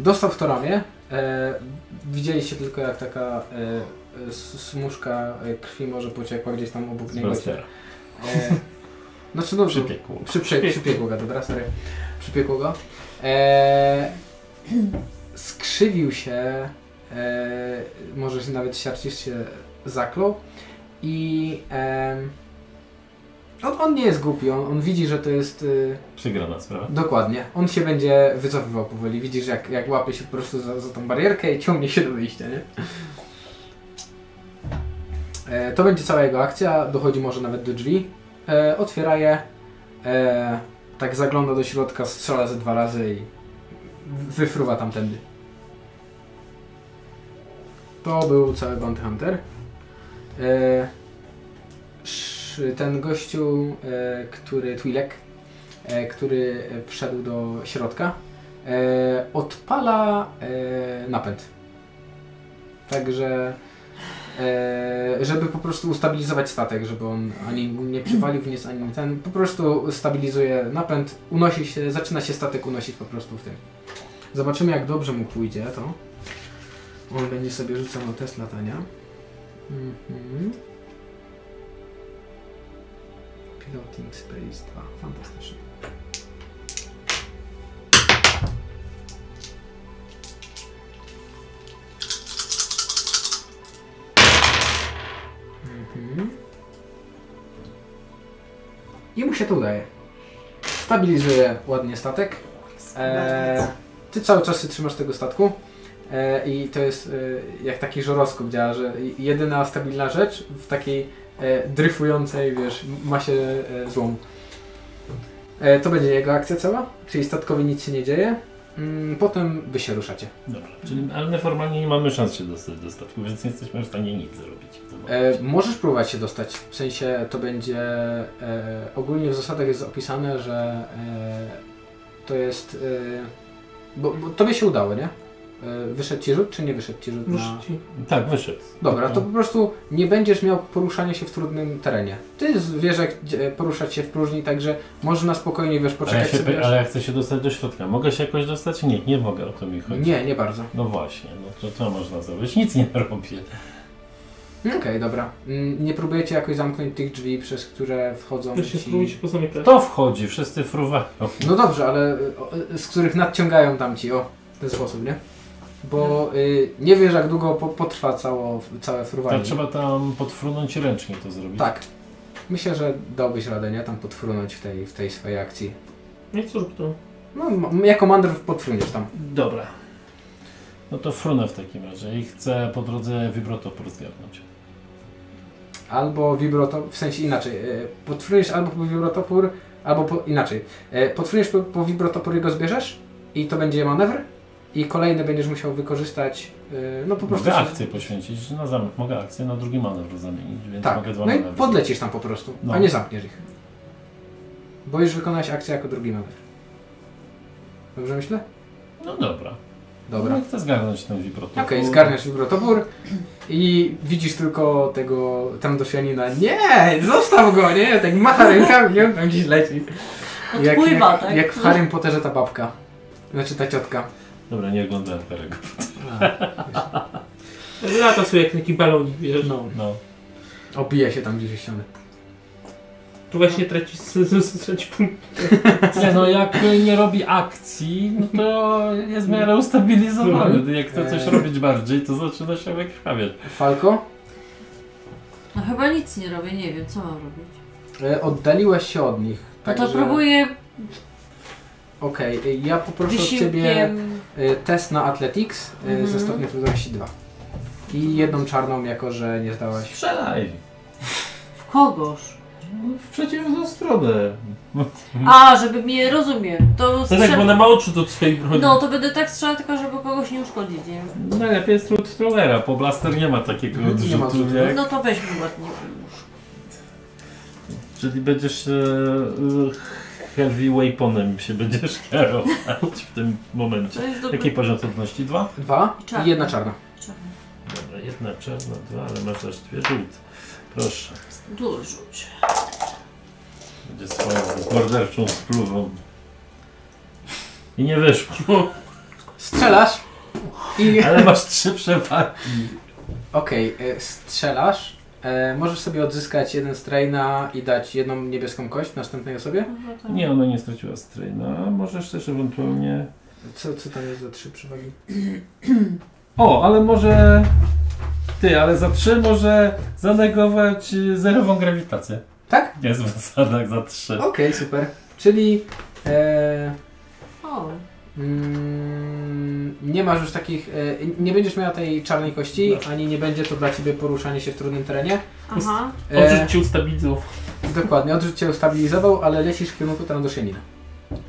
Dostał w to ramię. E, widzieliście tylko jak taka e, e, s- smuszka e, krwi może pociekła gdzieś tam obok Z niego. blastera. E, znaczy dobrze, Przypiekło. Przy, przy, przypiekło go, dobra, sorry. Przypiekło go. Eee, skrzywił się, eee, może się nawet siarcisz się zaklął i em, on, on nie jest głupi, on, on widzi, że to jest... y, Przegrana sprawa. dokładnie, on się będzie wycofywał powoli, widzisz jak, jak łapie się po prostu za, za tą barierkę i ciągnie się do wyjścia, nie? E, to będzie cała jego akcja, dochodzi może nawet do drzwi, e, otwiera je, e, tak zagląda do środka, strzela ze dwa razy i w- wyfruwa tamtędy. To był cały Bounty Hunter. E, sz- ten gościu, e, który, Twilek, e, który e, wszedł do środka, e, odpala e, napęd. Także e, żeby po prostu ustabilizować statek, żeby on ani nie przywalił w nic, ani ten. Po prostu stabilizuje napęd, unosi się, zaczyna się statek unosić po prostu w tym. Zobaczymy jak dobrze mu pójdzie to. On będzie sobie rzucał na test latania. Mhm. Piloting Space 2. Fantastycznie. Mhm. I mu się to udaje. Stabilizuje ładnie statek. E, ty cały czas się trzymasz tego statku. E, I to jest e, jak taki żoroskop działa, że jedyna stabilna rzecz w takiej e, dryfującej, wiesz, masie e, złomu. E, to będzie jego akcja cała, czyli statkowi nic się nie dzieje. Mm, Potem wy się ruszacie. Dobra, czyli, ale my formalnie nie mamy szans się dostać do statku, więc nie jesteśmy w stanie nic zrobić. E, możesz próbować się dostać. W sensie to będzie. E, ogólnie w zasadach jest opisane, że e, to jest. E, bo, bo tobie się udało, nie? E, wyszedł ci rzut, czy nie wyszedł ci rzut? Muszę Na... ci. no. Tak, wyszedł. Dobra, to po prostu nie będziesz miał poruszania się w trudnym terenie. Ty z- wiesz, jak e, poruszać się w próżni, także można spokojnie wiesz, ale, ja poczekać się, sobie. py- ale ja chcę się dostać do środka. Mogę się jakoś dostać? Nie, nie mogę, o to mi chodzi. Nie, nie bardzo. No właśnie, no to co można zrobić? Nic nie robię. Okej, dobra. Mm, Nie próbujecie jakoś zamknąć tych drzwi, przez które wchodzą Też się spróbuj się ci... pozamykać. To wchodzi, wszyscy fruwają. No dobrze, ale o, z których nadciągają tamci, o, w ten sposób, nie? Bo y, nie wiesz, jak długo po, potrwa cało, całe fruwanie. Tak, trzeba tam podfrunąć i ręcznie to zrobić. Tak. Myślę, że dałbyś radę, nie? Tam podfrunąć w tej, w tej swojej akcji. Nie, co rób to. No, m- jako mandr podfruniesz tam. Dobra. No to frunę w takim razie i chcę po drodze wibrotopór zgarnąć. Albo wibrotopór, w sensie inaczej, y, podfruniesz albo po wibrotopór, albo po, inaczej. Y, podfruniesz po, po wibrotopór i go zbierzesz i to będzie manewr i kolejny będziesz musiał wykorzystać, y, no po prostu... Mogę się- akcję poświęcić na zamek, mogę akcję na drugi manewr zamienić, więc Tak, mogę dwa no i manewry. podlecisz tam po prostu, No. a nie zamkniesz ich. Bo już wykonałeś akcję jako drugi manewr. Dobrze myślę? No dobra. Dobra. No, chcę zgarnąć ten wibrotopór. Okej, zgarniasz wibrotopór i widzisz tylko tego tamdosianina. Nie, zostaw go, nie? Tak macha rękami, on tam gdzieś leci. Jak, Odpływa, jak, tak? jak w Harrym Potterze ta babka. Znaczy ta ciotka. Dobra, nie oglądałem tego. Lata sobie jak taki balonik, wiesz. No, No. obija się tam gdzieś o ścianę. Tu właśnie traci, s- s- traci punkt. Nie, no jak nie robi akcji, no to jest w miarę ustabilizowany. Jak chce coś Eee. robić bardziej, to zaczyna się wykrwawiać. Falko, No chyba nic nie robię, nie wiem co mam robić. e, oddaliłaś się od nich. No to także- próbuję Okej, e, ja poproszę od ciebie... wysiłkiem... Y, test na Athletics y, ze Mhm. stopniem trudności 2. I jedną czarną, jako że nie zdałaś. Strzelaj! W kogoż? No, W przeciwną stronę. Mhm. A, żeby mnie, rozumiem, to To tak, bo strzel... ona ma oczy do swojej broni. No to będę tak strzelał tylko, żeby kogoś nie uszkodzić, nie? Najlepiej jest lód strollera, bo blaster nie ma takiego Nie ma odrzutu, odrzutu. jak... No to weźmy ładnie wyłóż. Czyli będziesz e, e, heavy weaponem się będziesz kierować w tym momencie. To jest dobry... Jaki poziom trudności? Dwa? Dwa I czarna. i jedna czarna. Czarny. Dobra, jedna czarna, dwa, ale masz aż dwie żółte. Proszę, Dużo rzuć. będzie swoją morderczą spluwą. I nie wyszło. Strzelasz i... Ale masz trzy przewagi. Okej, e, strzelasz. E, możesz sobie odzyskać jeden straina i dać jedną niebieską kość następnej osobie. No tak. Nie, ona nie straciła No, strajna. Możesz też ewentualnie... Co, co tam jest za trzy przewagi? O, ale może... Ty, ale za trzy może zanegować y, zerową grawitację. Tak? Nie, z zasadach za trzy. Okej, super. Czyli e, O, mm, nie masz już takich... E, nie będziesz miała tej czarnej kości, ani nie będzie to dla ciebie poruszanie się w trudnym terenie. aha. E, Odrzuć cię ustabilizował. dokładnie, odrzut cię ustabilizował, ale lecisz w kierunku Trandoszynina.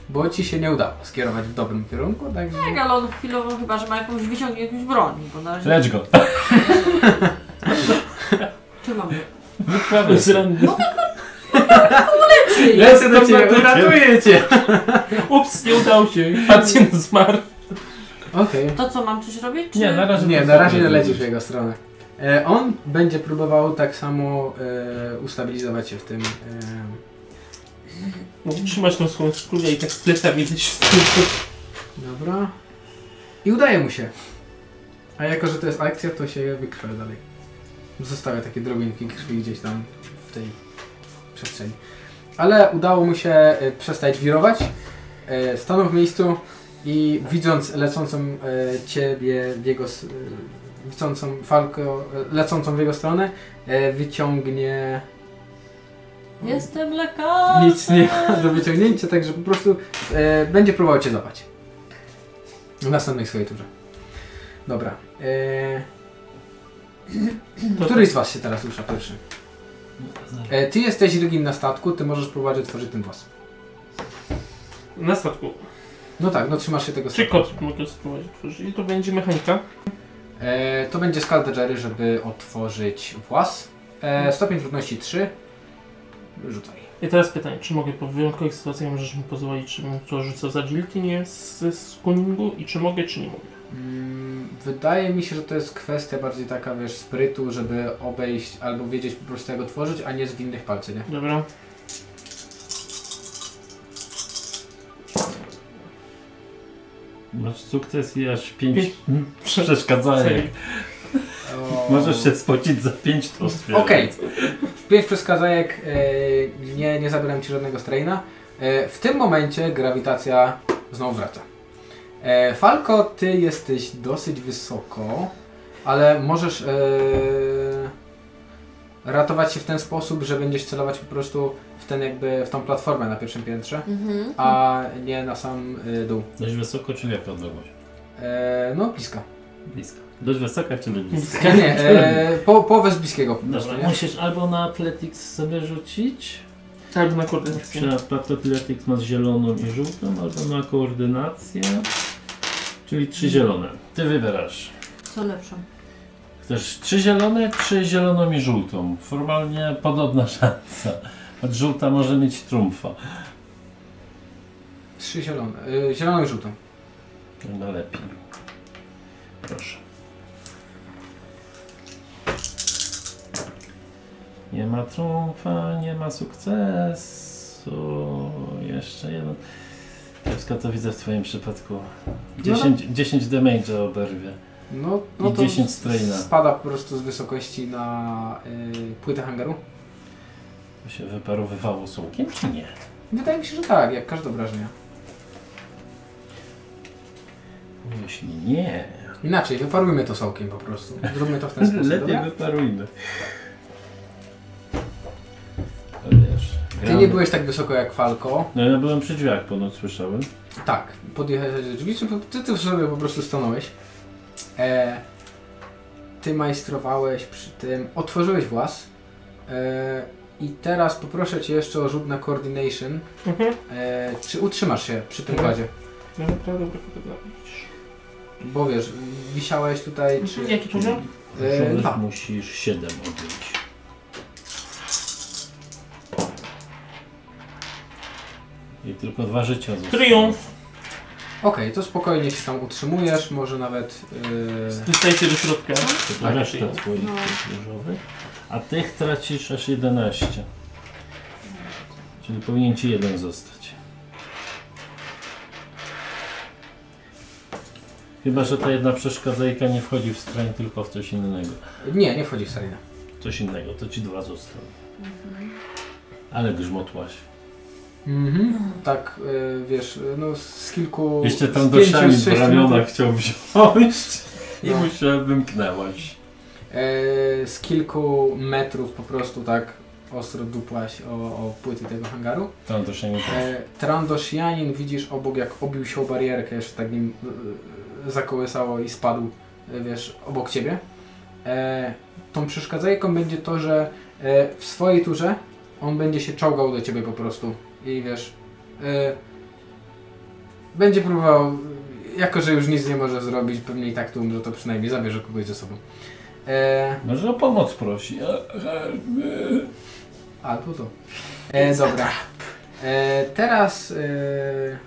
Bo ci się nie udało skierować w dobrym kierunku, także... Tak, ale on chwilowo chyba, że ma jakąś wyciągnie jakąś broń, bo na razie... Lecz go. Czy mam? Wyprawy No. Czy Lecę do Jestem ciebie, medykiem. ratuję cię. Ups, nie udało się. Pacjent zmarł. Okej. To co, mam coś robić? Czy... Nie, na razie Nie, to na razie sobie lecisz w zrobić. jego stronę. E, on będzie próbował tak samo e, ustabilizować się w tym. E, Mógł trzymać No, tą swoją skórę i tak plecami gdzieś w tył. dobra. I udaje mu się. A jako, że to jest akcja, to się wykrwę dalej. Zostawia takie drobinki krwi gdzieś tam w tej przestrzeni. Ale udało mu się e, przestać wirować. E, stanął w miejscu i widząc lecącą e, ciebie w jego. s- E, widzącą falkę e, lecącą w jego stronę, e, wyciągnie. Jestem lekarzem. Nic nie ma do wyciągnięcia, także po prostu e, będzie próbował cię złapać. W następnej swojej turze. Dobra. E, To który z was się teraz rusza pierwszy? E, ty jesteś rygim na statku, ty możesz próbować otworzyć ten włas. tak, Na statku. No tak, no trzymasz się tego Czy statku. kot mogę spróbować otworzyć? I to będzie mechanika. E, to będzie skal Jerry, żeby otworzyć włas. E, stopień trudności 3. Rzucaj. I teraz pytanie, czy mogę po wyjątkowych sytuacjach możesz mi pozwolić, żebym to rzucał za Jiltinię z, z Kuningu i czy mogę, czy nie mogę? Mm, Wydaje mi się, że to jest kwestia bardziej taka, wiesz, sprytu, żeby obejść albo wiedzieć po prostu jak otworzyć, a nie z winnych palcy, nie? Dobra. Masz sukces i aż Pięć. pięć przeszkadzajek. O. Możesz się spocić za pięć to Okej. Pięć przeskazajek, e, nie, nie zabrałem ci żadnego straina. E, w tym momencie grawitacja znowu wraca. E, Falko, ty jesteś dosyć wysoko, ale możesz e, ratować się w ten sposób, że będziesz celować po prostu w ten jakby w tą platformę na pierwszym piętrze, Mhm. a nie na sam e, dół. Dość wysoko, czyli jaka odległość? E, no, bliska. Blisko. Dość wysoka, czyli blisko. Nie, nie, e, po, połowę z bliskiego po prostu, Dobra, nie? musisz albo na Athletics sobie rzucić. Albo Tak, na koordynację. Na Athletics masz zieloną i żółtą, albo na koordynację. Czyli trzy zielone. Ty wybierasz. Co lepszą? Chcesz trzy zielone, czy zieloną i żółtą? Formalnie podobna szansa. A żółta może mieć trumfa. Trzy zielone, e, zieloną i żółtą. No lepiej. Proszę. Nie ma trumfa, nie ma sukcesu. Jeszcze jeden. Kiepsko to widzę w twoim przypadku. 10, 10 damage'a oberwie. No, no I to 10 straina. spada po prostu z wysokości na y, płytę hangaru. To się wyparowywało sułkiem, czy nie? Wydaje mi się, że tak, jak każde obrażenie. Jeśli nie, Inaczej, wyparujmy to sołkiem po prostu. Zróbmy to w ten sposób, lepiej dobra? wyparujmy. To wiesz, Ty gramy. nie byłeś tak wysoko jak Falko. No ja byłem przy drzwiach, ponoć słyszałem. Tak, podjechałeś do drzwi, czy po- ty, ty sobie po prostu stanąłeś. E, ty majstrowałeś przy tym, otworzyłeś włas. E, I teraz poproszę cię jeszcze o rzut na coordination. Mhm. E, czy utrzymasz się przy tym Mhm. kładzie? Ja naprawdę dobra koordynację. Bo wiesz, wisiałeś tutaj, czy... Jaki poziom? E, Żółwik dwa. musisz 7 odbić. I tylko dwa życia zostały. Triumf. Okej, to spokojnie się tam utrzymujesz, może nawet... Yy... Dostajecie do środka. To reszta Tak, triumf. twoich No. tych różowych. A tych tracisz aż 11. Czyli powinien ci jeden zostać. Chyba, że ta jedna przeszkadzajka nie wchodzi w strań, tylko w coś innego. y, Nie, nie wchodzi w serii. Coś innego, to ci dwa zostały. Ale grzmotłaś. Mhm. Tak, yy, wiesz, no z kilku... Jeszcze z tam do pięciu, szami z w sześciu ramionach chciał wziąć i No. musiałem wymknęłaś. E, z kilku metrów po prostu tak ostro dupłaś o, o płyty tego hangaru. Tam do szami E, Trandoshianin widzisz obok jak obił się o barierkę, jeszcze tak nim e, zakołysało i spadł, e, wiesz, obok ciebie. E, tą przeszkadzajką będzie to, że e, w swojej turze on będzie się czołgał do ciebie po prostu i wiesz, e, będzie próbował, jako że już nic nie może zrobić, pewnie i tak tu umrze, to przynajmniej zabierze kogoś ze sobą. E, Może o pomoc prosi. E, e, e. A, tu to. E, dobra. E, teraz e,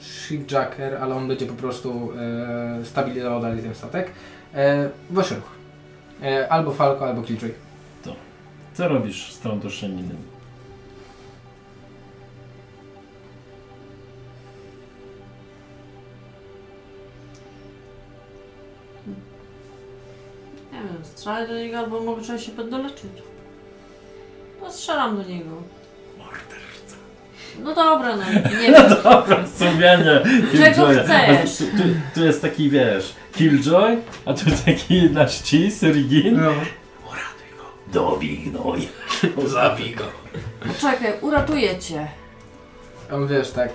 Shipjacker, ale on będzie po prostu e, stabilizował dalej ten statek. E, wasz ruch. E, albo Falco, albo Killjoy. Co robisz z tą doszeniną? Nie wiem, strzelaj do niego albo mogę trzeba się poddoleczyć. No strzelam do niego. No dobra, no nie wiem. Dobra, sumienie Killjoya. A chcesz? Tu, tu, tu jest taki, wiesz, Killjoy, a tu taki nasz cis, Rygin. No. Uratuj go. Dobij gnoj. Zabij go. Poczekaj, uratuję cię. On wiesz, tak.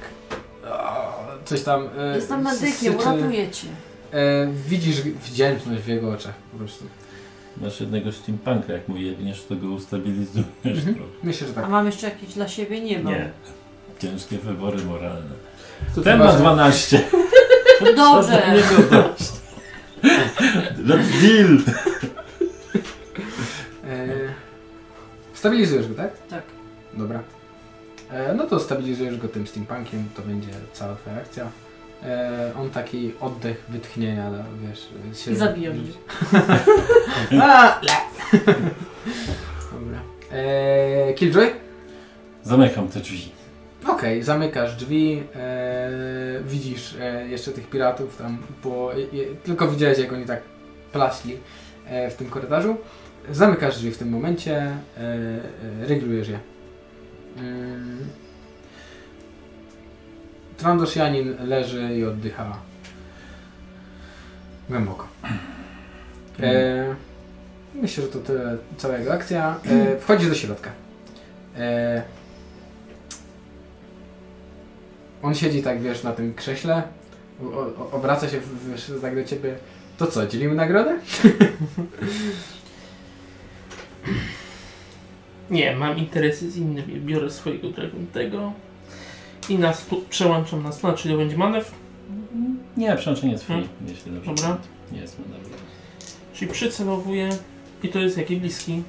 a, Coś tam. E, Jestem syczy. medykiem, uratuję cię. E, widzisz wdzięczność w jego oczach po prostu. Masz jednego steampunka, jak mu jedniesz, to go ustabilizujesz Mhm. trochę. Myślę, że A tak. mam jeszcze jakieś dla siebie? Nie mam. Nie. Ciężkie wybory moralne. Tu Ten chyba, ma że- 12. No Dobrze. Nie 12. Let's deal. E, stabilizujesz go, tak? Tak. Dobra. E, no to stabilizujesz go tym steampunkiem, to będzie cała twoja akcja. E, on taki oddech wytchnienia, no, wiesz, się... Zabiję mnie. A, le. Dobra. E, Killjoy? Zamykam te drzwi. Okej, zamykasz drzwi, e, widzisz e, jeszcze tych piratów tam, bo je, je, tylko widziałeś jak oni tak plaśli e, w tym korytarzu. Zamykasz drzwi w tym momencie, e, e, reglujesz je. Mm. Trandoshianin leży i oddycha głęboko. E, myślę, że to tyle cała jego akcja. E, wchodzisz do środka. E, on siedzi tak, wiesz, na tym krześle, o, o, obraca się wiesz, tak do ciebie. To co, dzielimy nagrodę? Nie, mam interesy z innymi. Biorę swojego tego i nas tu przełączam na stronę, czyli to będzie manewr. Nie, przełączenie jest free, Hmm. jeśli dobrze. Dobra. Nie jest no mu dobrze. Czyli przycelowuję i to jest jaki bliski.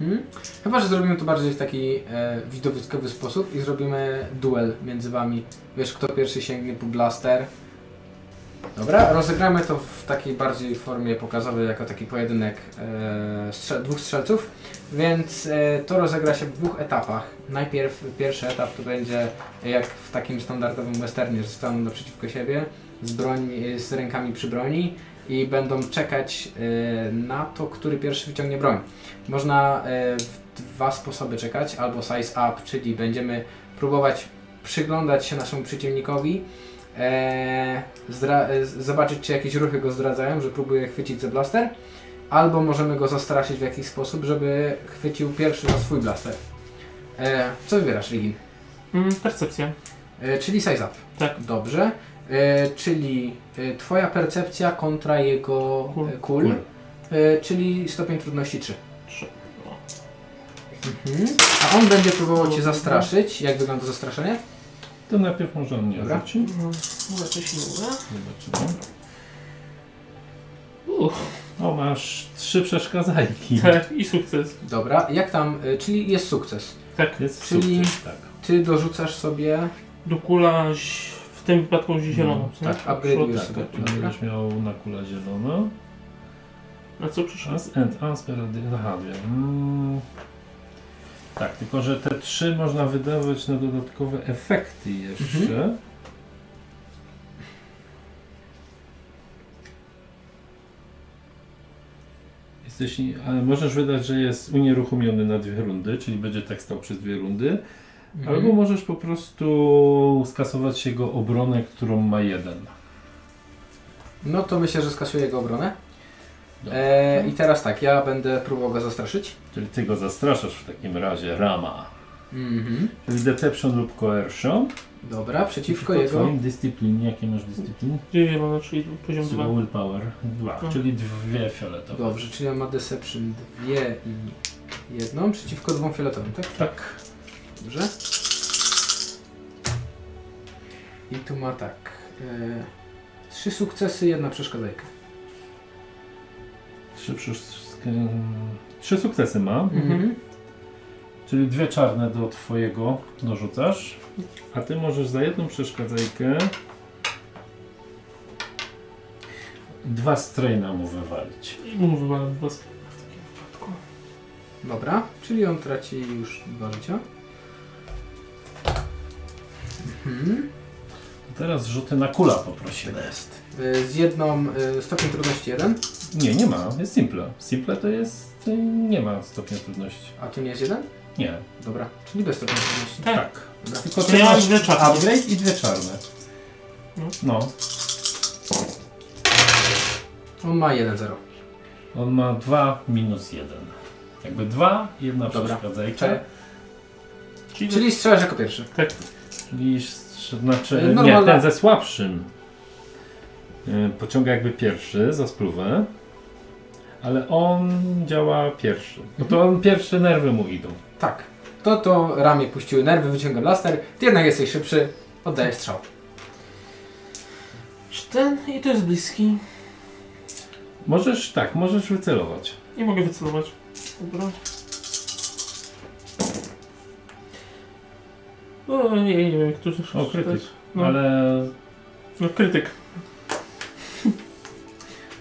Mhm. Chyba, że zrobimy to bardziej w taki e, widowiskowy sposób i zrobimy duel między wami. Wiesz, kto pierwszy sięgnie po blaster. Dobra, rozegramy to w takiej bardziej formie pokazowej, jako taki pojedynek e, strze- dwóch strzelców. Więc e, to rozegra się w dwóch etapach. Najpierw pierwszy etap to będzie jak w takim standardowym westernie, że staną naprzeciwko siebie z, broń, z rękami przy broni i będą czekać e, na to, który pierwszy wyciągnie broń. Można e, w dwa sposoby czekać, albo size up, czyli będziemy próbować przyglądać się naszemu przeciwnikowi, e, zdra- e, z- zobaczyć czy jakieś ruchy go zdradzają, że próbuje chwycić za blaster, albo możemy go zastraszyć w jakiś sposób, żeby chwycił pierwszy za swój blaster. E, co wybierasz, Ligin? Mm, percepcja. E, czyli size up. Tak. Dobrze. E, czyli e, twoja percepcja kontra jego Kul. e, kul, e, czyli stopień trudności 3. Trzy. O. Mhm. A on będzie próbował cię zastraszyć. Jak wygląda zastraszenie? To najpierw może on nie Dobra. rzuci. No, może coś nie uda. Zobaczymy. Uff, O, masz trzy przeszkadzajki. tak, i sukces. Dobra, jak tam, e, czyli jest sukces. Tak. Jest Czyli- sukces, tak. Ty dorzucasz sobie. Do kula ś- w tym wypadku zieloną, No, tak, upgrade'ujesz tak, sobie. tak, czyli będziesz miał na kula zielono. Na co przyszło? As and Asperady. Aha, dwie. Mm. Tak, tylko że te trzy można wydawać na dodatkowe efekty jeszcze. Jesteś, ale możesz wydać, że jest unieruchomiony na dwie rundy, czyli będzie tak stał przez dwie rundy. Albo możesz po prostu skasować jego obronę, którą ma jeden. No to myślę, że skasuję jego obronę. Dobra. E, I teraz tak, ja będę próbował go zastraszyć. Czyli ty go zastraszasz w takim razie, rama. Mhm. Czyli deception lub coercion. Dobra, przeciwko jego. twoim dyscyplinie, jakie masz dyscyplin? Dziewięć mam, czyli poziom dwa. Zła willpower. Dwa, No. czyli dwie fioletowe. Dobrze, czyli on ma Deception 2 i jedną przeciwko dwóm fioletowym, tak? Tak. Dobrze. I tu ma tak. E, trzy sukcesy, jedna przeszkadzajka. Trzy, przysz- sk- trzy sukcesy ma, Mhm. czyli dwie czarne do twojego dorzucasz, a ty możesz za jedną przeszkadzajkę dwa strajna mu wywalić. I mu wywalam dwa sklepy w takim wypadku. Dobra, czyli on traci już dwa życia. Mhm. Teraz rzuty na kula poprosimy. Jest. E, z jedną e, stopień trudności 1, Nie, nie ma, jest simple. Simple to jest, y, nie ma stopnia trudności. a tu nie jest 1? Nie, Dobra, czyli bez stopnia trudności. Tak. tak. Dobra. Tylko To ty ja masz mam dwie czarne. upgrade i dwie czarne. No. No. On ma 1-0. On ma 2 minus 1. Jakby 2, jedna Dobra. przeszkadzajka. Czyli, Czyli strzelasz jako pierwszy. tak, Czyli strz- znaczy, E, nie, normalna- ten ze słabszym e, pociąga jakby pierwszy za spluwę. Ale on działa pierwszy. No to on pierwszy nerwy mu idą. Tak. To to ramię puściły nerwy, wyciągam laster. Ty jednak jesteś szybszy, oddaję strzał. czy ten i to jest bliski. Możesz tak, możesz wycelować. Nie mogę wycelować. Dobra. No nie, nie wiem, jak to się O, krytyk. przeczytać. No, Ale no krytyk.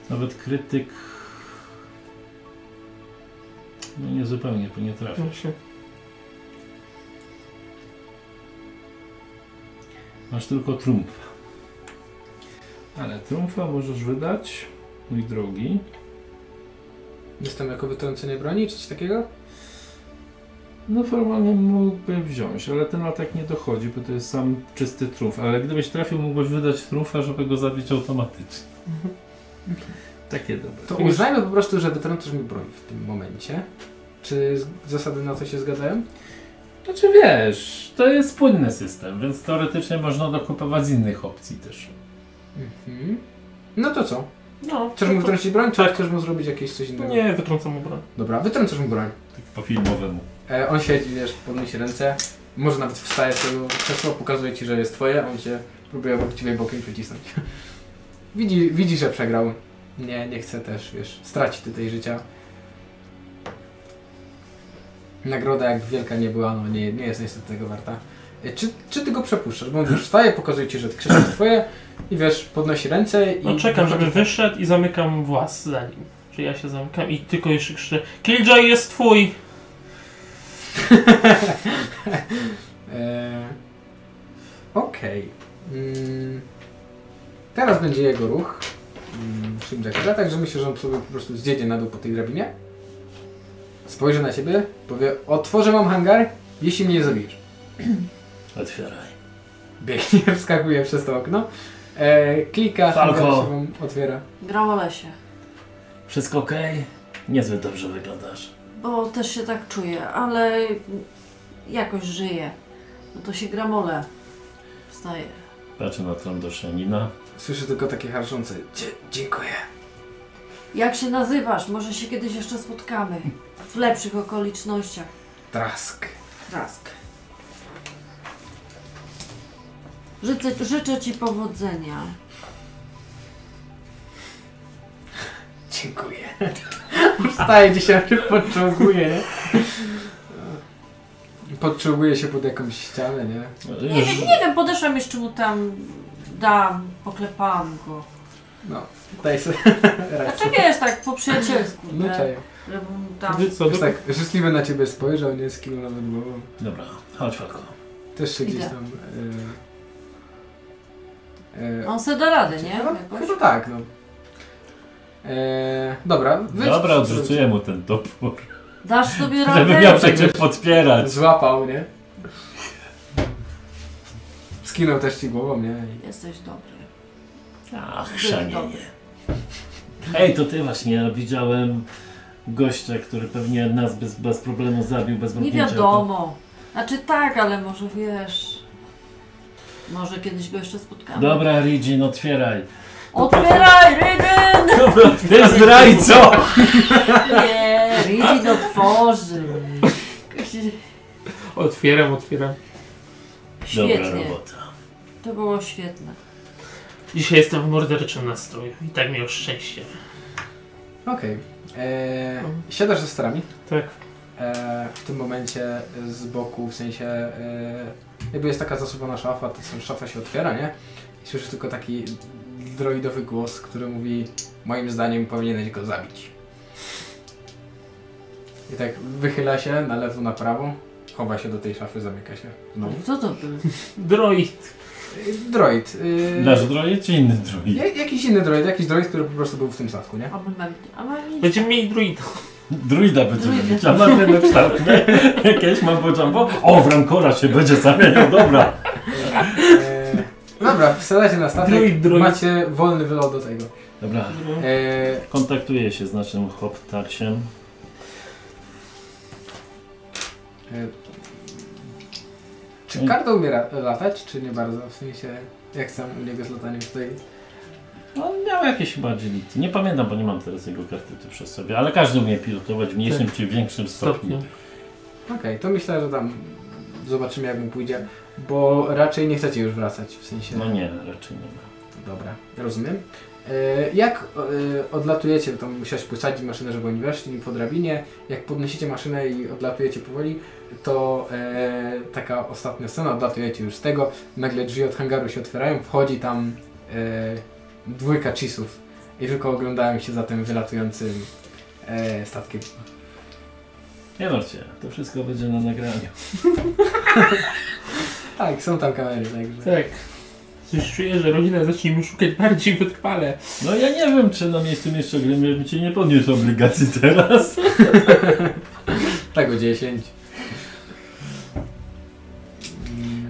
nawet krytyk. No nie zupełnie, bo nie trafił. Właśnie. Masz tylko trumfa. Ale trumfa możesz wydać, mój drogi. Jestem jako wytrącenie broni, czy coś takiego? No formalnie mógłby wziąć, ale ten atak nie dochodzi, bo to jest sam czysty trumf. Ale gdybyś trafił, mógłbyś wydać trumfa, żeby go zabić automatycznie. Takie dobre. To uznajmy po prostu, że wytrącasz mi broń w tym momencie. Czy z- zasady na to się zgadzają? Znaczy wiesz, to jest płynny system, więc teoretycznie można dokupować z innych opcji też. Mhm. No to co? No, Chcesz mu to- wytrącić broń, czy chcesz mu zrobić jakieś coś innego? Nie, wytrącam obronę. Dobra, wytrącasz mu broń. Tak po filmowemu. E, on siedzi, wiesz, podnosi ręce. Może nawet wstaje z tego krzesła, pokazuje ci, że jest twoje, a on cię próbuje obok ciebie bokiem przycisnąć. widzi, widzi, że przegrał. Nie, nie chce też, wiesz, stracić tutaj życia. Nagroda jak wielka nie była, no nie, nie jest niestety tego warta. E, Czy, czy ty go przepuszczasz? Bo on już wstaje, pokazuje ci, że krzesło jest twoje i wiesz, podnosi ręce i... No czekam, żeby wyszedł i zamykam włas za nim. Czy ja się zamykam i tylko jeszcze krzyczę Killjoy jest twój! E, Okej. Mm, Teraz będzie jego ruch. mm, Shimjakera, także myślę, że on sobie po prostu zjedzie na dół po tej drabinie. Spojrzy na ciebie, powie: Otworzę wam hangar, jeśli mnie nie zabijesz. Otwieraj. Biegnie, wskakuje przez to okno. E, klika, Falco. hangar się wam otwiera. Gra o lesie. Wszystko ok? Niezbyt dobrze wyglądasz. Bo też się tak czuję, ale jakoś żyję. No to się gramole. Wstaje. Patrzę na trądoszanina. Słyszy tylko takie harczące: Dzie- Dziękuję. Jak się nazywasz? Może się kiedyś jeszcze spotkamy. W lepszych okolicznościach. Trask. Trask. Życzę, życzę Ci powodzenia. Dziękuję. Wstaje dzisiaj, pociąguje, nie? Podciąguje się pod jakąś ścianę, nie? Nie, wiem, nie wiem, podeszłam jeszcze mu tam, dam, poklepałam go. No, daj sobie Znaczy raczej. wiesz, tak po przyjacielsku, No że, czaj. że mu tam... Wy co, Jest do... tak, życzliwy na ciebie spojrzał, nie skinął nawet głową. Dobra, chodź Falko. Też się gdzieś Idę. tam... E, e, On se da radę, nie? chyba, Jakoś. chyba tak, no. E, dobra, wyjdź. Dobra, odrzucuję mu ten topór, Dasz sobie żeby miał radę? się czym podpierać. Złapał, nie? Skinął też ci głową, nie? I- Jesteś dobry. Ach, chrzanienie. Ej, to ty właśnie, widziałem gościa, który pewnie nas bez, bez problemu zabił, bez Nie mrugnięcia. wiadomo. Znaczy tak, ale może wiesz... Może kiedyś go jeszcze spotkamy. Dobra, Ridzin, otwieraj. Otwieraj, Rydyn! Dobra, ty zdrajco! Nie, Rydyn otworzy. Otwieram, otwieram. Dobra Świetnie. robota. To było świetne. Dzisiaj jestem w morderczym nastroju i tak miał szczęście. Okej. E, Siadasz ze starami. Tak. E, w tym momencie z boku, w sensie e, jakby jest taka zasuwana szafa, to są- szafa się otwiera, nie? I słyszysz tylko taki droidowy głos, który mówi moim zdaniem powinieneś go zabić. I tak wychyla się na lewo, na prawo, chowa się do tej szafy, zamyka się. No. Co to był? Droid. Droid. y, Nasz droid czy inny droid? ja- jakiś inny droid, jakiś droid, który po prostu był w tym statku, nie? A my mamy... A my nic. Będziemy mieli druida. Druida będzie Druida. robić, a mamy lepszarkę. Jakieś mam poczambo. O, w rankora się będzie zamieniał, dobra. E, dobra, wsadacie na statek, Droid, droid. macie wolny wylot do tego. Dobra, E, kontaktuję się z naszym hoptarsiem. E, Czy Kardo umie ra- latać, czy nie bardzo? W sensie, jak sam u niego z lataniem stoi? On miał jakieś chyba agility. Nie pamiętam, bo nie mam teraz jego karty tu przez sobie, ale każdy umie pilotować Tak. w mniejszym czy większym stopniu. Stopnie. Okej, to myślę, że tam zobaczymy jak mu pójdzie, bo raczej nie chcecie już wracać, w sensie... No nie, raczej nie ma. Dobra, rozumiem. E, Jak e, odlatujecie, bo tam musiałeś posadzić maszynę, żeby oni weszli po drabinie, jak podnosicie maszynę i odlatujecie powoli, to e, taka ostatnia scena, odlatujecie już z tego, nagle drzwi od hangaru się otwierają, wchodzi tam e, dwójka cheese'ów i tylko oglądają się za tym wylatującym e, statkiem. Nie martw się, to wszystko będzie na nagraniu. Tak, są tam kamery, także... Tak. Coś czuję, że rodzina zacznie mi szukać bardziej wytrwale. No ja nie wiem, czy na miejscu jeszcze gry bym cię nie podniósł obligacji teraz. Tego 10.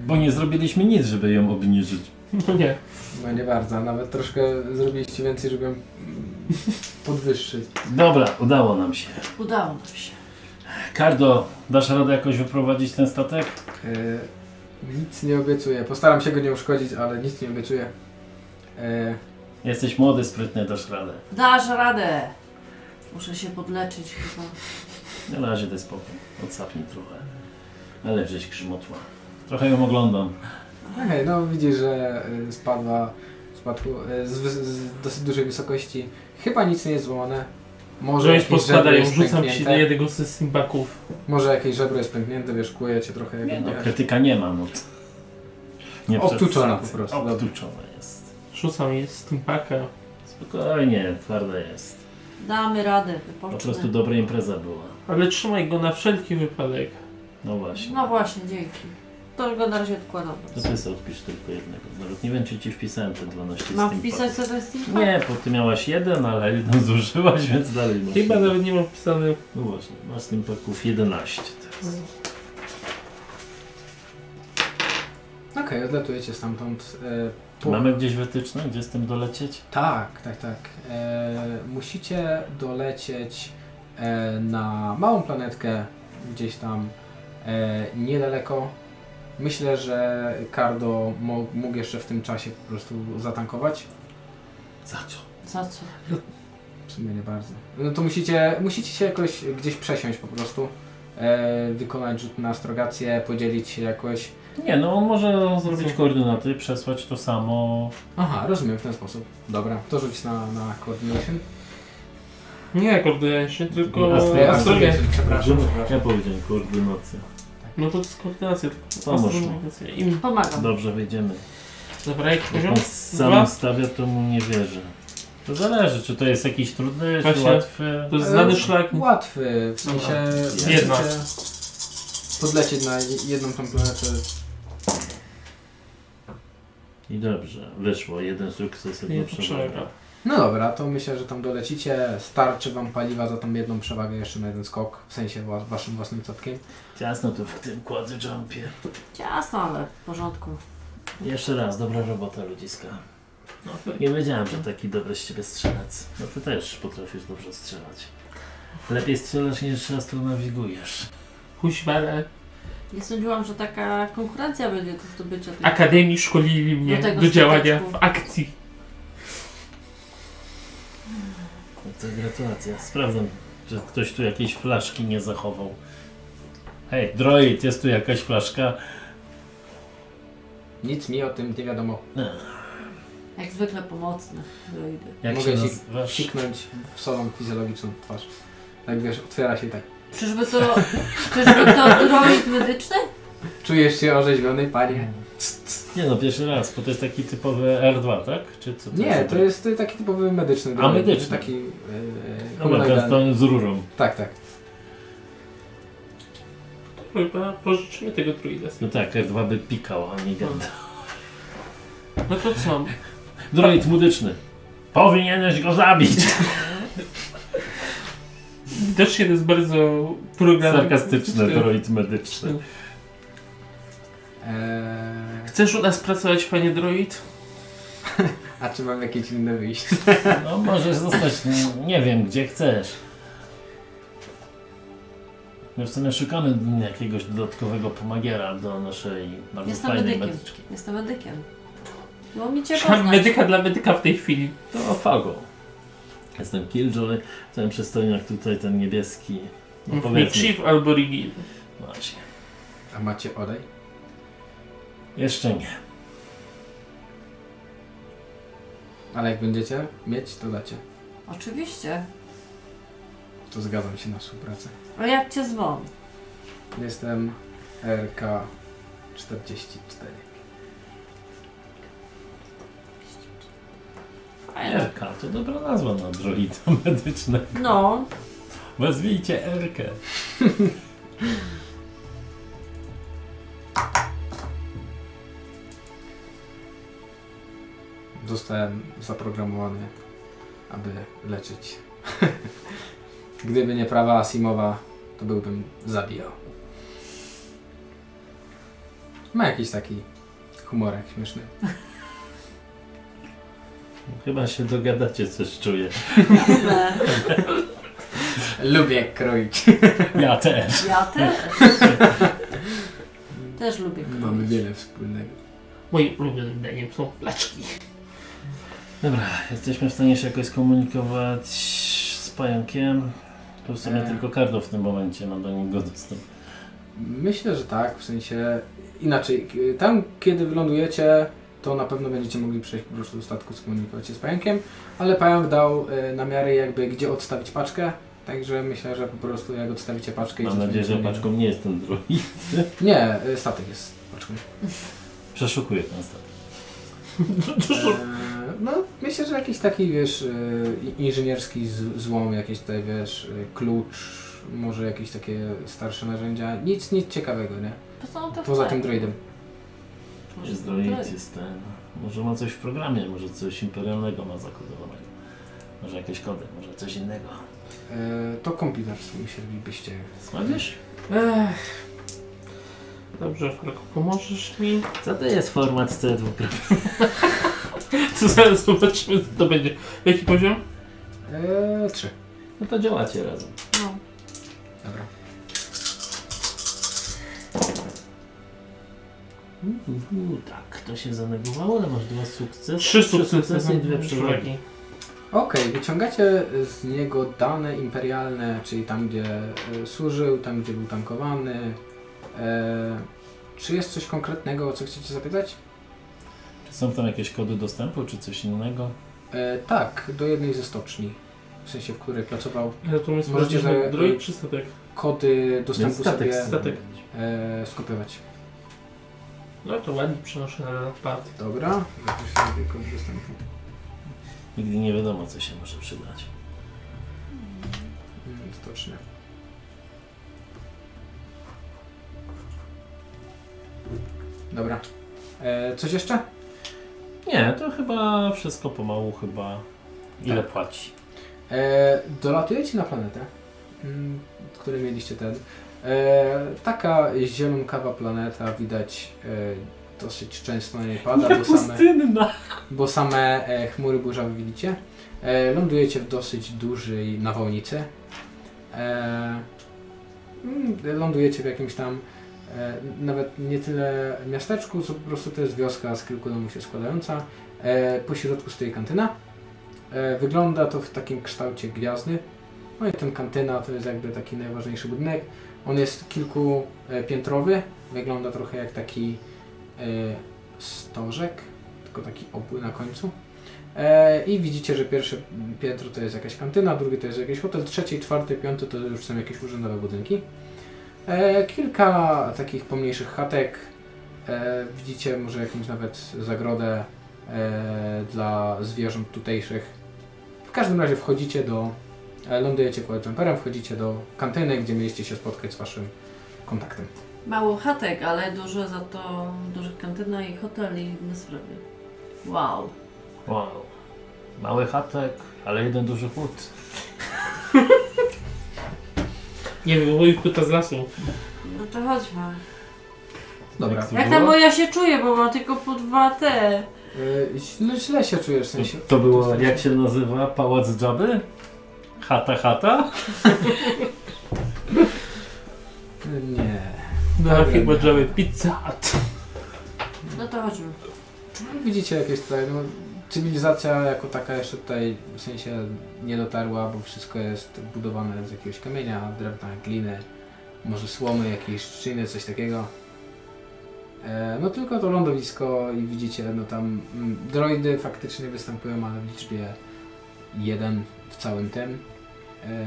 Bo nie zrobiliśmy nic, żeby ją obniżyć. No nie. No nie bardzo, nawet troszkę zrobiliście więcej, żeby ją, mm, podwyższyć. Dobra, udało nam się. Udało nam się. Kardo, dasz radę jakoś wyprowadzić ten statek? E, nic nie obiecuję. Postaram się go nie uszkodzić, ale nic nie obiecuję. E, Jesteś młody, sprytny, dasz radę. Dasz radę. Muszę się podleczyć chyba. Na razie daj spokój, odsapnij trochę. Ale wziąć krzymotła. Trochę ją oglądam. Okej, no widzisz, że e, spadła spadło, e, z, wys- z dosyć dużej wysokości. Chyba nic nie jest złamane. Może Może już jakieś żebro poskładają, jest tak rzucam ci do pęknięte. jednego z symbaków. Może jakieś żebro jest pęknięte, wierzchuje cię trochę. jak Nie no, odbijasz. krytyka nie ma, no. to- Nie Obtuczona przesadzaj. po prostu, Obtuczona jest. Rzucam je z symbaka. Spokojnie, twarda jest. Damy radę, Po wypocznę. prostu dobra impreza była. Ale trzymaj go na wszelki wypadek. No właśnie. No właśnie, dzięki. To go na razie odkładam. To ty sobie odpisz tylko jednego. Nawet nie wiem, czy ci wpisałem te 12 Mam steampunk. No, wpisać sobie z tym? Nie, bo ty miałaś jeden, ale jedną zużyłaś, więc dalej masz. Chyba nawet nie mam wpisane. No właśnie, masz steampunków 11 teraz. Okej, odlatujecie stamtąd. E, po- Mamy gdzieś wytyczne, gdzie z tym dolecieć? Tak, tak, tak. E, musicie dolecieć e, na małą planetkę gdzieś tam e, niedaleko. Myślę, że Cardo mo- mógł jeszcze w tym czasie po prostu zatankować. Za co? Za co? W sumie nie bardzo. No to musicie, musicie się jakoś gdzieś przesiąść po prostu. E, wykonać rzut na astrogację, podzielić się jakoś. Nie, no on może zrobić koordynaty, przesłać to samo. Aha, rozumiem w ten sposób. Dobra, to rzuć na, na coordination. Nie, kurde, się tylko... Astro- No astrogation, przepraszam. Ja powiedziałem koordynacja. Tak. No to jest koordynacja, tylko Pomóż mu. koordynacja. Im Pomagam. Dobrze, wyjdziemy. dobra, jaki Jak poziom? on sam Dwa? stawia, to mu nie wierzę. To zależy, czy to jest jakiś trudny, czy Właśnie. łatwy. To jest znany Ehm, Eee, szlak. Łatwy, w sensie... Jedna. możecie Podlecieć na jedną tą planetę. I dobrze, wyszło. Jeden sukces, Nie, jedna przewaga. przewaga. No dobra, to myślę, że tam dolecicie. Starczy wam paliwa za tą jedną przewagę jeszcze na jeden skok. W sensie wa- waszym własnym statkiem. Ciasno tu w tym quadrujumpie. Ciasno, ale w porządku. Jeszcze raz, dobra robota ludziska. No, tak. Nie wiedziałem, że taki dobry z ciebie strzelec. No ty też potrafisz dobrze strzelać. Lepiej strzelasz niż astronawigujesz. Huśwele. Nie sądziłam, że taka konkurencja będzie do zdobycia tej... Akademii szkolili mnie Do do, tego działania w stateczku. akcji. No to gratulacja. Sprawdzam, czy ktoś tu jakiejś flaszki nie zachował. Hej, droid, jest tu jakaś flaszka? Nic mi o tym nie wiadomo. Jak zwykle pomocne droidy. Jak Mogę się ci- nazywasz? Siknąć w solą fizjologiczną w twarz. Tak wiesz, otwiera się i tak. Czyżby to... Czyżby to droid medyczny? Czujesz się orzeźwiony, panie? Mm, Nie no, pierwszy raz, bo to jest taki typowy R2, tak? Czy co to Nie, jest? to jest y, taki typowy medyczny. droid, medyczny. Taki... Yy, Dobra, ten, ten z rurą. Tak, tak. Chyba pożyczymy tego druida. No tak, R2 by pikał, a nie gada. No to co? Droid muzyczny. Powinieneś go zabić! Widocznie to jest bardzo program. Sarkastyczny droid medyczny. Eee, Chcesz u nas pracować, panie droid? a czy mam jakieś inne wyjście? No możesz zostać, nie, nie wiem, gdzie chcesz. My w sumie szukamy jakiegoś dodatkowego pomagiera do naszej bardzo Jestem fajnej medykiem. medyczki. Jestem medykiem. Było mi cię Szukam poznać. medyka dla medyka w tej chwili. To Fago. Jestem Killjoy, ten przystojniak tutaj, ten niebieski. No Mi powiedzmy. Chief albo Rigid. Właśnie. A macie olej? Jeszcze nie. Ale jak będziecie mieć, to dacie. Oczywiście. To zgadzam się na współpracę. Ale jak cię zwą? Jestem RK44. Fajne. RK to dobra nazwa na droida medycznego. No, Wezwijcie Erkę. Zostałem zaprogramowany, aby leczyć. Gdyby nie prawa Asimowa, to byłbym zabijał. Ma jakiś taki humorek śmieszny. Chyba się dogadacie, coś czuję. no, jasne. Lubię kroić. Ja też. Ja też. Też lubię Mamy kroić. wiele wspólnego. Moim ulubionym daniem są flaczki. Dobra, jesteśmy w stanie się jakoś skomunikować z pająkiem. To w sumie E. tylko Kardo w tym momencie ma do niego dostęp. Myślę, że tak, w sensie inaczej. k- Tam, kiedy wylądujecie, to na pewno będziecie mogli przejść po prostu do statku, skomunikować się z pająkiem, ale pająk dał e, namiary jakby gdzie odstawić paczkę, także myślę, że po prostu jak odstawicie paczkę Mam i nadzieję, że cofniecie- paczką nie jest ten drugi. Nie, e, statek jest paczką. Przeszukuję ten statek. E, no, myślę, że jakiś taki, wiesz, e, i- inżynierski z, złom, jakiś tutaj, wiesz, e, klucz, może jakieś takie starsze narzędzia, nic, nic ciekawego, nie? To tak. są te Poza chleb. tym droidem. To są Jest te droid, droidy. jest ten. Może ma coś w programie, może coś imperialnego ma zakodowanego. Może jakieś kody, może coś innego. E, to kompilarstwo musielibyście... Sładzisz? Ech. Dobrze, Falko, pomożesz mi? Co to jest format C2? To zaraz zobaczymy, co to będzie. Jaki poziom? E, trzy. No to działacie razem. No. Dobra. Uhu, tak, to się zanegowało, ale masz dwa sukcesy. Trzy sukcesy sukcesy i dwie przewagi. Okej, wyciągacie z niego dane imperialne, czyli tam gdzie e, służył, tam gdzie był tankowany. E, czy jest coś konkretnego, o co chcecie zapytać? Czy są tam jakieś kody dostępu, czy coś innego? Eee, E, tak, do jednej ze stoczni. w sensie w której pracował, Ale tu my Możecie, sprawdzić na że- droid czy statek? kody dostępu statek, sobie statek. e, skopiować. No to ładnie przenoszę na nadparty. Dobra, zapiszę sobie kod dostępu. Nigdy nie wiadomo, co się może przydać. Mm, Stocznie. Dobra. E, coś jeszcze? Nie, to chyba wszystko pomału, chyba. Ile płaci? E, dolatujecie na planetę, mm, który mieliście ten. E, taka zielonkawa planeta, widać e, dosyć często na niej pada, bo same, bo same e, chmury burzowe widzicie. E, lądujecie w dosyć dużej nawałnicy. E, mm, lądujecie w jakimś tam e, nawet nie tyle miasteczku, co po prostu to jest wioska z kilku domów się składająca. E, po środku stoi kantyna. E, wygląda to w takim kształcie gwiazdy. No i ten kantyna to jest jakby taki najważniejszy budynek. On jest kilkupiętrowy, wygląda trochę jak taki e, stożek, tylko taki obły na końcu. E, I widzicie, że pierwsze piętro to jest jakaś kantyna, drugie to jest jakiś hotel, trzecie, i czwarte, piąte to już są jakieś urzędowe budynki. E, kilka takich pomniejszych chatek. E, widzicie może jakąś nawet zagrodę e, dla zwierząt tutejszych. W każdym razie wchodzicie do, e, lądujecie pod jumperem, wchodzicie do kantyny, gdzie mieliście się spotkać z waszym kontaktem. Mało chatek, ale dużo za to, duża kantyna i hotel i inne sprawy. Wow. Wow. Mały chatek, ale jeden duży chłód. Nie wiem, mój płyta z lasu. No to chodźmy. Dobra. Jak to Jak było? tam moja się czuje, bo ma tylko po dwa te. E, źle, źle się czujesz w sensie. To było, Dostań- jak się nazywa? Pałac Dżaby? Chata, chata? Nie. Tak, Na Dobra. firmę Java Pizza Hut. No to chodźmy. Widzicie jakieś tutaj, no, cywilizacja jako taka jeszcze tutaj w sensie nie dotarła, bo wszystko jest budowane z jakiegoś kamienia, drewna, gliny, może słomy, jakiejś trzciny, coś takiego. E, no tylko to lądowisko i widzicie, no tam mm, droidy faktycznie występują, ale w liczbie jeden w całym tym. E,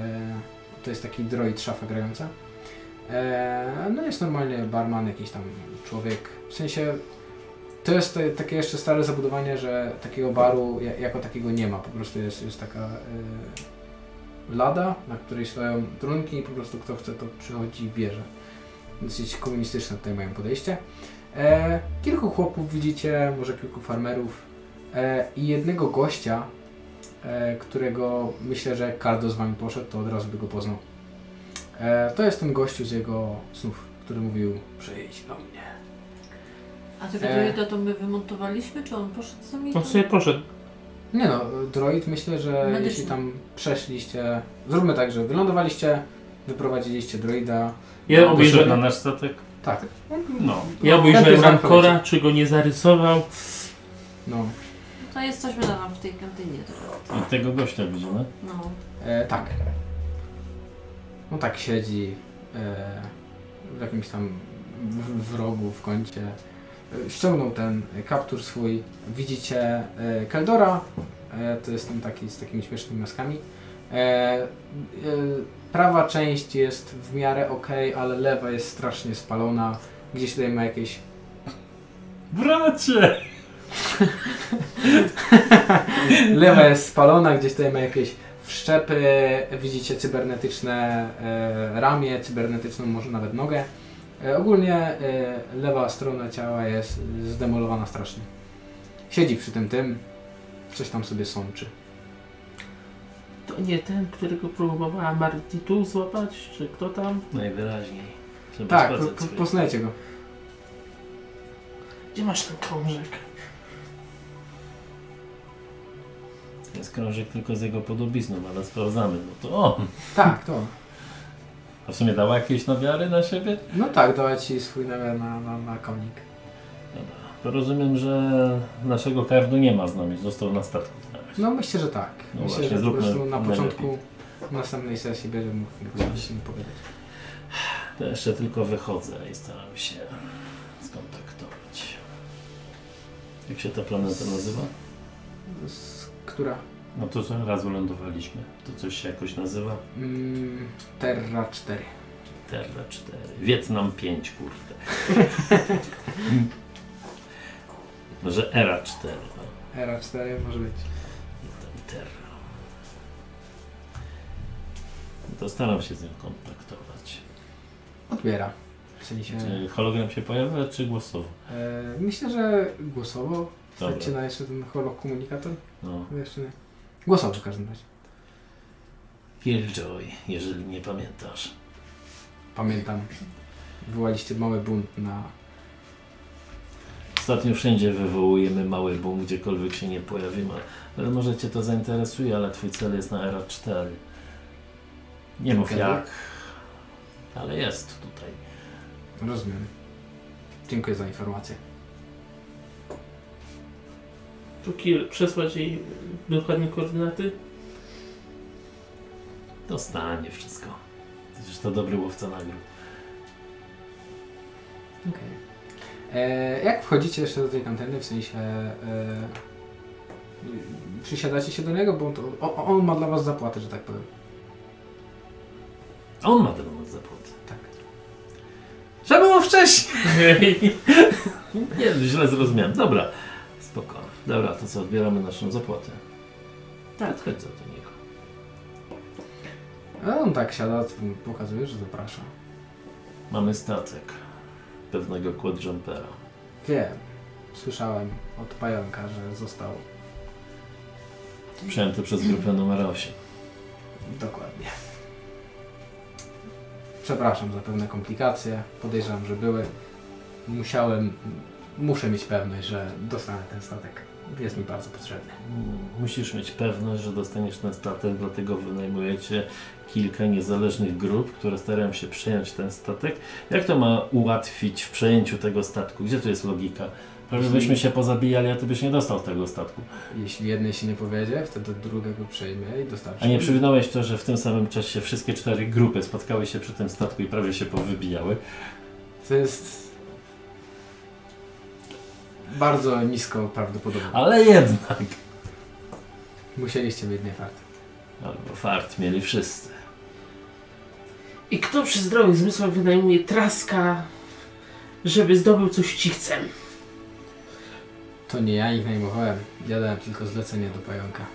to jest taki droid szafa grająca. E, no jest normalnie barman, jakiś tam człowiek, w sensie to jest te- takie jeszcze stare zabudowanie, że takiego baru ja- jako takiego nie ma. Po prostu jest, jest taka y, lada, na której stoją trunki i po prostu kto chce to przychodzi i bierze. Dosyć komunistyczne tutaj mają podejście. E, kilku chłopów widzicie, może kilku farmerów e, i jednego gościa, e, którego myślę, że jak Kardo z wami poszedł, to od razu by go poznał. E, to jest ten gościu z jego snów, który mówił przyjdź do mnie. A tego E. druida to my wymontowaliśmy, czy on poszedł z nami? On sobie poszedł. Nie no, droid myślę, że Medyczny. jeśli tam przeszliście, zróbmy tak, że wylądowaliście, wyprowadziliście droida. Ja No, Wyszedł na obejrzałem, nasz statek? Tak. No. ja Lepiej obejrzałem znam Rancora, powiedzieć. czy go nie zarysował. No, No To jesteśmy tam w tej kantynie teraz. I tego gościa widzimy. No. e, tak. No tak siedzi e, w jakimś tam w, w rogu, w kącie. E, Ściągnął ten kaptur swój. Widzicie e, Keldora, e, to jest ten taki z takimi śmiesznymi maskami. E, e, prawa część jest w miarę ok, ale lewa jest strasznie spalona. Gdzieś tutaj ma jakieś Bracie! Lewa jest spalona, gdzieś tutaj ma jakieś wszczepy, widzicie cybernetyczne e, ramię, cybernetyczną może nawet nogę. E, ogólnie e, lewa strona ciała jest zdemolowana strasznie. Siedzi przy tym tym, coś tam sobie sączy. To nie ten, którego próbowała Martitu złapać, czy kto tam? Najwyraźniej. Trzeba Tak, sprawdzać po, po, swoje- poznajcie go. Gdzie masz ten krążek? Jest krążek tylko z jego podobizną, ale sprawdzamy. No to o! Tak, to. A w sumie dała jakieś nawiary na siebie? No tak, dała ci swój namiar na, na, na konik. Dobra. To rozumiem, że naszego kardu nie ma z nami. Został na statku. No myślę, że tak. No myślę, właśnie, że po zróbmy prostu na najlepiej. początku następnej sesji będę mógł Właśnie. coś im powiedzieć. To jeszcze tylko wychodzę i staram się skontaktować. Jak się ta planeta nazywa? Z, która? No to co, raz wylądowaliśmy. To coś się jakoś nazywa? Mm, Terra 4. Terra 4. Wietnam 5, kurde. Może Era 4. No. Era 4 może być. Wietnam Terra. To staram się z nią kontaktować. Odbiera. W sensie, Czy hologram się pojawia, czy głosowo? e, myślę, że głosowo. Dobra. Wstawcie na jeszcze ten holo komunikator. No. Chyba Jeszcze nie. Głosowo w każdym razie. Killjoy, jeżeli nie pamiętasz. Pamiętam. Wywołaliście mały bunt na... Ostatnio wszędzie wywołujemy mały boom, gdziekolwiek się nie pojawimy. Ale może Cię to zainteresuje, ale Twój cel jest na Era 4. Nie mów Okej. jak, ale jest tutaj. Rozumiem. Dziękuję za informację. To kill, przesłać jej dokładne koordynaty? Dostanie wszystko. Przecież to dobry łowca nagród. E, jak wchodzicie jeszcze do tej kantyny, w sensie e, y, przysiadacie się do niego, bo on, to, o, o- on ma dla was zapłatę, że tak powiem. On ma ten zapłatę. Tak. Trzeba było wcześniej! nie, no, źle zrozumiałem. Dobra, spoko. Dobra, to co, odbieramy naszą zapłatę. Tak. Chodź za do niego. A on tak siada, pokazuje, że zaprasza. Mamy statek pewnego quadjumpera. Wiem, słyszałem od pająka, że został. Przyjęty przez grupę numer 8. Dokładnie. Przepraszam za pewne komplikacje, podejrzewam, że były. Musiałem, muszę mieć pewność, że dostanę ten statek. Jest mi bardzo potrzebny. Musisz mieć pewność, że dostaniesz ten statek, dlatego wynajmujecie kilka niezależnych grup, które starają się przejąć ten statek. Jak to ma ułatwić w przejęciu tego statku? Gdzie tu jest logika? Prawie Jeśli- byśmy się pozabijali, a ty byś nie dostał tego statku. Jeśli jednej się nie powiedzie, wtedy druga go przejmie i dostarczy. A nie przewinąłeś to, że w tym samym czasie wszystkie cztery grupy spotkały się przy tym statku i prawie się powybijały. To jest bardzo nisko prawdopodobne. Ale jednak! Musieliście mieć nie fart. Albo fart mieli wszyscy. I kto przy zdrowych zmysłach wynajmuje traska, żeby zdobył coś cichcem? To nie ja ich najmowałem. Ja dałem tylko zlecenie do pająka.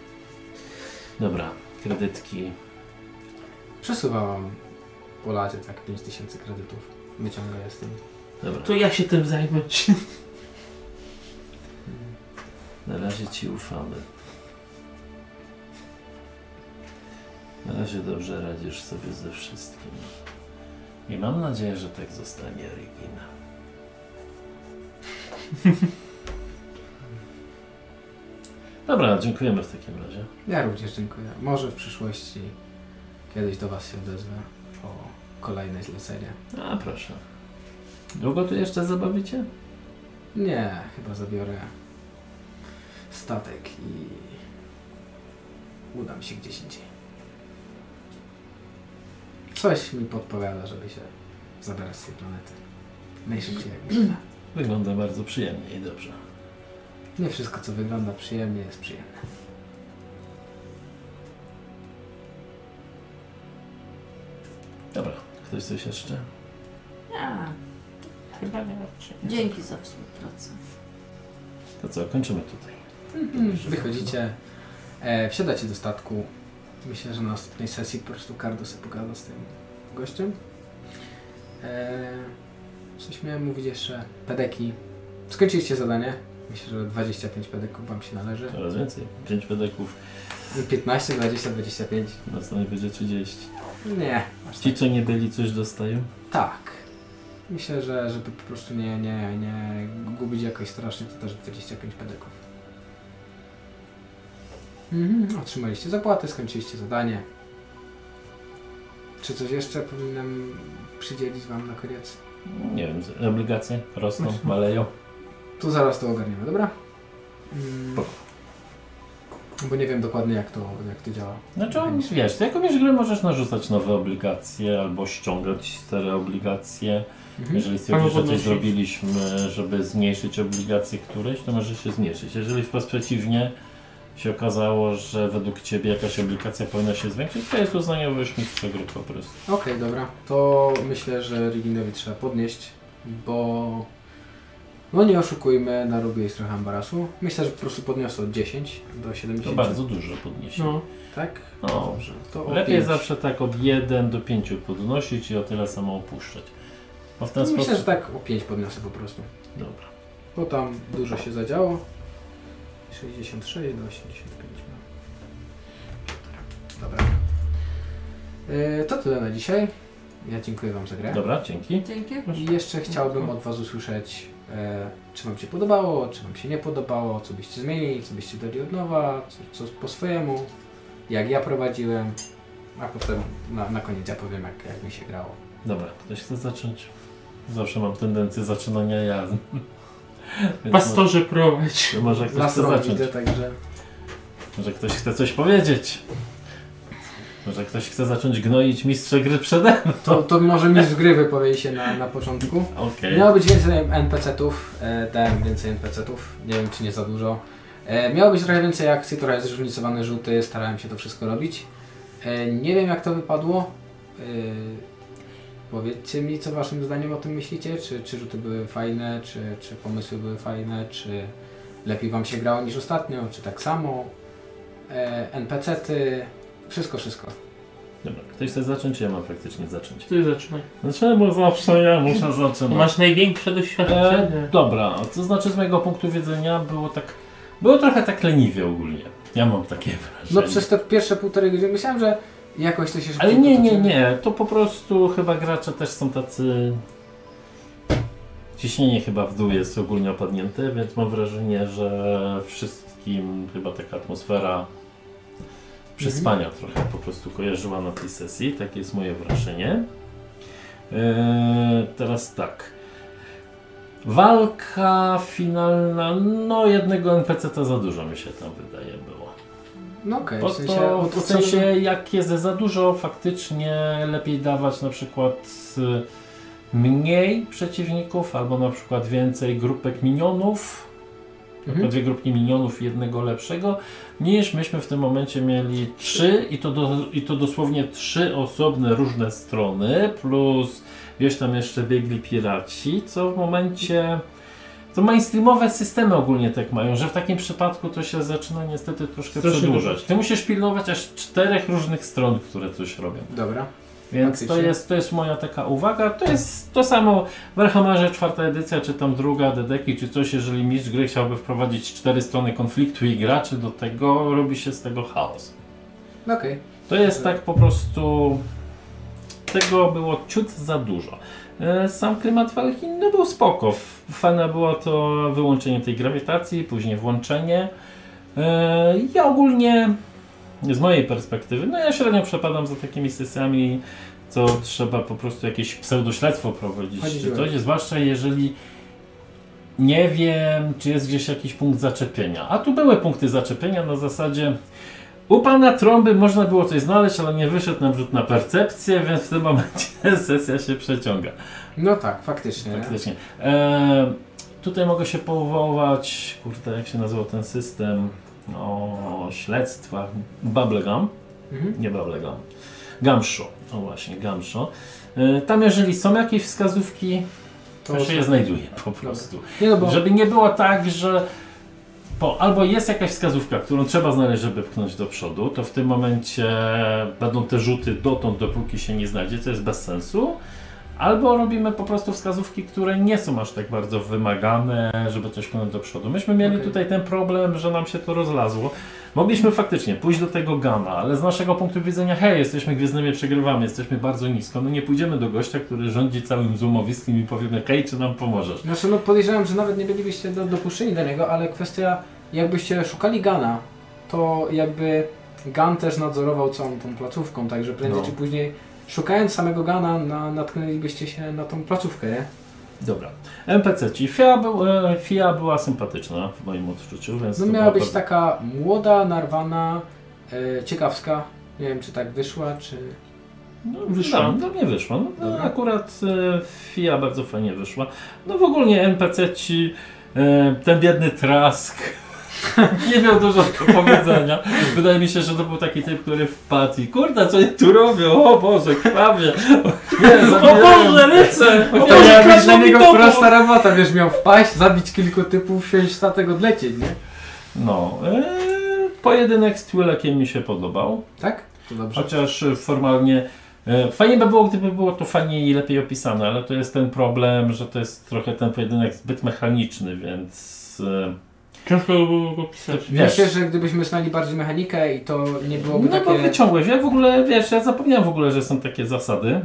Dobra, kredytki. Przesuwałam po lacie tak 5000 kredytów. Wyciąga je z tym. Dobra. To ja się tym zajmę. Na razie ci ufamy. Na razie dobrze radzisz sobie ze wszystkim. I mam nadzieję, że tak zostanie Regina. Dobra, dziękujemy w takim razie. Ja również dziękuję. Może w przyszłości kiedyś do Was się odezwę o kolejne zlecenie. A proszę. Długo tu jeszcze zabawicie? Nie, chyba zabiorę statek i udam się gdzieś indziej. Coś mi podpowiada, żeby się zabrać z tej planety. Najszybciej jak można. Wygląda bardzo przyjemnie i dobrze. Nie wszystko, co wygląda przyjemnie, jest przyjemne. Dobra, ktoś coś jeszcze? A, Chyba nie ma czym. dzięki za współpracę. To co, kończymy tutaj. Wychodzicie, e, wsiadacie do statku. Myślę, że na następnej sesji po prostu Kardo sobie pogada z tym gościem. E, coś miałem mówić jeszcze. Pedeki. Skończyliście zadanie. Myślę, że 25 pedeków wam się należy. Coraz więcej. 5 pedeków, 15, 20, 25. następnie będzie 30. Nie. Aż Ci, tak. co nie byli, coś dostają? tak. Myślę, że żeby po prostu nie, nie, nie gubić jakoś strasznie, to też 25 pedeków. Mhm. Otrzymaliście zapłatę, skończyliście zadanie. Czy coś jeszcze powinienem przydzielić wam na koniec? Nie wiem, z- obligacje rosną, maleją. Tu zaraz to ogarniemy, dobra? Mm. Spoko. Bo nie wiem dokładnie jak to, jak to działa. Znaczy, on- wiesz, ty jako miesz grę możesz narzucać nowe obligacje albo ściągać stare obligacje. Mhm. Jeżeli stwierdzisz, że coś podnosić. zrobiliśmy, żeby zmniejszyć obligacje któreś, to może się zmniejszyć. Jeżeli wprost przeciwnie, się okazało, że według Ciebie jakaś obligacja powinna się zwiększyć, to jest uznaniowy ośmiornica gry po prostu. Okej, dobra. To myślę, że Riginowi trzeba podnieść, bo... No nie oszukujmy, narobił jest trochę ambarasu. Myślę, że po prostu podniosę od 10 do 70. To bardzo dużo podniesie. No, Tak? No. Dobrze. To o Lepiej pięć. zawsze tak od 1 do 5 podnosić i o tyle samo opuszczać. Bo w ten sposób... Myślę, że tak o 5 podniosę po prostu. Dobra. Bo tam dużo się zadziało. 66 do 85. mam. Dobra. E, To tyle na dzisiaj. Ja dziękuję Wam za grę. Dobra, dzięki. Dzięki. I jeszcze chciałbym Mhm. od Was usłyszeć, e, czy Wam się podobało, czy Wam się nie podobało, co byście zmienili, co byście dali od nowa, co, co po swojemu, jak ja prowadziłem, a potem na, na koniec ja powiem, jak, jak mi się grało. Dobra, ktoś chce zacząć? Zawsze mam tendencję zaczynania ja. Więc pastorze prowadź. Może, może ktoś chce Laserem zacząć? widzę, także... Może ktoś chce coś powiedzieć? Może ktoś chce zacząć gnoić mistrza gry przede mną? To, to może mi z gry wypowie się na, na początku. Okej. Miało być więcej NPC-ów, e, dałem więcej NPC-ów, nie wiem czy nie za dużo. E, miało być trochę więcej akcji, trochę zróżnicowane rzuty, starałem się to wszystko robić. E, nie wiem jak to wypadło. E, powiedzcie mi co waszym zdaniem o tym myślicie, czy, czy rzuty były fajne, czy, czy pomysły były fajne, czy lepiej wam się grało niż ostatnio, czy tak samo. E, NPC-ty, wszystko, wszystko. No, Dobra, ktoś chce zacząć, ja mam faktycznie zacząć. Ty zaczynaj. Dlaczego zawsze ja muszę zaczynać? No. Masz największe doświadczenie. E, dobra, to znaczy z mojego punktu widzenia było tak. Było trochę tak leniwie ogólnie. Ja mam takie wrażenie. No przez te pierwsze półtorej godziny myślałem, że jakoś to się szybko Ale nie, nie, nie. To po prostu chyba gracze też są tacy. Ciśnienie chyba w dół jest ogólnie opadnięte, więc mam wrażenie, że wszystkim chyba taka atmosfera przyspania Mhm. trochę po prostu kojarzyła na tej sesji. Takie jest moje wrażenie. Eee, teraz tak. Walka finalna, no jednego NPC to za dużo mi się tam wydaje było. No okej, Po w sensie, to, od- w od sensie sensie jak jest za dużo, faktycznie lepiej dawać na przykład y, mniej przeciwników, albo na przykład więcej grupek minionów, Mhm. mhm. dwie grupki minionów i jednego lepszego, niż myśmy w tym momencie mieli trzy i to, do, i to dosłownie trzy osobne różne strony, plus gdzieś tam jeszcze biegli piraci, co w momencie... To mainstreamowe systemy ogólnie tak mają, że w takim przypadku to się zaczyna niestety troszkę Strasznie przedłużać. Ty musisz pilnować aż czterech różnych stron, które coś robią. Dobra. Więc to Faktycznie. jest, to jest moja taka uwaga. To jest to samo w Warhammerze czwarta edycja, czy tam druga, Dedeki, czy coś, jeżeli mistrz gry chciałby wprowadzić cztery strony konfliktu i graczy do tego, robi się z tego chaos. no Okej. To jest tak po prostu. Tego było ciut za dużo. E, Sam klimat walki no był spoko. F- Fajne było to wyłączenie tej grawitacji, później włączenie. E, Ja ogólnie, z mojej perspektywy, no ja średnio przepadam za takimi sesjami, co trzeba po prostu jakieś pseudośledztwo prowadzić czy Chodziłem. coś, zwłaszcza jeżeli nie wiem, czy jest gdzieś jakiś punkt zaczepienia. A tu były punkty zaczepienia na zasadzie u pana trąby można było coś znaleźć, ale nie wyszedł nam rzut na percepcję, więc w tym momencie sesja się przeciąga. No tak, faktycznie. Faktycznie. E, tutaj mogę się powołać, kurde, jak się nazywał ten system o śledztwach. Bubblegum. Mhm. Nie Bubblegum. Gamsho. O właśnie, Gamsho. E, tam jeżeli są jakieś wskazówki, to, się je znajduje po prostu. Nie no bo Żeby nie było tak, że po, albo jest jakaś wskazówka, którą trzeba znaleźć, żeby pchnąć do przodu, to w tym momencie będą te rzuty dotąd, dopóki się nie znajdzie, co jest bez sensu. Albo robimy po prostu wskazówki, które nie są aż tak bardzo wymagane, żeby coś pchnąć do przodu. Myśmy mieli Okej. tutaj ten problem, że nam się to rozlazło. Mogliśmy faktycznie pójść do tego gama, ale z naszego punktu widzenia, hej, jesteśmy gwiezdnymi, przegrywamy, jesteśmy bardzo nisko, no nie pójdziemy do gościa, który rządzi całym zoomowiskiem i powiemy, hej, czy nam pomożesz? znaczy, no podejrzewam, że nawet nie bylibyście do, dopuszczeni do niego, ale kwestia, jakbyście szukali Gana, to jakby Gan też nadzorował całą tą placówką, także prędzej No. czy później szukając samego Gana na, natknęlibyście się na tą placówkę, nie? Dobra. NPC ci. Fia, był, e, Fia była sympatyczna w moim odczuciu, więc. No to miała była być bardzo- taka młoda, narwana, e, ciekawska. Nie wiem, czy tak wyszła, czy... No, wyszła. wyszła. Dla mnie wyszła. No, no, Dobra. akurat e, Fia bardzo fajnie wyszła. No w ogóle NPC ci. E, ten biedny trask. Nie miał dużo do powiedzenia. Wydaje mi się, że to był taki typ, który wpadł i kurde, co oni tu robią? O Boże, krwawie. O, nie, O zabierają no Boże, lecę! To ja O Boże, miała być kradną dla mi niego topór! prosta robota, wiesz, miał wpaść, zabić kilku typów, wsiąść na tego odlecieć, nie? No, e, pojedynek z Twilekiem mi się podobał. Tak? To dobrze. Chociaż e, formalnie e, fajnie by było, gdyby było to fajniej i lepiej opisane, ale to jest ten problem, że to jest trochę ten pojedynek zbyt mechaniczny, więc e, Ciężko by było go pisać. wiesz. Myślę, że gdybyśmy znali bardziej mechanikę i to nie byłoby No takie... bo wyciągłeś. Ja w ogóle, wiesz, ja zapomniałem w ogóle, że są takie zasady.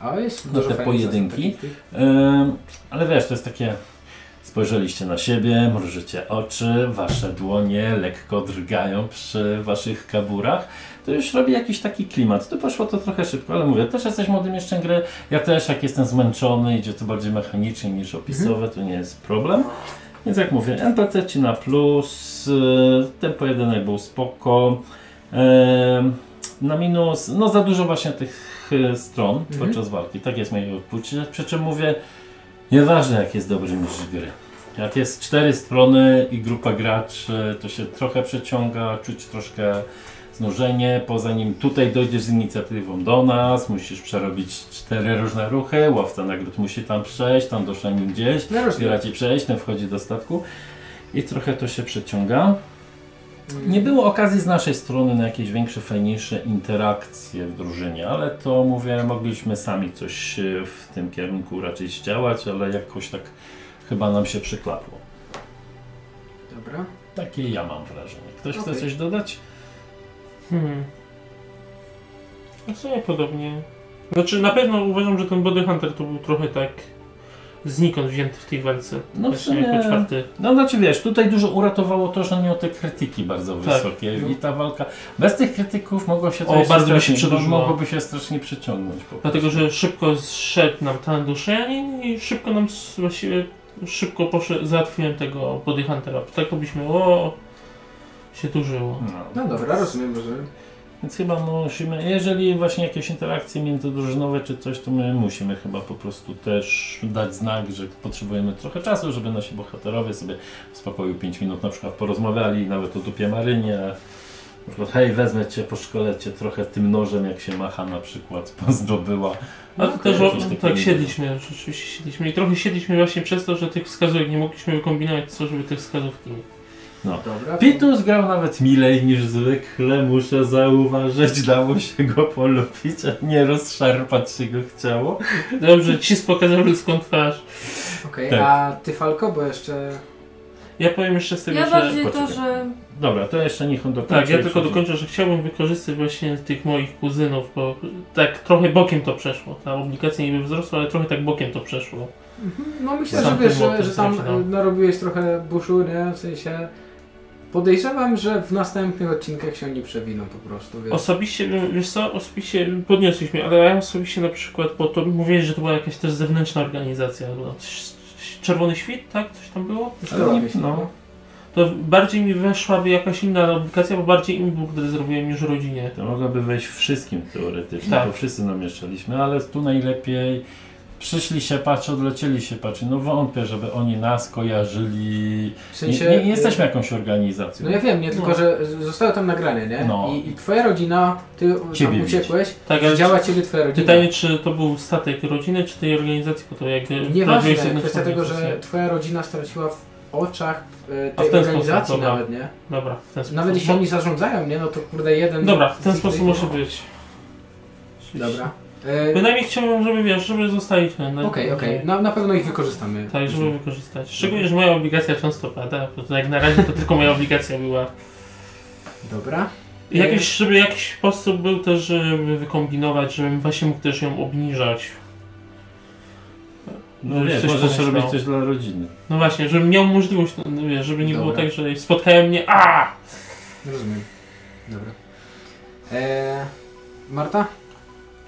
A jest No dużo te fajnych pojedynki. zasad takich tych. Ym, ale wiesz, to jest takie. Spojrzeliście na siebie, mrużycie oczy, wasze dłonie lekko drgają przy waszych kaburach. To już robi jakiś taki klimat. Tu poszło to trochę szybko, ale mówię, też jesteś młodym jeszcze gry. Ja też, jak jestem zmęczony, idzie to bardziej mechanicznie niż opisowe, to nie jest problem. Więc jak mówię, NPC ci na plus, yy, ten pojedynek był spoko. Em, na minus, no za dużo właśnie tych e, stron Mhm. podczas walki. Tak jest moje odczucie. Przy czym mówię, nieważne jak jest dobry mistrz gry. Jak jest cztery strony i grupa graczy, to się trochę przeciąga, czuć troszkę znużenie. Poza nim tutaj dojdziesz z inicjatywą do nas, musisz przerobić cztery różne ruchy, łowca nagród musi tam przejść, tam do szani gdzieś, No różnie. zbiera ci przejść, ten wchodzi do statku i trochę to się przeciąga. Mm, Nie było okazji z naszej strony na jakieś większe, fajniejsze interakcje w drużynie, ale to mówię, mogliśmy sami coś e, w tym kierunku raczej zdziałać, ale jakoś tak chyba nam się przyklapło. Dobra. Takie ja mam wrażenie. Ktoś chce Okej. coś dodać? Hmm. A co ja podobnie. Znaczy, na pewno uważam, że ten Body Hunter to był trochę tak znikąd wzięty w tej walce. No w Właśnie sumie- jako czwarty. No znaczy wiesz, tutaj dużo uratowało to, że miał te krytyki bardzo Tak. wysokie No. i ta walka... Bez tych krytyków mogło się to O, jeszcze bardzo by się strasznie- przedłużyło. Mogłoby się strasznie przyciągnąć. Po prostu. Dlatego, że szybko zszedł nam ten duszanin i szybko nam s- właściwie szybko poszedł, załatwiłem tego Body Huntera. Tak to byśmy, o, się dużo. No dobra, rozumiem, że... Więc chyba musimy, jeżeli właśnie jakieś interakcje międzydrużynowe czy coś, to my musimy chyba po prostu też dać znak, że potrzebujemy trochę czasu, żeby nasi bohaterowie sobie w spokoju 5 minut na przykład porozmawiali, nawet o dupie Marynie. Na przykład, hej, wezmę cię, poszkolę cię trochę tym nożem, jak się macha na przykład, zdobyła. No to też Okej, o, coś takiego. tak siedliśmy, rzeczywiście siedliśmy i trochę siedliśmy właśnie przez to, że tych wskazówek nie mogliśmy wykombinować, co żeby tych wskazówki nie Dobra. Pitus grał nawet milej niż zwykle, muszę zauważyć, dało się go polubić, a nie rozszarpać się go chciało. Dobrze, cis pokazał ludzką twarz. Okej, Tak. a ty Falko, bo jeszcze... Ja powiem jeszcze z tego, Ja że... bardziej to, poczekaj. że Dobra, to jeszcze niech on dokończy. Tak, ja jak tylko przyjdzie. dokończę, że chciałbym wykorzystać właśnie tych moich kuzynów, bo tak trochę bokiem to przeszło. Ta obligacja niby wzrosła, ale trochę tak bokiem to przeszło. No myślę, że Sam wiesz, tym że, młotem że tam się przydał. narobiłeś trochę buszu, nie? W sensie... Podejrzewam, że w następnych odcinkach się nie przewiną po prostu, wiesz. Osobiście, bym- wiesz co, osobiście podniosłeś mnie, ale ja osobiście na przykład, bo to mówiłeś, że to była jakaś też zewnętrzna organizacja, no, coś- Czerwony Świt, tak? Coś tam było? Zgadza mi się, no. To bardziej mi weszłaby jakaś inna obligacja, bo bardziej im był, wtedy zrobiłem niż rodzinie. To mogłoby wejść wszystkim teoretycznie, Tak. bo wszyscy namieszczaliśmy, ale tu najlepiej przyszli się patrzy, odlecieli się patrzy. No wątpię, żeby oni nas kojarzyli. W Nie, sensie... y- nie, nie jesteśmy jakąś organizacją. No ja wiem, nie, tylko No. że z- zostało tam nagrane, nie? No. I, I twoja rodzina, ty Ciebie tam widzi. uciekłeś, Tak, ale widziała ciebie twoja rodzina. pytanie, czy to był statek rodziny, czy tej organizacji, bo to jak... Nieważne, prowadziłeś jedną kwestia tego, że organizację. twoja rodzina straciła w oczach e, A w tej ten organizacji sposób, dobra. nawet, nie? Dobra, w ten sposób. Nawet jeśli oni zarządzają, nie? No to kurde jeden... Dobra, w ten z- sposób może być. Dobra. E, Okej, Bynajmniej chciałbym, żeby wiesz, żeby zostali ten. na- okej, no. na, na pewno ich wykorzystamy. Tak, żeby wykorzystać. Szczególnie, że moja obligacja często pada, bo to jak na razie to tylko moja obligacja była. Dobra. I jakiś, żeby jakiś sposób był też, żeby wykombinować, żebym właśnie mógł też ją obniżać. No Żebyś wiesz, coś No możesz pomyślał. robić coś dla rodziny. No właśnie, żebym miał możliwość, no, wiesz, żeby nie było Dobra. tak, że spotkają mnie a Rozumiem. Dobra. E, Marta?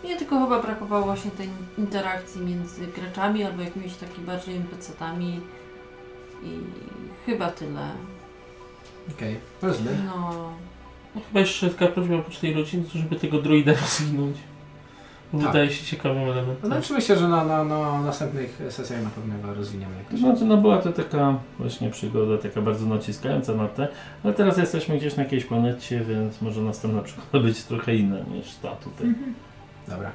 mnie tylko chyba brakowało właśnie tej interakcji między graczami albo jakimiś takimi bardziej NPC-tami i chyba tyle. Okej, rozumiem. No, No chyba jeszcze taka prośba po tej rodziny, żeby tego droida rozwinąć. Wydaje się ciekawym elementem. Znaczy myślę, że na, na, na następnych sesjach na pewno rozwiniemy To jakoś. znaczy, no była to taka właśnie przygoda, taka bardzo naciskająca na te, ale teraz jesteśmy gdzieś na jakiejś planecie, więc może następna przygoda być trochę inna niż ta tutaj. Dobra.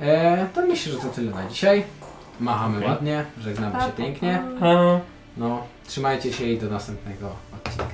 E, to myślę, że to tyle na dzisiaj. Machamy Okej. Tak, ładnie, żegnamy się pięknie. A... No, trzymajcie się i do następnego odcinka.